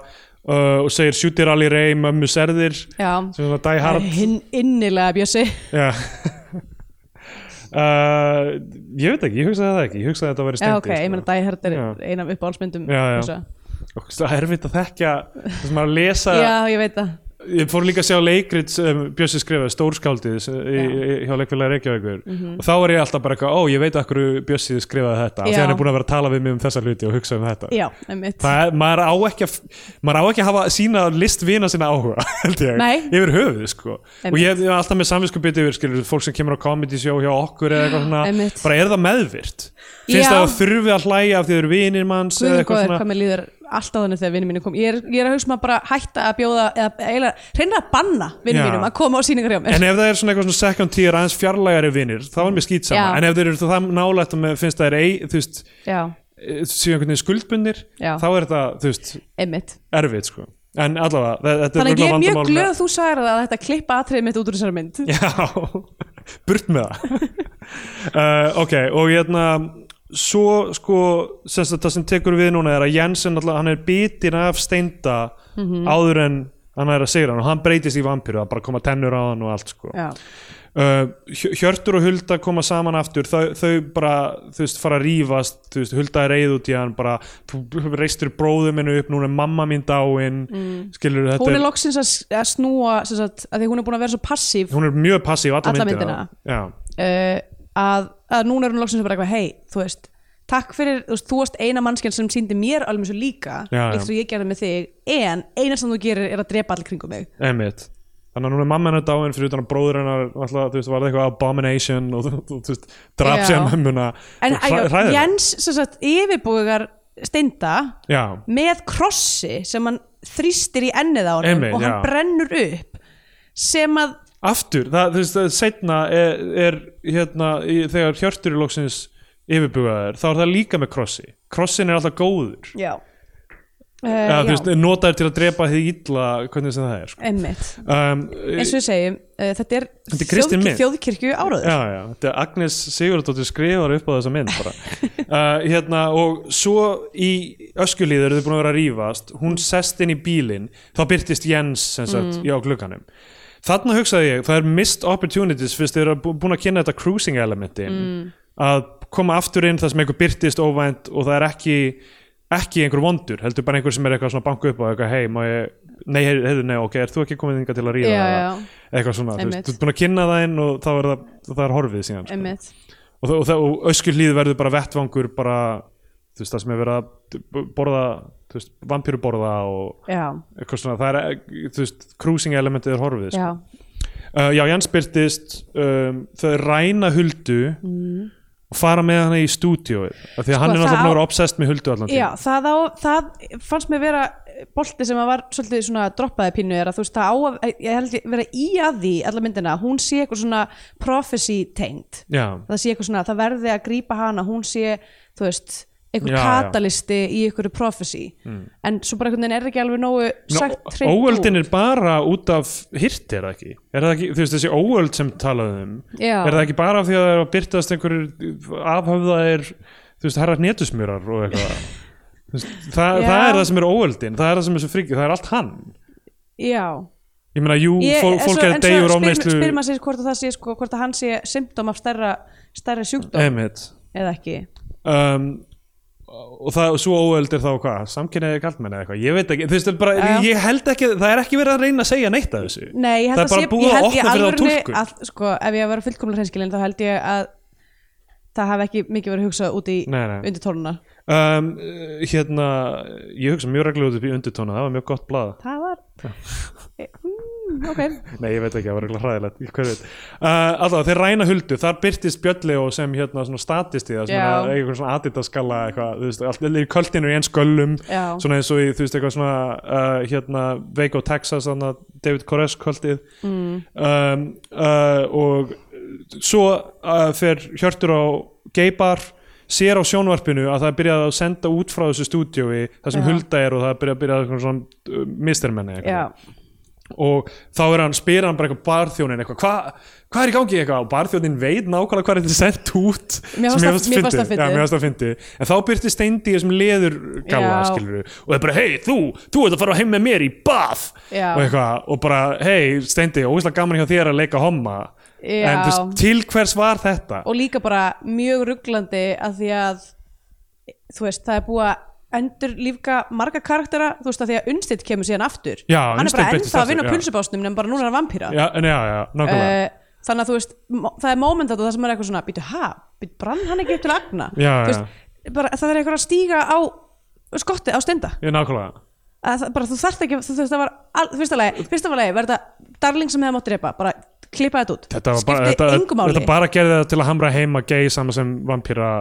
B: uh, og segir sjútir allir rey, mömmu serðir
C: Já,
B: sem er svona die hard
C: hinn innilega bjössi.
B: Já [laughs] uh, Ég veit ekki, ég hugsaði það ekki Ég hugsaði að þetta væri
C: Já,
B: stendi
C: ok, ég meina Die Hard er
B: sko. Já.
C: ein af uppáhaldsmyndum.
B: Já, já.
C: þessa.
B: Og það er erfitt að þekkja Það sem maður að lesa
C: já, ég veit það.
B: Ég fór líka að sjá leikrit sem Bjössi skrifaði Stórskáldið sem- í, í, hjá leikfélagi Reykjavíkur
C: Mhm.
B: Og þá er ég alltaf bara eitthvað Ó, ég veit akkur Bjössi skrifaði þetta af Því
C: Já.
B: hann er búin að vera að tala við mig um þessa hluti og hugsa um þetta
C: Já, einmitt.
B: Það er, maður á ekki að maður á ekki að hafa sína listvina sína áhuga [laughs] held ég,
C: Nei.
B: yfir höfuð sko
C: Einmitt.
B: og ég er alltaf með samvinskupið yfir skilur, fólk sem kemur á comedy show hjá okkur eða eitthvað svona,
C: Einmitt.
B: bara er það meðvirt
C: Já.
B: finnst það að þurfi að hlæja af því þau eru vinir manns eða
C: Guðmund
B: eitthvað
C: góður, hvað
B: svona
C: mér líður alltaf þannig þegar vinnum mínum kom ég er, ég er að hugsa maður bara að hætta að bjóða eða eiginlega reynir að banna
B: Já.
C: vinnum mínum að koma á síningar hjá mér
B: en ef það er svona eitthvað svona second tier aðeins fjarlægari vinir, þá er mér skýt sama
C: Já.
B: en ef þeir eru það nálægt og með- finnst það er ei, þú veist,
C: já,
B: séu einhvern veginn skuldbundir
C: Já.
B: þá er þetta, þú veist,
C: einmitt
B: erfitt sko en allavega, þe- þetta er
C: þannig
B: örugglega
C: að ég er mjög
B: vandamál með-
C: glöð að þú sagðir það að þetta klippa atriðið mitt út úr þessari mynd
B: Já, [laughs] burt með það uh, Ok, og hérna svo sko sem sagt, það sem tekur við núna er að Jensen alltaf, hann er bitin af steinda
C: Mhm.
B: áður en hann er að segja hann og hann breytist í vampíru, það bara koma tennur á hann og allt sko
C: já,
B: uh, Hjö- Hjörtur og Hulda koma saman aftur þau, þau bara, þú veist, fara að rífast þú veist, Hulda er reið út í hann bara, þú reistur bróðu minni upp núna er mamma mín dáin, skilur þetta
C: Mm. hún er loksins að, s- að snúa sem sagt, að því hún er búin að vera svo passív uh,
B: hún er mjög passív alla,
C: Alla
B: myndina, Já.
C: að, að núna er hún loksins bara eitthvað hei, þú veist Takk fyrir, þú veist, þú varst eina mannskjarn sem síndi mér alveg svo líka,
B: Já, já.
C: eitt og ég gerði með þig, en eina sem þú gerir er að drepa allir kringum mig.
B: Einmitt. Þannig að núna er mamma hennar dáin fyrir utan að bróður hennar alltaf, þú veist, var það eitthvað abomination og þú- þú þú veist, draf
C: Já.
B: sér mömmuna
C: En
B: Hræ-
C: æjá,
B: hræðilegt.
C: Jens sem sagt, yfirbúgar steinda
B: Já,
C: með krossi sem hann þrýstir í ennið á hann
B: Einmitt,
C: og hann
B: já.
C: brennur upp sem að
B: aftur, það, þú veist, setna er, er hérna, í, þegar hjörtur er loksins yfirbugaður, þá er það líka með krossi krossin er alltaf góður
C: já, uh,
B: Eða, þú
C: já
B: veist, notaður til að drepa því illa hvernig sem það er sko.
C: einmitt
B: um,
C: eins og við segjum, uh, þetta er,
B: Þetta er kristin mynd.
C: þjóðkirkju áraður
B: Já, já, þetta er Agnes Sigurðardóttir skrifar upp á þessa mynd
C: [laughs]
B: bara uh, hérna, og svo í öskulíður þau búin að vera að rífast hún sest inn í bílinn, þá byrtist Jens sem
C: Mm.
B: sagt, já, glugganum þarna hugsaði ég, það er missed opportunities fyrst þau eru bú- búin að kynna þetta
C: Mm.
B: cruising elementin að koma aftur inn það sem einhver byrtist óvænt og það er ekki ekki einhver vondur, heldur bara einhver sem er eitthvað svona banku upp og eitthvað, hei, má ég nei, hei, hei, nei, ok, ert þú ekki komið þingar til að ríða
C: Já,
B: eða
C: já.
B: eitthvað svona, þú
C: Einmitt.
B: veist, þú ert búin að kynna það inn og þá er það, það er horfið síðan sko.
C: Einmitt.
B: og, það- og, það- og öskjuhlíð verður bara vettvangur bara, þú veist, það sem er verið að borða, þú veist, vampíruborða og
C: Já,
B: eitthvað svona, það er, þú veist, cruising elementið er horfið, sko.
C: já,
B: Uh, já, Jans byrtist um, þau ræna Huldu og fara með hana í stúdíóið af því að hann er
C: Mm. Sko, það
B: náttúrulega búinn að
C: á-
B: vera obsessed með Huldu allan
C: já
B: tímann.
C: það, á, það fannst mér vera bolti sem að var svolítið svona droppaði pínu er að þú veist það á að, ég held ég vera í að því alla myndina, að hún sé eitthvað svona prophecy tengd
B: já,
C: það sé eitthvað svona, það verði að grípa hana hún sé, þú veist, einhver
B: Já, já.
C: katalisti í einhverju prophecy en svo bara einhvern veginn er ekki alveg nógu sagt
B: Nú,
C: hreint
B: óöldin
C: út.
B: er bara út af hirt er það ekki, er það ekki þú veist þessi óöld sem talaði um
C: Já.
B: er það ekki bara af því að það er að byrtast einhverjir afhöfðaðir þú veist herra hnetusmjörar og eitthvað Þú veist, það,
C: Já.
B: það er það sem er óöldin það er það sem er svo frikið, það er allt hann
C: Já,
B: ég meina, jú,
C: Ég-
B: fó,
C: en
B: fólk
C: svo-
B: er
C: en svo
B: degjur
C: spyr-
B: ámneislu
C: spyr maður sér hvort að það sé sko, hvort að hann sé symptom af stærra, stærra sjúkdóm
B: emitt
C: eða ekki
B: um, og það og svo óöld er þá hvað, samkynniði kallmenn eða eitthvað, ég veit ekki, þú veist, þetta er bara,
C: Já.
B: ég held ekki það er ekki verið að reyna að segja neitt af þessu
C: Nei, ég held
B: það er
C: að
B: bara
C: sé,
B: búið
C: ég
B: að opna
C: held í
B: fyrir þá
C: alvörunni
B: túlkun
C: að, sko, ef ég að vera fullkomlega hreinskilin þá held ég að það hafi ekki mikið verið hugsað út í
B: Nei, nei.
C: undir tóluna
B: um, uh, hérna, ég hugsa mjög reglulega út upp í undirtóna, það var mjög gott blað
C: það var mm, ok,
B: nei, ég veit ekki, það var reglulega hræðilegt ég- hver veit, uh, alltaf, þeir ræna huldu þar byrtist Bjölli og sem hérna svona statisti, það
C: Já.
B: svona, eitthvað svona aditaskalla eitthvað, þú veist, allt er kvöldinu í eins göllum
C: Já.
B: svona eins og í, þú veist, eitthvað svona uh, hérna, Veiko Texas þarna, David Koresh kvöldið mm. um, uh, og uh, svo uh, fer Hjörtur á geibar sér á sjónvarpinu að það er byrjað að senda út frá þessu stúdíói það sem
C: Já.
B: Hulda er og það er byrjað að byrja eitthvað svona uh, mistermenni
C: já,
B: og þá er hann, spyr hann bara eitthvað barþjónin eitthvað, hvað hva er í gangi eitthvað og barþjónin veit nákvæmlega hvað er þetta sendt út
C: Mér
B: sem
C: fannst það- mér
B: fyndið. Já,
C: fannst það fyndið.
B: mér fannst það fyndi en þá byrti steindi sem leður gala
C: Já.
B: skilur og það er bara, hei, þú, þú ert að fara heim með mér í bað
C: Já.
B: og eitthvað, og bara, hei, steindi ógeðslega gaman hjá þér að leika homma
C: Já.
B: en þú veist, til hvers var þetta
C: og líka bara mjög rugglandi að því að þú veist, það er búið að endur lífka marga karaktera, þú veist að því að Unnstedt kemur síðan aftur,
B: Já,
C: hann er
B: Unnsteinn
C: bara
B: breytist
C: ennþá að
B: aftur,
C: vinna
B: já.
C: pulsubásnum nefn bara núna er hann vampíra
B: já, en já, já, nákvæmlega
C: Eh, þannig að þú veist, mo- það er moment að það sem er eitthvað svona, býtu, ha, býtu, brann hann ekki upp til agna,
B: Já,
C: þú veist, bara, það er eitthvað að stíga á skotti á stenda,
B: ég nákvæmlega
C: að það, bara þú þarft ekki þú veist, það var, al, fyrsta lagi, fyrsta lagi var þetta darling sem hefði mátt drepa, bara klippa þetta út,
B: þetta, var bara,
C: skipti
B: þetta,
C: engum máli
B: þetta bara gerði það til að hamra heima gay saman sem vampíra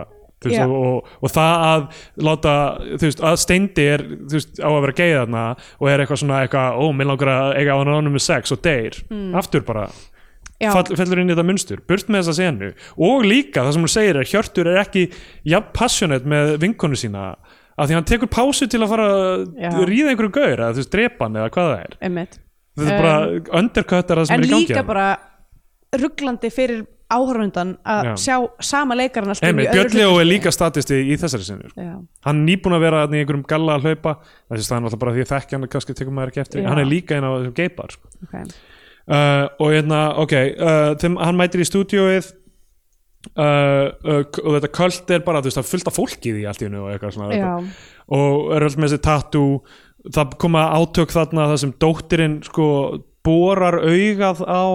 B: þú veist,
C: Já.
B: og, og, og það að láta, þú veist, að steindi er þú veist, á að vera gay þarna og er eitthvað svona eitthvað, ó, minn langar að eiga á hann með sex og deyr, aftur bara
C: Hmm. Já.
B: fall, fellur inn í þetta munstur, burt með þessa senu og líka það sem hún segir er Hjörtur er ekki jafn passionate með vinkonu sína af því hann tekur pásu til að fara
C: Já.
B: að ríða einhverju gaur eða þú veist, drepa hann eða hvað það er
C: einmitt, Um,
B: þetta er bara undercut er það sem
C: en
B: er í gangi hérna.
C: líka
B: þarna.
C: bara rugglandi fyrir áhörfundan að
B: Já.
C: sjá sama leikaran alltaf
B: Einmitt, Björn Leó er líka statisti í þessari sinni sko.
C: Já.
B: hann er nýbúin að vera þarna í einhverjum galla að hlaupa það er náttúrulega bara því að þekkja hann kannski tekur maður ekki eftir,
C: Já.
B: hann er líka einn á þessum geipar sko.
C: okay.
B: uh, og hérna, ok uh, þeim, hann mætir í stúdíóið Uh, uh, k- og þetta kvöld er bara þú veist, það er fullt af fólki í því allt í hennu og eitthvað svona
C: Já.
B: þetta. og er öll með þessi tattoo það koma átök þarna það sem dóttirinn sko borar augað á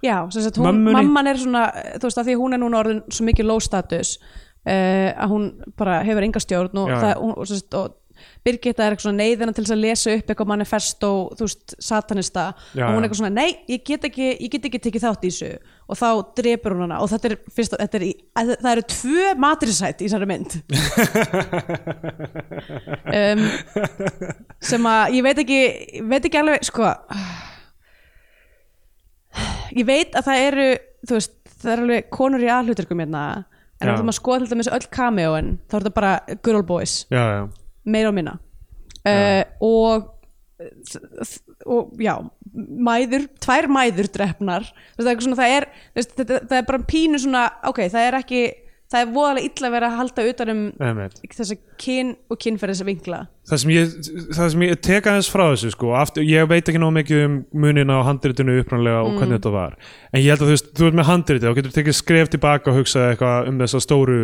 C: Já, sem sagt, hún,
B: Mömmunni.
C: mamman er svona, þú veist, að því hún er núna orðin svo mikið low status uh, að hún bara hefur enga stjórn og,
B: Já, já.
C: það, hún, og, sem sagt, og Birgitta er eitthvað svona neyðina til þess að lesa upp eitthvað manifest og, þú veist, satanista
B: Já,
C: og hún
B: já.
C: er eitthvað svona, nei, ég get ekki ég get ekki tekið þátt í þessu og þá drepur hún hana og þetta er, fyrst, þetta er í, að, það eru tvö matrisætt í þessari mynd
B: [laughs]
C: um, sem að ég veit ekki, ég veit ekki alveg, sko ég veit að það eru þú veist, það eru alveg konur í aðhluturkum hérna, en
B: Já.
C: ef þú maður skoða til dæmis öll cameoin, þá er þetta bara good old boys,
B: já, já.
C: meira og minna uh, og og já, mæður tvær mæður drefnar það er, eitthvað svona, það, er, þú veist, þetta, það er bara pínu svona, ok, það er ekki það er voðalega illa að vera að halda utan um
B: Einmitt.
C: þessa kyn og kynferðis vinkla
B: það sem ég, það sem ég tek aðeins frá þessu sko, aftur, ég veit ekki nóg mikið um munina á handritinu uppranlega og hvernig þetta var en ég held að þú veist, þú ert með handritið og getur tekið skref tilbaka og hugsað eitthvað um þessa stóru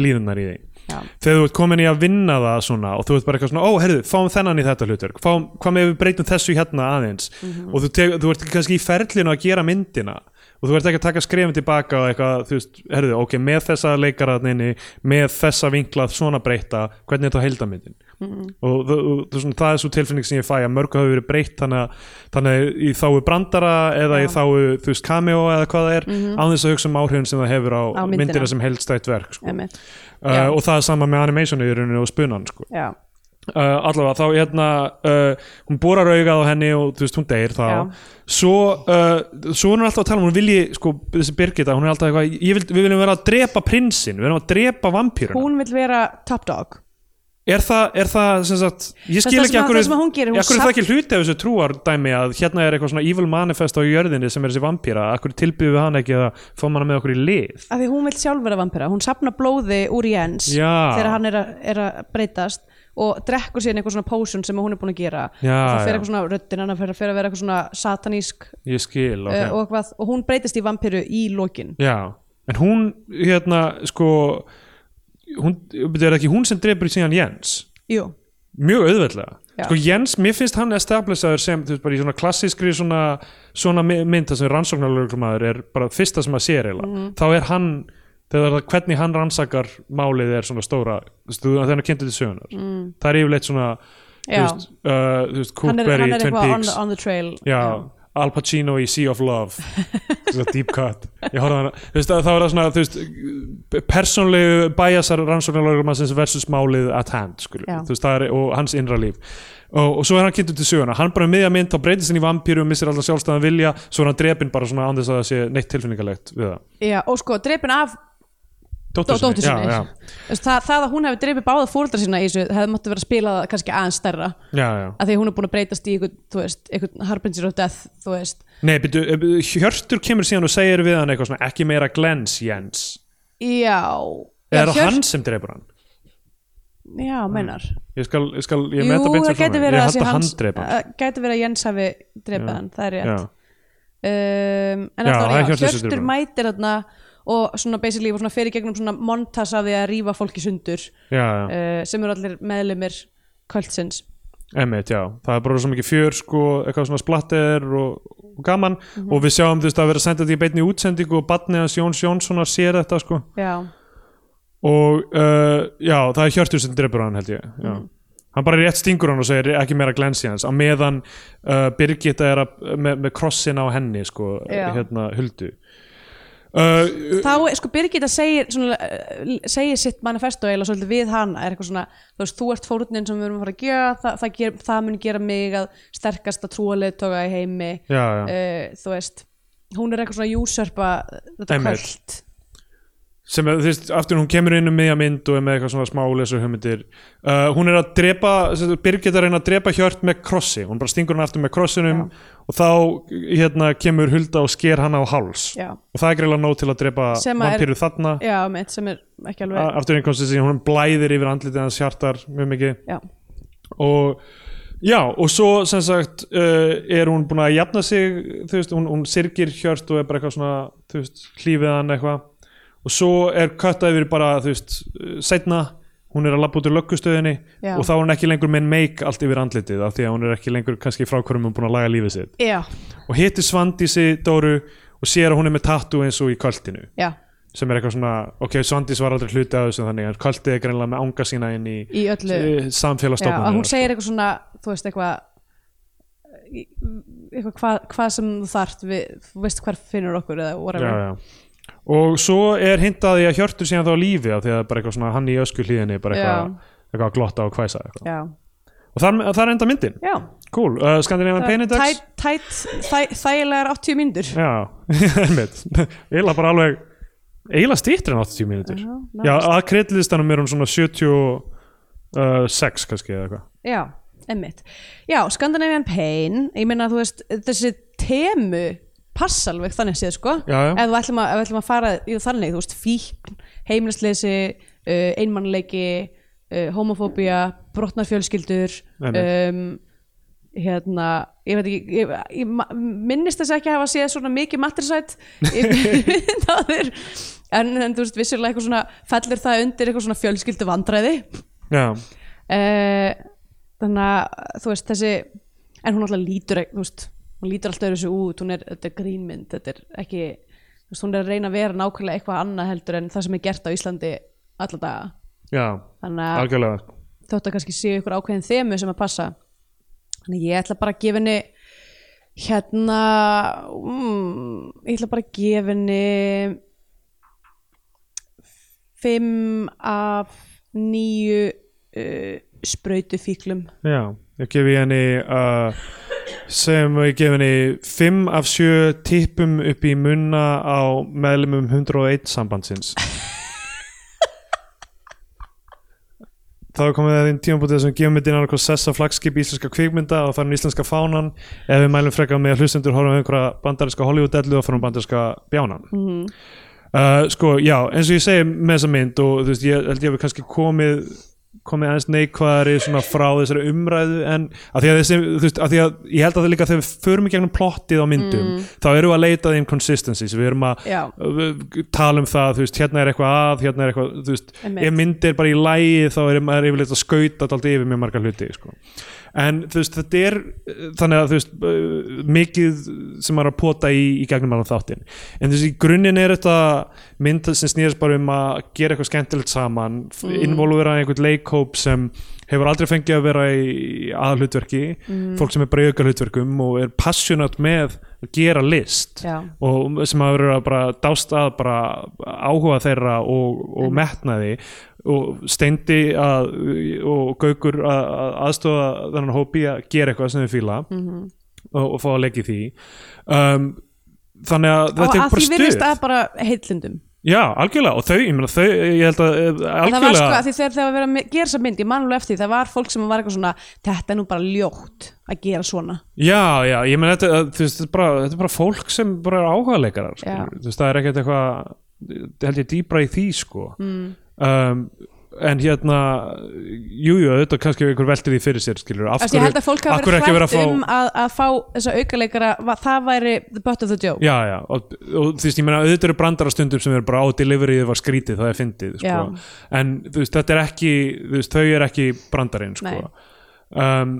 B: línunar í þeim
C: Já.
B: þegar þú ert komin í að vinna það svona og þú ert bara eitthvað svona, ó, heyrðu, fáum þennan í þetta hlutverk fáum, hvað með við breytum þessu hérna aðeins
C: Mhm.
B: og þú, teg, þú ert kannski í ferlinu að gera myndina og þú ert ekki að taka skrefum tilbaka og eitthvað, þú veist, heyrðu, ok, með þessa leikaraðninni, með þessa vinklað svona breyta, hvernig er þetta heildamyndin
C: Mhm.
B: og þú, þú, þú, svona, það er svo tilfinning sem ég fæ að mörgu hafi verið breytt þannig, að- þannig að í þáu brandara eða í þáu, þú veist, cameo eða hvað það er, án þess að hugsa um áhrifin sem það hefur á,
C: Mhm. Á myndina.
B: myndina sem heildstætt verk sko.
C: Einmitt. Já.
B: uh, og það er sama með animationu í rauninu og spunan sko.
C: Já.
B: uh, allavega þá hérna uh, hún borar augað á henni og þú veist hún deyr þá
C: Já.
B: svo, uh, svo hún er alltaf að tala um hún vilji sko þessi Birgitta hún er alltaf eitthvað ég vil, við viljum vera að drepa prinsinn við viljum að drepa vampýruna
C: hún vil vera top dog
B: er það, er það sem sagt ég
C: Það
B: skil
C: sem
B: ekki
C: að-
B: akkur,
C: það sem að hún gerir, hún
B: akkur er það
C: samt-
B: ekki hluti af þessu trúardæmi að hérna er eitthvað svona evil manifest á jörðinni sem er þessi vampýra akkur tilbyðu við hann ekki að fá manna með okkur í lið
C: af því hún vil sjálf vera vampira hún sapna blóði úr Jens
B: Já.
C: þegar hann er, a, er að breytast og drekkur síðan eitthvað svona potion sem hún er búin að gera
B: Já,
C: og það
B: já.
C: fer eitthvað svona röddin hann fer, fer að vera eitthvað svona satanísk
B: ég skil ok.
C: okay. Eh, og, eitthvað, og hún breytist í vampiru í lokin
B: Já, en hún hérna sko hún, betur það ekki hún sem drefur síðan Jens
C: jú,
B: mjög auðveldlega
C: Já.
B: sko Jens, mér finnst hann establishaður sem þú veist bara í svona klassískri svona, svona my- mynd þar sem rannsóknarlögrumaður er bara fyrsta sem að sér eiginlega
C: Mhm.
B: þá er hann, þegar það hvernig hann rannsakar málið er svona stóra þú veist, þú- þegar hann er kynntur til sögunar mm. það er yfirleitt svona þú
C: Já.
B: veist, uh, þú veist,
C: hann er, hann
B: Cookberry,
C: er
B: Twin
C: eitthvað on,
B: Peaks
C: the- on the trail
B: já, Al Pacino í Sea of Love Svo deep cut ég horfði á hana, þú veist, þá er það svona þú veist, persónlegu bæjasar rannsóknarlögrumannsins versus málið at hand skulum,
C: Já.
B: þú veist, það er, og hans innra líf og, og svo er hann kynntur til söguna hann bara um miðja mynd, þá breytist hann í vampíru og missir alltaf sjálfstæðan vilja, svo er hann drepinn bara svona án þess að það sé neitt tilfinningalegt við það
C: Já, og sko, dreipin af dó- dóttur sinni
B: já,
C: Þess, það, það að hún hefði dreipið báða fóreldra sína í þessu hefði mátti vera að spila það kannski aðeins stærra
B: já, já, já.
C: að því hún er búin að breytast í einhvern, þú veist, einhvern harbinger of death, þú veist
B: Nei, byrju, eh, Hjörtur kemur síðan og segir við hann eitthvað svona, ekki meira glens Jens,
C: Já
B: eða er
C: já,
B: það hann sem drepur hann
C: Já, meinar
B: Ég skal, ég skal, ég
C: Jú,
B: meta beint sér
C: það
B: frá
C: gæti
B: mér Ég
C: verið að
B: hætti
C: sé
B: að
C: hans-
B: handdreipa
C: að- Gæti verið að Jens hafi drepað hann, það er rétt
B: Já,
C: um,
B: Já,
C: En alltaf,
B: það er
C: já,
B: Hjörtur sem drepur
C: Hjörtur
B: hann.
C: mætir þarna og svona basically og svona fyrir gegnum svona montas af því að rífa fólki sundur
B: já, já,
C: uh, sem eru allir meðlumir kvöldsins Eh.
B: emmitt, já Það er bara svo mikið fjör, sko, eitthvað svona splatter og, og gaman
C: Mhm.
B: og við sjáum þú veist að vera sendið í beinni útsendingu og batnið hans Jóns Jónssonar sér þetta, sko
C: Já,
B: og uh, já, það er Hjörtur sem drefur hann held ég já.
C: Mhm.
B: hann bara rétt stingur hann og segir ekki meira glensi hans á meðan uh, Birgitta er að, með, með krossin á henni, sko,
C: Já.
B: hérna, huldu uh,
C: þá er sko Birgitta segir, svona, eh, segir sitt manifesto eiginlega svolítið við hana er eitthvað svona, þú veist, þú ert fórnin sem við erum að fara að gera, það, það, ger, það mun gera mig að sterkasta trúaleitóka í heimi
B: Já, já.
C: Eh, þú veist hún er eitthvað svona usurpa þetta
B: Einmitt.
C: kvöld
B: sem er, þú veist, aftur hún kemur inn um miðja mynd og er með eitthvað svona smálesur hugmyndir uh, hún er að drepa, sem sagt, Birgit er að reyna að drepa hjört með krossi, hún bara stingur hann aftur með krossinum og þá hérna kemur Hulda og sker hann á háls
C: Já.
B: og það er greiðlega nóg til að drepa
C: Sem að er-
B: vampíru þarna,
C: já, mitt sem er ekki alveg
B: A- aftur einhverjum sem hún blæðir yfir andlitið hans hjartar mjög mikið
C: já,
B: og já, og svo sem sagt uh, er hún búin að jafna sig þú veist, hún, hún sirgir hjört og er bara eitthvað svona, þú veist, hlífið hann eitthvað og svo er kötta yfir bara, þú veist, uh, setna hún er að labba út úr löggustöðinni
C: Já.
B: og þá er hún ekki lengur með meik allt yfir andlitið af því að hún er ekki lengur kannski frá hverjum hún er búin að laga lífið sitt
C: já,
B: og hitti Svandísi Dóru og sér að hún er með tattu eins og í kvöldinu
C: já
B: sem er eitthvað svona, ok, Svandís var aldrei hluti af þessu þannig, en kvöldið er greinlega með anga sína inn í,
C: Í öllu. já,
B: samfélagsstofnunum
C: að hún segir eitthvað svona þú veist eitthvað eitthvað hvað hva sem þú þarft við, þú veist hvar finnur okkur eða whatever
B: já, já. og svo er hintaði að Hjörtur síðan þá á lífi af því að bara eitthvað svona hann í ösku hlíðinni bara eitthvað, eitthvað að glotta og hvæsa eitthvað.
C: já,
B: og þar, þar enda myndin
C: já.
B: cool, uh, Skandinavian Penindex
C: tætt, tætt þæ, þægilegar 80 mínútur
B: já, [laughs] einmitt eiginlega bara alveg eiginlega stýttir en 80 mínútur
C: Já,
B: já,
C: nánast.
B: að kreitlistanum er hún svona 76 kannski eða eitthvað
C: Já, emmitt. Já, Scandinavian Pain, ég meina þú veist, þessi temu passa alveg þannig séð sko.
B: Já, já.
C: Ef við ætlum að, ef við ætlum að fara í þannig, þú veist, fíkn, heimilisleysi, uh, einmannleiki, uh, homofóbía, brotnar fjölskyldur,
B: Einmitt.
C: um, hérna, ég veit ekki ég, ég ma- minnist þess ekki að hafa séð svona mikið matrisætt [laughs] þáðir en, en þú veist vissulega eitthvað svona fellur það undir eitthvað svona fjölskyldu vandræði
B: já,
C: Eh, þannig að þú veist þessi en hún alltaf lítur ekki, þú veist, hún lítur alltaf þessu út, hún er, þetta er grínmynd þetta er ekki, þú veist, hún er að reyna að vera nákvæmlega eitthvað annað heldur en það sem er gert á Íslandi alla daga
B: já,
C: þannig að
B: algjörlega sko.
C: þótt að kannski séu ykkur ákveðin þemu sem að passa þannig að ég ætla bara að gefa henni hérna mm, ég ætla bara að gefa henni fimm af nýju uh, sprautu fíklum
B: já, ég gefi henni uh, sem ég gefi henni 5 af 7 tippum upp í munna á meðlumum 101 sambandsins þá er komið að þeim tímabútið sem gefum við dinnar okkur sessa flagskip íslenska kvikmynda og farin íslenska fánan ef við mælum frekar með að hlustendur horfum við einhverja bandarinska Hollywood-dellu og farum bandarinska bjánan
C: Mhm.
B: uh, sko, já, eins og ég segi með þessa mynd og þú veist, ég held ég að við kannski komið komið aðeins neikvæðari svona frá þessari umræðu en að því að, þessi, þú veist, að því að ég held að það líka þegar við förum í gegnum plottið á myndum þá erum við að leita að inconsistencies við erum að
C: Mm. Já.
B: við tala um það þú veist, hérna er eitthvað að, hérna er eitthvað þú veist,
C: Einmitt.
B: ef mynd er bara í lægi þá er maður yfirleitt að skauta alltaf yfir mjög marga hluti sko. en þú veist, þetta er eh, þannig að þú veist, eh, mikið sem maður er að pota í, í gegnum alveg þáttinn en þú veist, í grunninn er þetta mynd sem snýðast bara um að gera eitthvað skemmtilegt saman, mm. involvera einhvern leikhóp sem hefur aldrei fengið að vera í aðhlutverki fólk sem er bara í auka hlutverkum og er passionate með að gera list
C: Já.
B: og sem hafa verið að bara dást að bara áhuga þeirra og, og
C: Mhm.
B: metnaði og steindi að, og gaukur að, að aðstofa þennan hópi að gera eitthvað sem þau fíla -hmm.
C: Mhm.
B: og, og fá að leggja í því um, þannig að
C: og
B: þetta er
C: að
B: bara
C: því virðist
B: stuð
C: að bara heillundum
B: já, algjörlega, og þau, ég meina þau ég held að, eh,
C: það var sko
B: algjörlega
C: að því þegar það var verið að gera þessa mynd ég mannulega eftir því, það var fólk sem var eitthvað svona þetta er nú bara ljótt að gera svona
B: Já, já, ég meina þetta, þú veist, þetta er bara, þetta er bara fólk sem bara er áhugaleikarar
C: Já.
B: skilur. þú veist, það er ekkert eitthvað held ég dýbra í því, sko mm. um, en hérna jújú, jú, auðvitað kannski einhver veltir því fyrir sér, skilur, af
C: Eftir, ég held að fólk
B: af hverju
C: hafa verið
B: ekki verið að
C: hrætt
B: fá
C: um að, að fá þessa aukaleikara, va- það væri the butt of the joke
B: Já, já, og, og þú veist, ég meina auðvitað eru brandara stundum sem eru bara á deliveryið var skrítið, það er fyndið, sko
C: Já.
B: en þú veist, þetta er ekki, þú veist, þau er ekki brandarinn, sko
C: Nei.
B: um,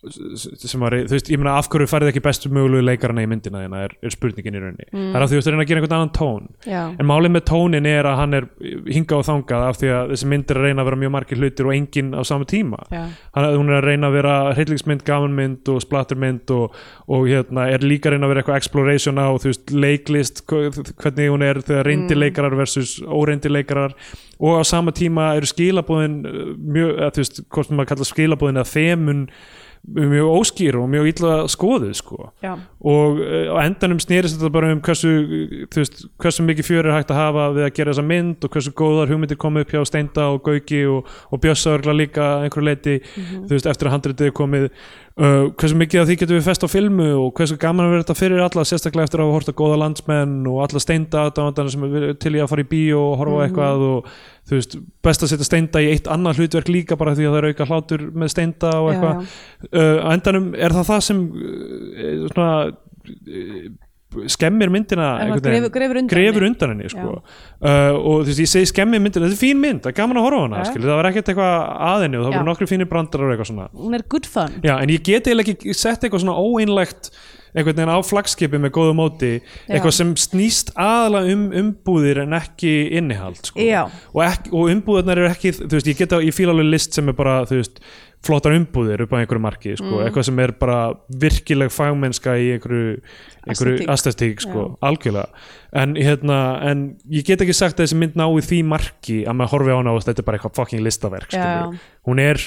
B: s- s- sem var, þú veist, ég meina af hverju færið ekki bestu mögulegu leikarana í myndina þína er, er spurningin í rauninni, það er af því þú veist, reyna að gera einhvern annan tón,
C: Mm. Já.
B: en málið með tónin er að hann er hingað og þangað af því að þessi mynd er að reyna að vera mjög margir hlutir og enginn á sama tíma,
C: Já.
B: hann, hún er að reyna að vera hryllingsmynd, gamanmynd og splattermynd og, og hérna, er líka að reyna að vera eitthvað exploration á, þú veist, leiklist hv- hvernig hún er þegar reyndileikarar versus óreyndileikarar og á sama tíma eru skilabúðin uh, mjög, eða, þú veist, hvort sem maður kalla skilabúðin að þemun mjög óskýr og mjög illa skoðuð sko
C: Já.
B: og uh, á endanum snýrist þetta bara um hversu, uh, þú veist, hversu mikið fjör er hægt að hafa við að gera þessa mynd og hversu góðar hugmyndir komu upp hjá Steinda og Gauki og, og Bjössa örgla líka að einhverju leiti
C: Mhm.
B: þú veist, eftir að handritið er komið uh, hversu mikið af því getum við fest á filmu og hversu gaman að vera þetta fyrir alla sérstaklega eftir að hafa horta góða landsmenn og alla Steinda aðdáendana sem er til í að fara í bíó og horfa
C: Mhm.
B: á eitthvað og þú veist, best að setja Steinda í eitt annað hlutverk líka bara því að það er auka hlátur með Steinda og
C: Já,
B: eitthvað
C: já.
B: uh, á endanum er það það sem uh, svona uh, skemmir myndina
C: Er það
B: einhvern veginn.
C: grefur- grefur undan
B: grefur
C: henni.
B: undan henni sko. uh, og þú veist, ég segi skemmir myndina þetta er fín mynd, það er gaman að horfa á hana
C: Já.
B: skilur, það var ekkert eitthvað að henni og það
C: Já.
B: voru nokkru fínir brandarar og eitthvað svona
C: Hún er good fun
B: [laughs] Já, en ég get eiginlega ekki sett eitthvað svona óeinlegt einhvern veginn á flaggskipi með góðu móti eitthvað sem snýst aðalega um umbúðir en ekki innihald sko.
C: Já.
B: og, ekki, og umbúðirnar eru ekki þú veist, ég get á, ég fíla alveg list sem er bara þú veist, flottar umbúðir upp á einhverju marki sko.
C: Mm.
B: eitthvað sem er bara virkileg fagmennska í einhverju, einhverju
C: Aesthetic.
B: aesthetic, sko, algjörlega en, hérna, en ég get ekki sagt að þessi mynd nái því marki að maður horfi á hana og þetta er bara eitthvað fucking listaverk skilurðu.
C: Já.
B: hún er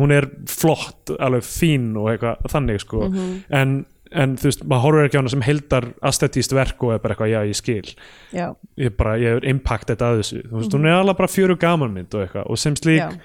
B: hún er flott, alveg fín og eitthvað þannig sko
C: Mhm.
B: en, en þú veist, maður horfir ekki á hana sem heldar aesthetíst verk og er bara eitthvað, já ég skil
C: Já.
B: ég bara, ég er impactet að þessu þú veist, hún er alveg bara fjöru gamanmynd og eitthvað og sem slík
C: Mhm. Já.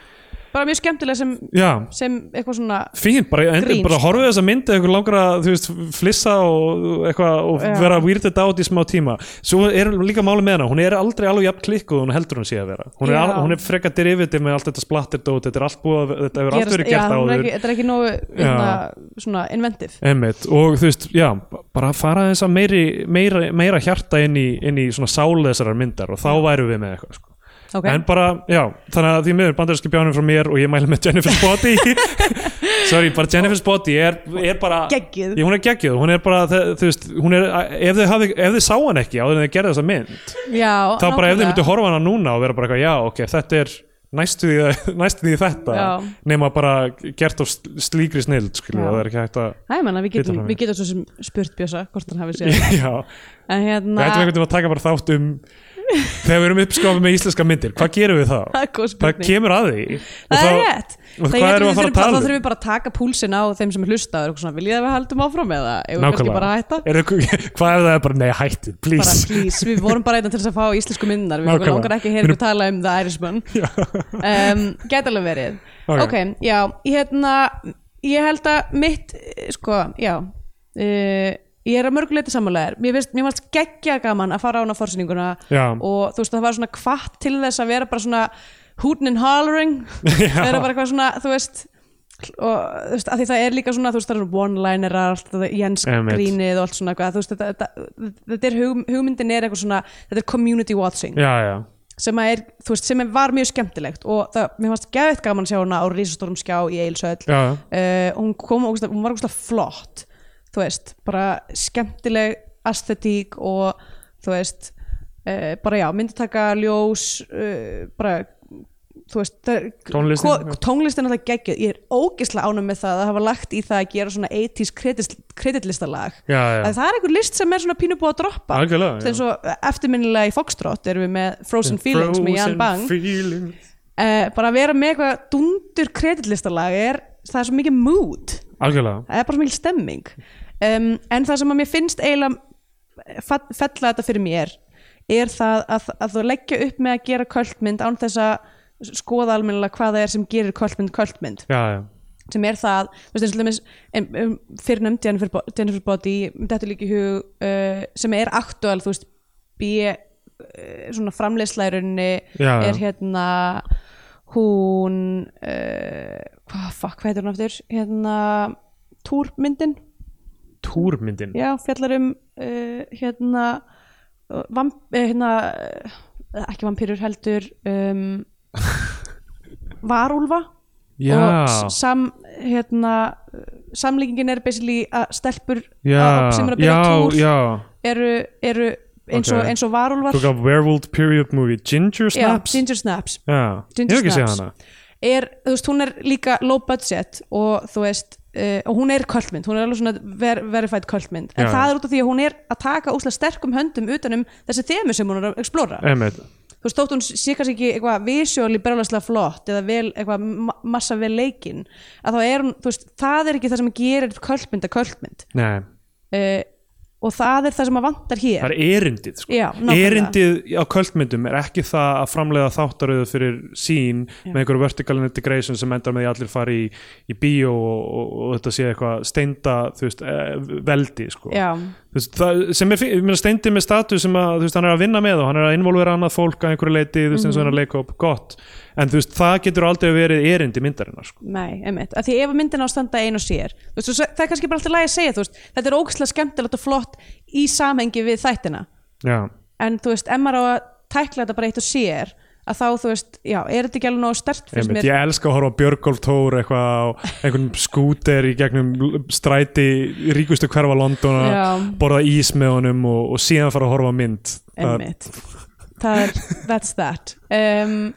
C: bara mjög skemmtilega sem,
B: já,
C: sem eitthvað svona
B: fín, bara, endur,
C: Grín,
B: bara
C: sko.
B: horfið þess að mynda eitthvað langar að, þú veist, flissa og eitthvað og
C: Já.
B: vera weirded out í smá tíma svo er líka máli með hana, hún er aldrei alveg jafn klikkuð og hún heldur hún sé að vera hún er,
C: Já.
B: al, hún er frekar derivative með allt þetta splattir dót, þetta er allt búið, að- þetta hefur allt
C: gerast-
B: verið
C: já,
B: gert
C: hún er
B: áður
C: ekki, þetta er ekki nógu hérna, svona inventive
B: Einmitt. og þú veist, já, bara fara þess að meiri, meira, meira hjarta inn í, inn í svona sál þessarar myndar og þá værum við með eitthvað sko.
C: okay.
B: en bara, já, þannig að því miður bandarinski bjánum frá mér og ég mæli með Jennifer's Body [laughs] sorry, bara Jennifer's Body er, er bara,
C: geggjuð
B: ég, hún er geggjöð hún er bara, þe- þú veist, hún er ef þau, hafi, ef þau sá hann ekki áður en þau gerði þessa mynd
C: já,
B: þá bara ef þau
C: nákvæmlega.
B: myndu horfa hana núna og vera bara eitthvað, já, ok, þetta er næstu því, [laughs] næstu því þetta
C: Já.
B: nema bara gert af sl- slíkri snild skilju,
C: Já.
B: það er ekki hægt að
C: Æ, menna, við,
B: Vita
C: getum,
B: það
C: við getum svo sem spurt Bjösa hvort hann hafi séð
B: [laughs] já,
C: en
B: Við
C: hérna,
B: ætlum einhvern veginn að taka bara þátt um þegar við erum uppskofið með íslenska myndir hvað gerum við þá?
C: [laughs] það er góð
B: Það
C: spurning
B: kemur að því og
C: það er
B: þá-
C: rétt
B: og
C: Það
B: hvað
C: ég
B: erum við að
C: held
B: fara að
C: þurfum
B: tala
C: þá
B: um?
C: þurfum við bara að taka púlsin á þeim sem hlustaður og svona, viljið að við haldum áfram eða eða kannski bara að hætta
B: Er þau- Hvað er það bara, nei hættið,
C: bara
B: please
C: please, við vorum bara einnig til þess að fá íslensku myndinar við
B: Nákvæmlega.
C: langar ekki að heyra ykkur tala um The Irishman um, gæti alveg verið
B: Ok.
C: ok, já, hérna ég held að mitt eh, sko, já uh, ég er að mörguleiti sammálaðir mér finnst, mér fannst geggja gaman að fara á hana fórsýninguna
B: Já.
C: og þú veist, það var svona kvatt til þess að vera bara svona hootin and hollering
B: [laughs] Já.
C: vera bara eitthvað svona, þú veist og þú veist, að því það er líka svona þú veist, það eru one-linerar, allt þetta Jens
B: Einmitt.
C: grín grínið og allt svona eitthvað, þú veist, þetta, þetta, þetta er hug, hugmyndin er eitthvað svona, þetta er community watching
B: [laughs] Já, já,
C: sem að er, þú veist, sem er, var mjög skemmtilegt og það, mér fannst geðveitt gaman að sjá hana á risastórum skjá í Eilsöll
B: já,
C: uh, hún kom, ógeðslega- hún var ógustlega flott þú veist, bara skemmtileg aesthetík og þú veist, uh, bara já myndataka, ljós uh, bara, þú veist það-
B: Tónlistin,
C: ko-
B: já.
C: tónlistin er alltaf geggjöð, ég er ógislega ánum með það að hafa lagt í það að gera svona 80s kredit, kreditlistalag
B: já, já.
C: að það er einhver list sem er svona pínu búið að droppa
B: Algjörlega, já.
C: eins og eftirminnilega í Foxtrot erum við með Frozen Feelings með Jan Bang
B: Feelings.
C: uh, bara að vera með eitthvað dundur kreditlistalag er, það er svo mikið mood
B: Algjörlega,
C: það er bara svo mikil stemming um, en það sem að mér finnst eiginlega eh, fa- fella þetta fyrir mér er það að, að þú leggja upp með að gera kvöldmynd án þess að skoða almennilega hvað það er sem gerir kvöldmynd kvöldmynd
B: já, já
C: sem er það, þú veist eins og dæmis em- em, fyrrnefnd Jennifer, Bo- Jennifer Body þetta líka í hug uh, sem er aktuál, þú veist B, uh, svona framleiðslærunni
B: Já, já.
C: er hérna hún uh, hvað, fuck, hvað heitir hún aftur hérna, túrmyndin
B: Túrmyndin
C: já, fjallar um uh, hérna uh, vamp, uh, hérna uh, ekki vampýrur heldur um,
B: [laughs]
C: varúlfa
B: Já,
C: og s- sam, hérna, uh, samlíkingin er basically að stelpur
B: já,
C: að- sem eru að byrja
B: já,
C: túr
B: já
C: eru, eru eins, og,
B: Ok.
C: eins og varúlvar
B: Þú gaf Werewolf Period Movie Ginger
C: Já,
B: Snaps
C: Ginger Snaps
B: Já, ég
C: Ginger
B: hef ekki séð
C: Snaps.
B: hana
C: er, þú veist, hún er líka low budget og þú veist Uh, og hún er kvöldmynd, hún er alveg svona ver verified kvöldmynd, en
B: Já,
C: það
B: já.
C: er út af því að hún er að taka úslega sterkum höndum utanum þessi þemu sem hún er að explora
B: Einmitt,
C: þú veist, þótt hún sé kannski ekki eitthvað visjóli brjálæslega flott eða vel, eitthvað ma massa vel leikinn að þá er hún, þú veist, það er ekki það sem gerir kvöldmynd að kvöldmynd
B: nei
C: uh, og það er það sem að vantar hér
B: það er erindið sko.
C: Já, nákvæmlega.
B: erindið á kvöldmyndum er ekki það að framleiða þáttaröðu fyrir sín með einhverju vertical integration sem endar með því að allir fari í, í bíó og, og, og þetta sé eitthvað steinda þú veist, eh, veldi sko.
C: já,
B: Þú veist, það, sem er fín- ég meina, steindi með status sem að, þú veist, hann er að vinna með og hann er að involvera annað fólk að einhverju leiti þú veist, eins og hann er að
C: Mhm.
B: leika upp gott en þú veist, það getur aldrei verið erindi myndarinnar sko.
C: nei, einmitt að því ef myndin á að standa ein og sér þú veist, og svo- það er kannski bara alltaf lagi að segja, þú veist þetta er ógislega skemmtilegt og flott í samhengi við þættina
B: já,
C: en þú veist, ef maður á að tækla þetta bara eitt og sér að þá, þú veist, já, er þetta ekki alveg nóg stert fyrir
B: Einmitt,
C: mér
B: ég elska að horfa á Björgólf Tór eitthvað á einhvern skúter í gegnum l- stræti í ríkustu hverfa Londona,
C: Já.
B: borða ís með honum og, og síðan fara að horfa á mynd Það-
C: Einmitt. Það er, that's that um,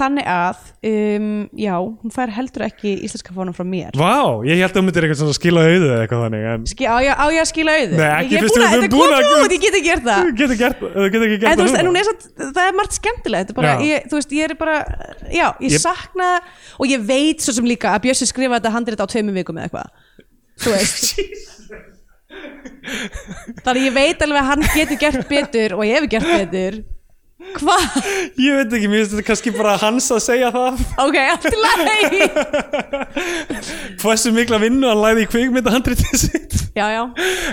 C: Þannig að um, já, hún fær heldur ekki íslenska fónum frá mér
B: Vá, ég held að þú myndir eitthvað svona skila auðu eða eitthvað þannig en
C: Ski, á, ég, á ég að skila auðu
B: Nei, ekki
C: Ég er
B: fyrst
C: búin
B: við
C: að-
B: erum
C: Þetta
B: búin
C: kom
B: að-
C: út, ég geti gert það
B: þú getur gert, þú getur ekki
C: En,
B: gert
C: þú veist, en hún
B: núna.
C: er satt, það er margt skemmtilegt bara,
B: Já.
C: ég, þú veist, ég er bara, já, ég
B: Ég-
C: sakna og ég veit svo sem líka að Bjössi skrifa þetta handrið á tveimum vikum eða eitthvað þú veist
B: [laughs]
C: þannig að ég veit alveg að hann getur gert betur og ég hef gert betur Hvað?
B: Ég veit ekki, mér finnst þetta kannski bara hans að segja það
C: Ok, allt í lagi
B: Hversu mikla vinnu hann læði í kvikmyndahandritið sitt
C: Já, já,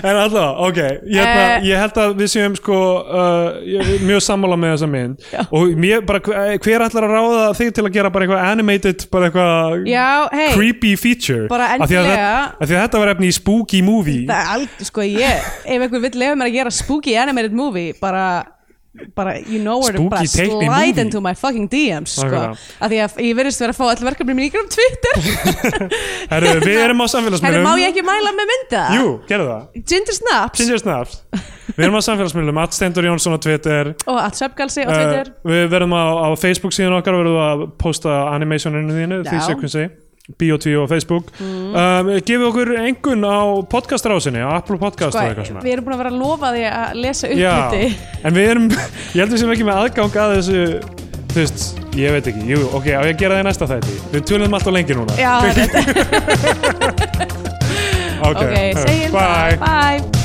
B: En alltaf, ok ég, uh,
C: Eh.
B: ég held að við séum sko uh, ég- mjög sammála með þessa mynd
C: Já.
B: Og mér, bara, hver- eh, hver ætlar að ráða þig til að gera bara eitthvað animated bara eitthvað
C: já, hei
B: creepy feature
C: Bara
B: Af því að
C: endilega.
B: þetta- af því að þetta var efni í spooky movie
C: Það er aldrei, sko, ég Ef einhver vill lefa mér að gera spooky animated movie bara, bara you know where
B: Spooky
C: to bara slide
B: teikni movie.
C: into my fucking DMs, sko
B: Nákvæmlega.
C: Af því að ég verðist vera að fá öll verkefni mín í grum Twitter
B: [laughs] Herru, við erum á
C: Herri,
B: samfélagsmiðlum
C: má ég ekki mæla með mynda?
B: Jú, gerðu það
C: Ginger Snaps
B: Ginger Snaps Við erum á samfélagsmiðlum, Atstendur Jónsson á Twitter
C: og allt söpgalsi og
B: Eh,
C: Twitter
B: Við verðum á, á Facebook síðan okkar verðum við að posta animationinu þínu
C: Já.
B: því sekvensi, Bio2 og Facebook mm. Gefið okkur engun á podcastrásinni, á Apple Podcast og eitthvað
C: Hvað,
B: svona
C: Sko, Við erum búin að vera að lofa því að lesa upp
B: Já,
C: þetta
B: [laughs] en við erum ég held við sem ekki með aðgang að þessu þú veist, ég veit ekki, jú, ok, á ég að gera það í næsta þætti við tölum alltaf lengi núna
C: Já, þetta
B: ok,
C: Ok, segjum
B: eh, bye.
C: það Bye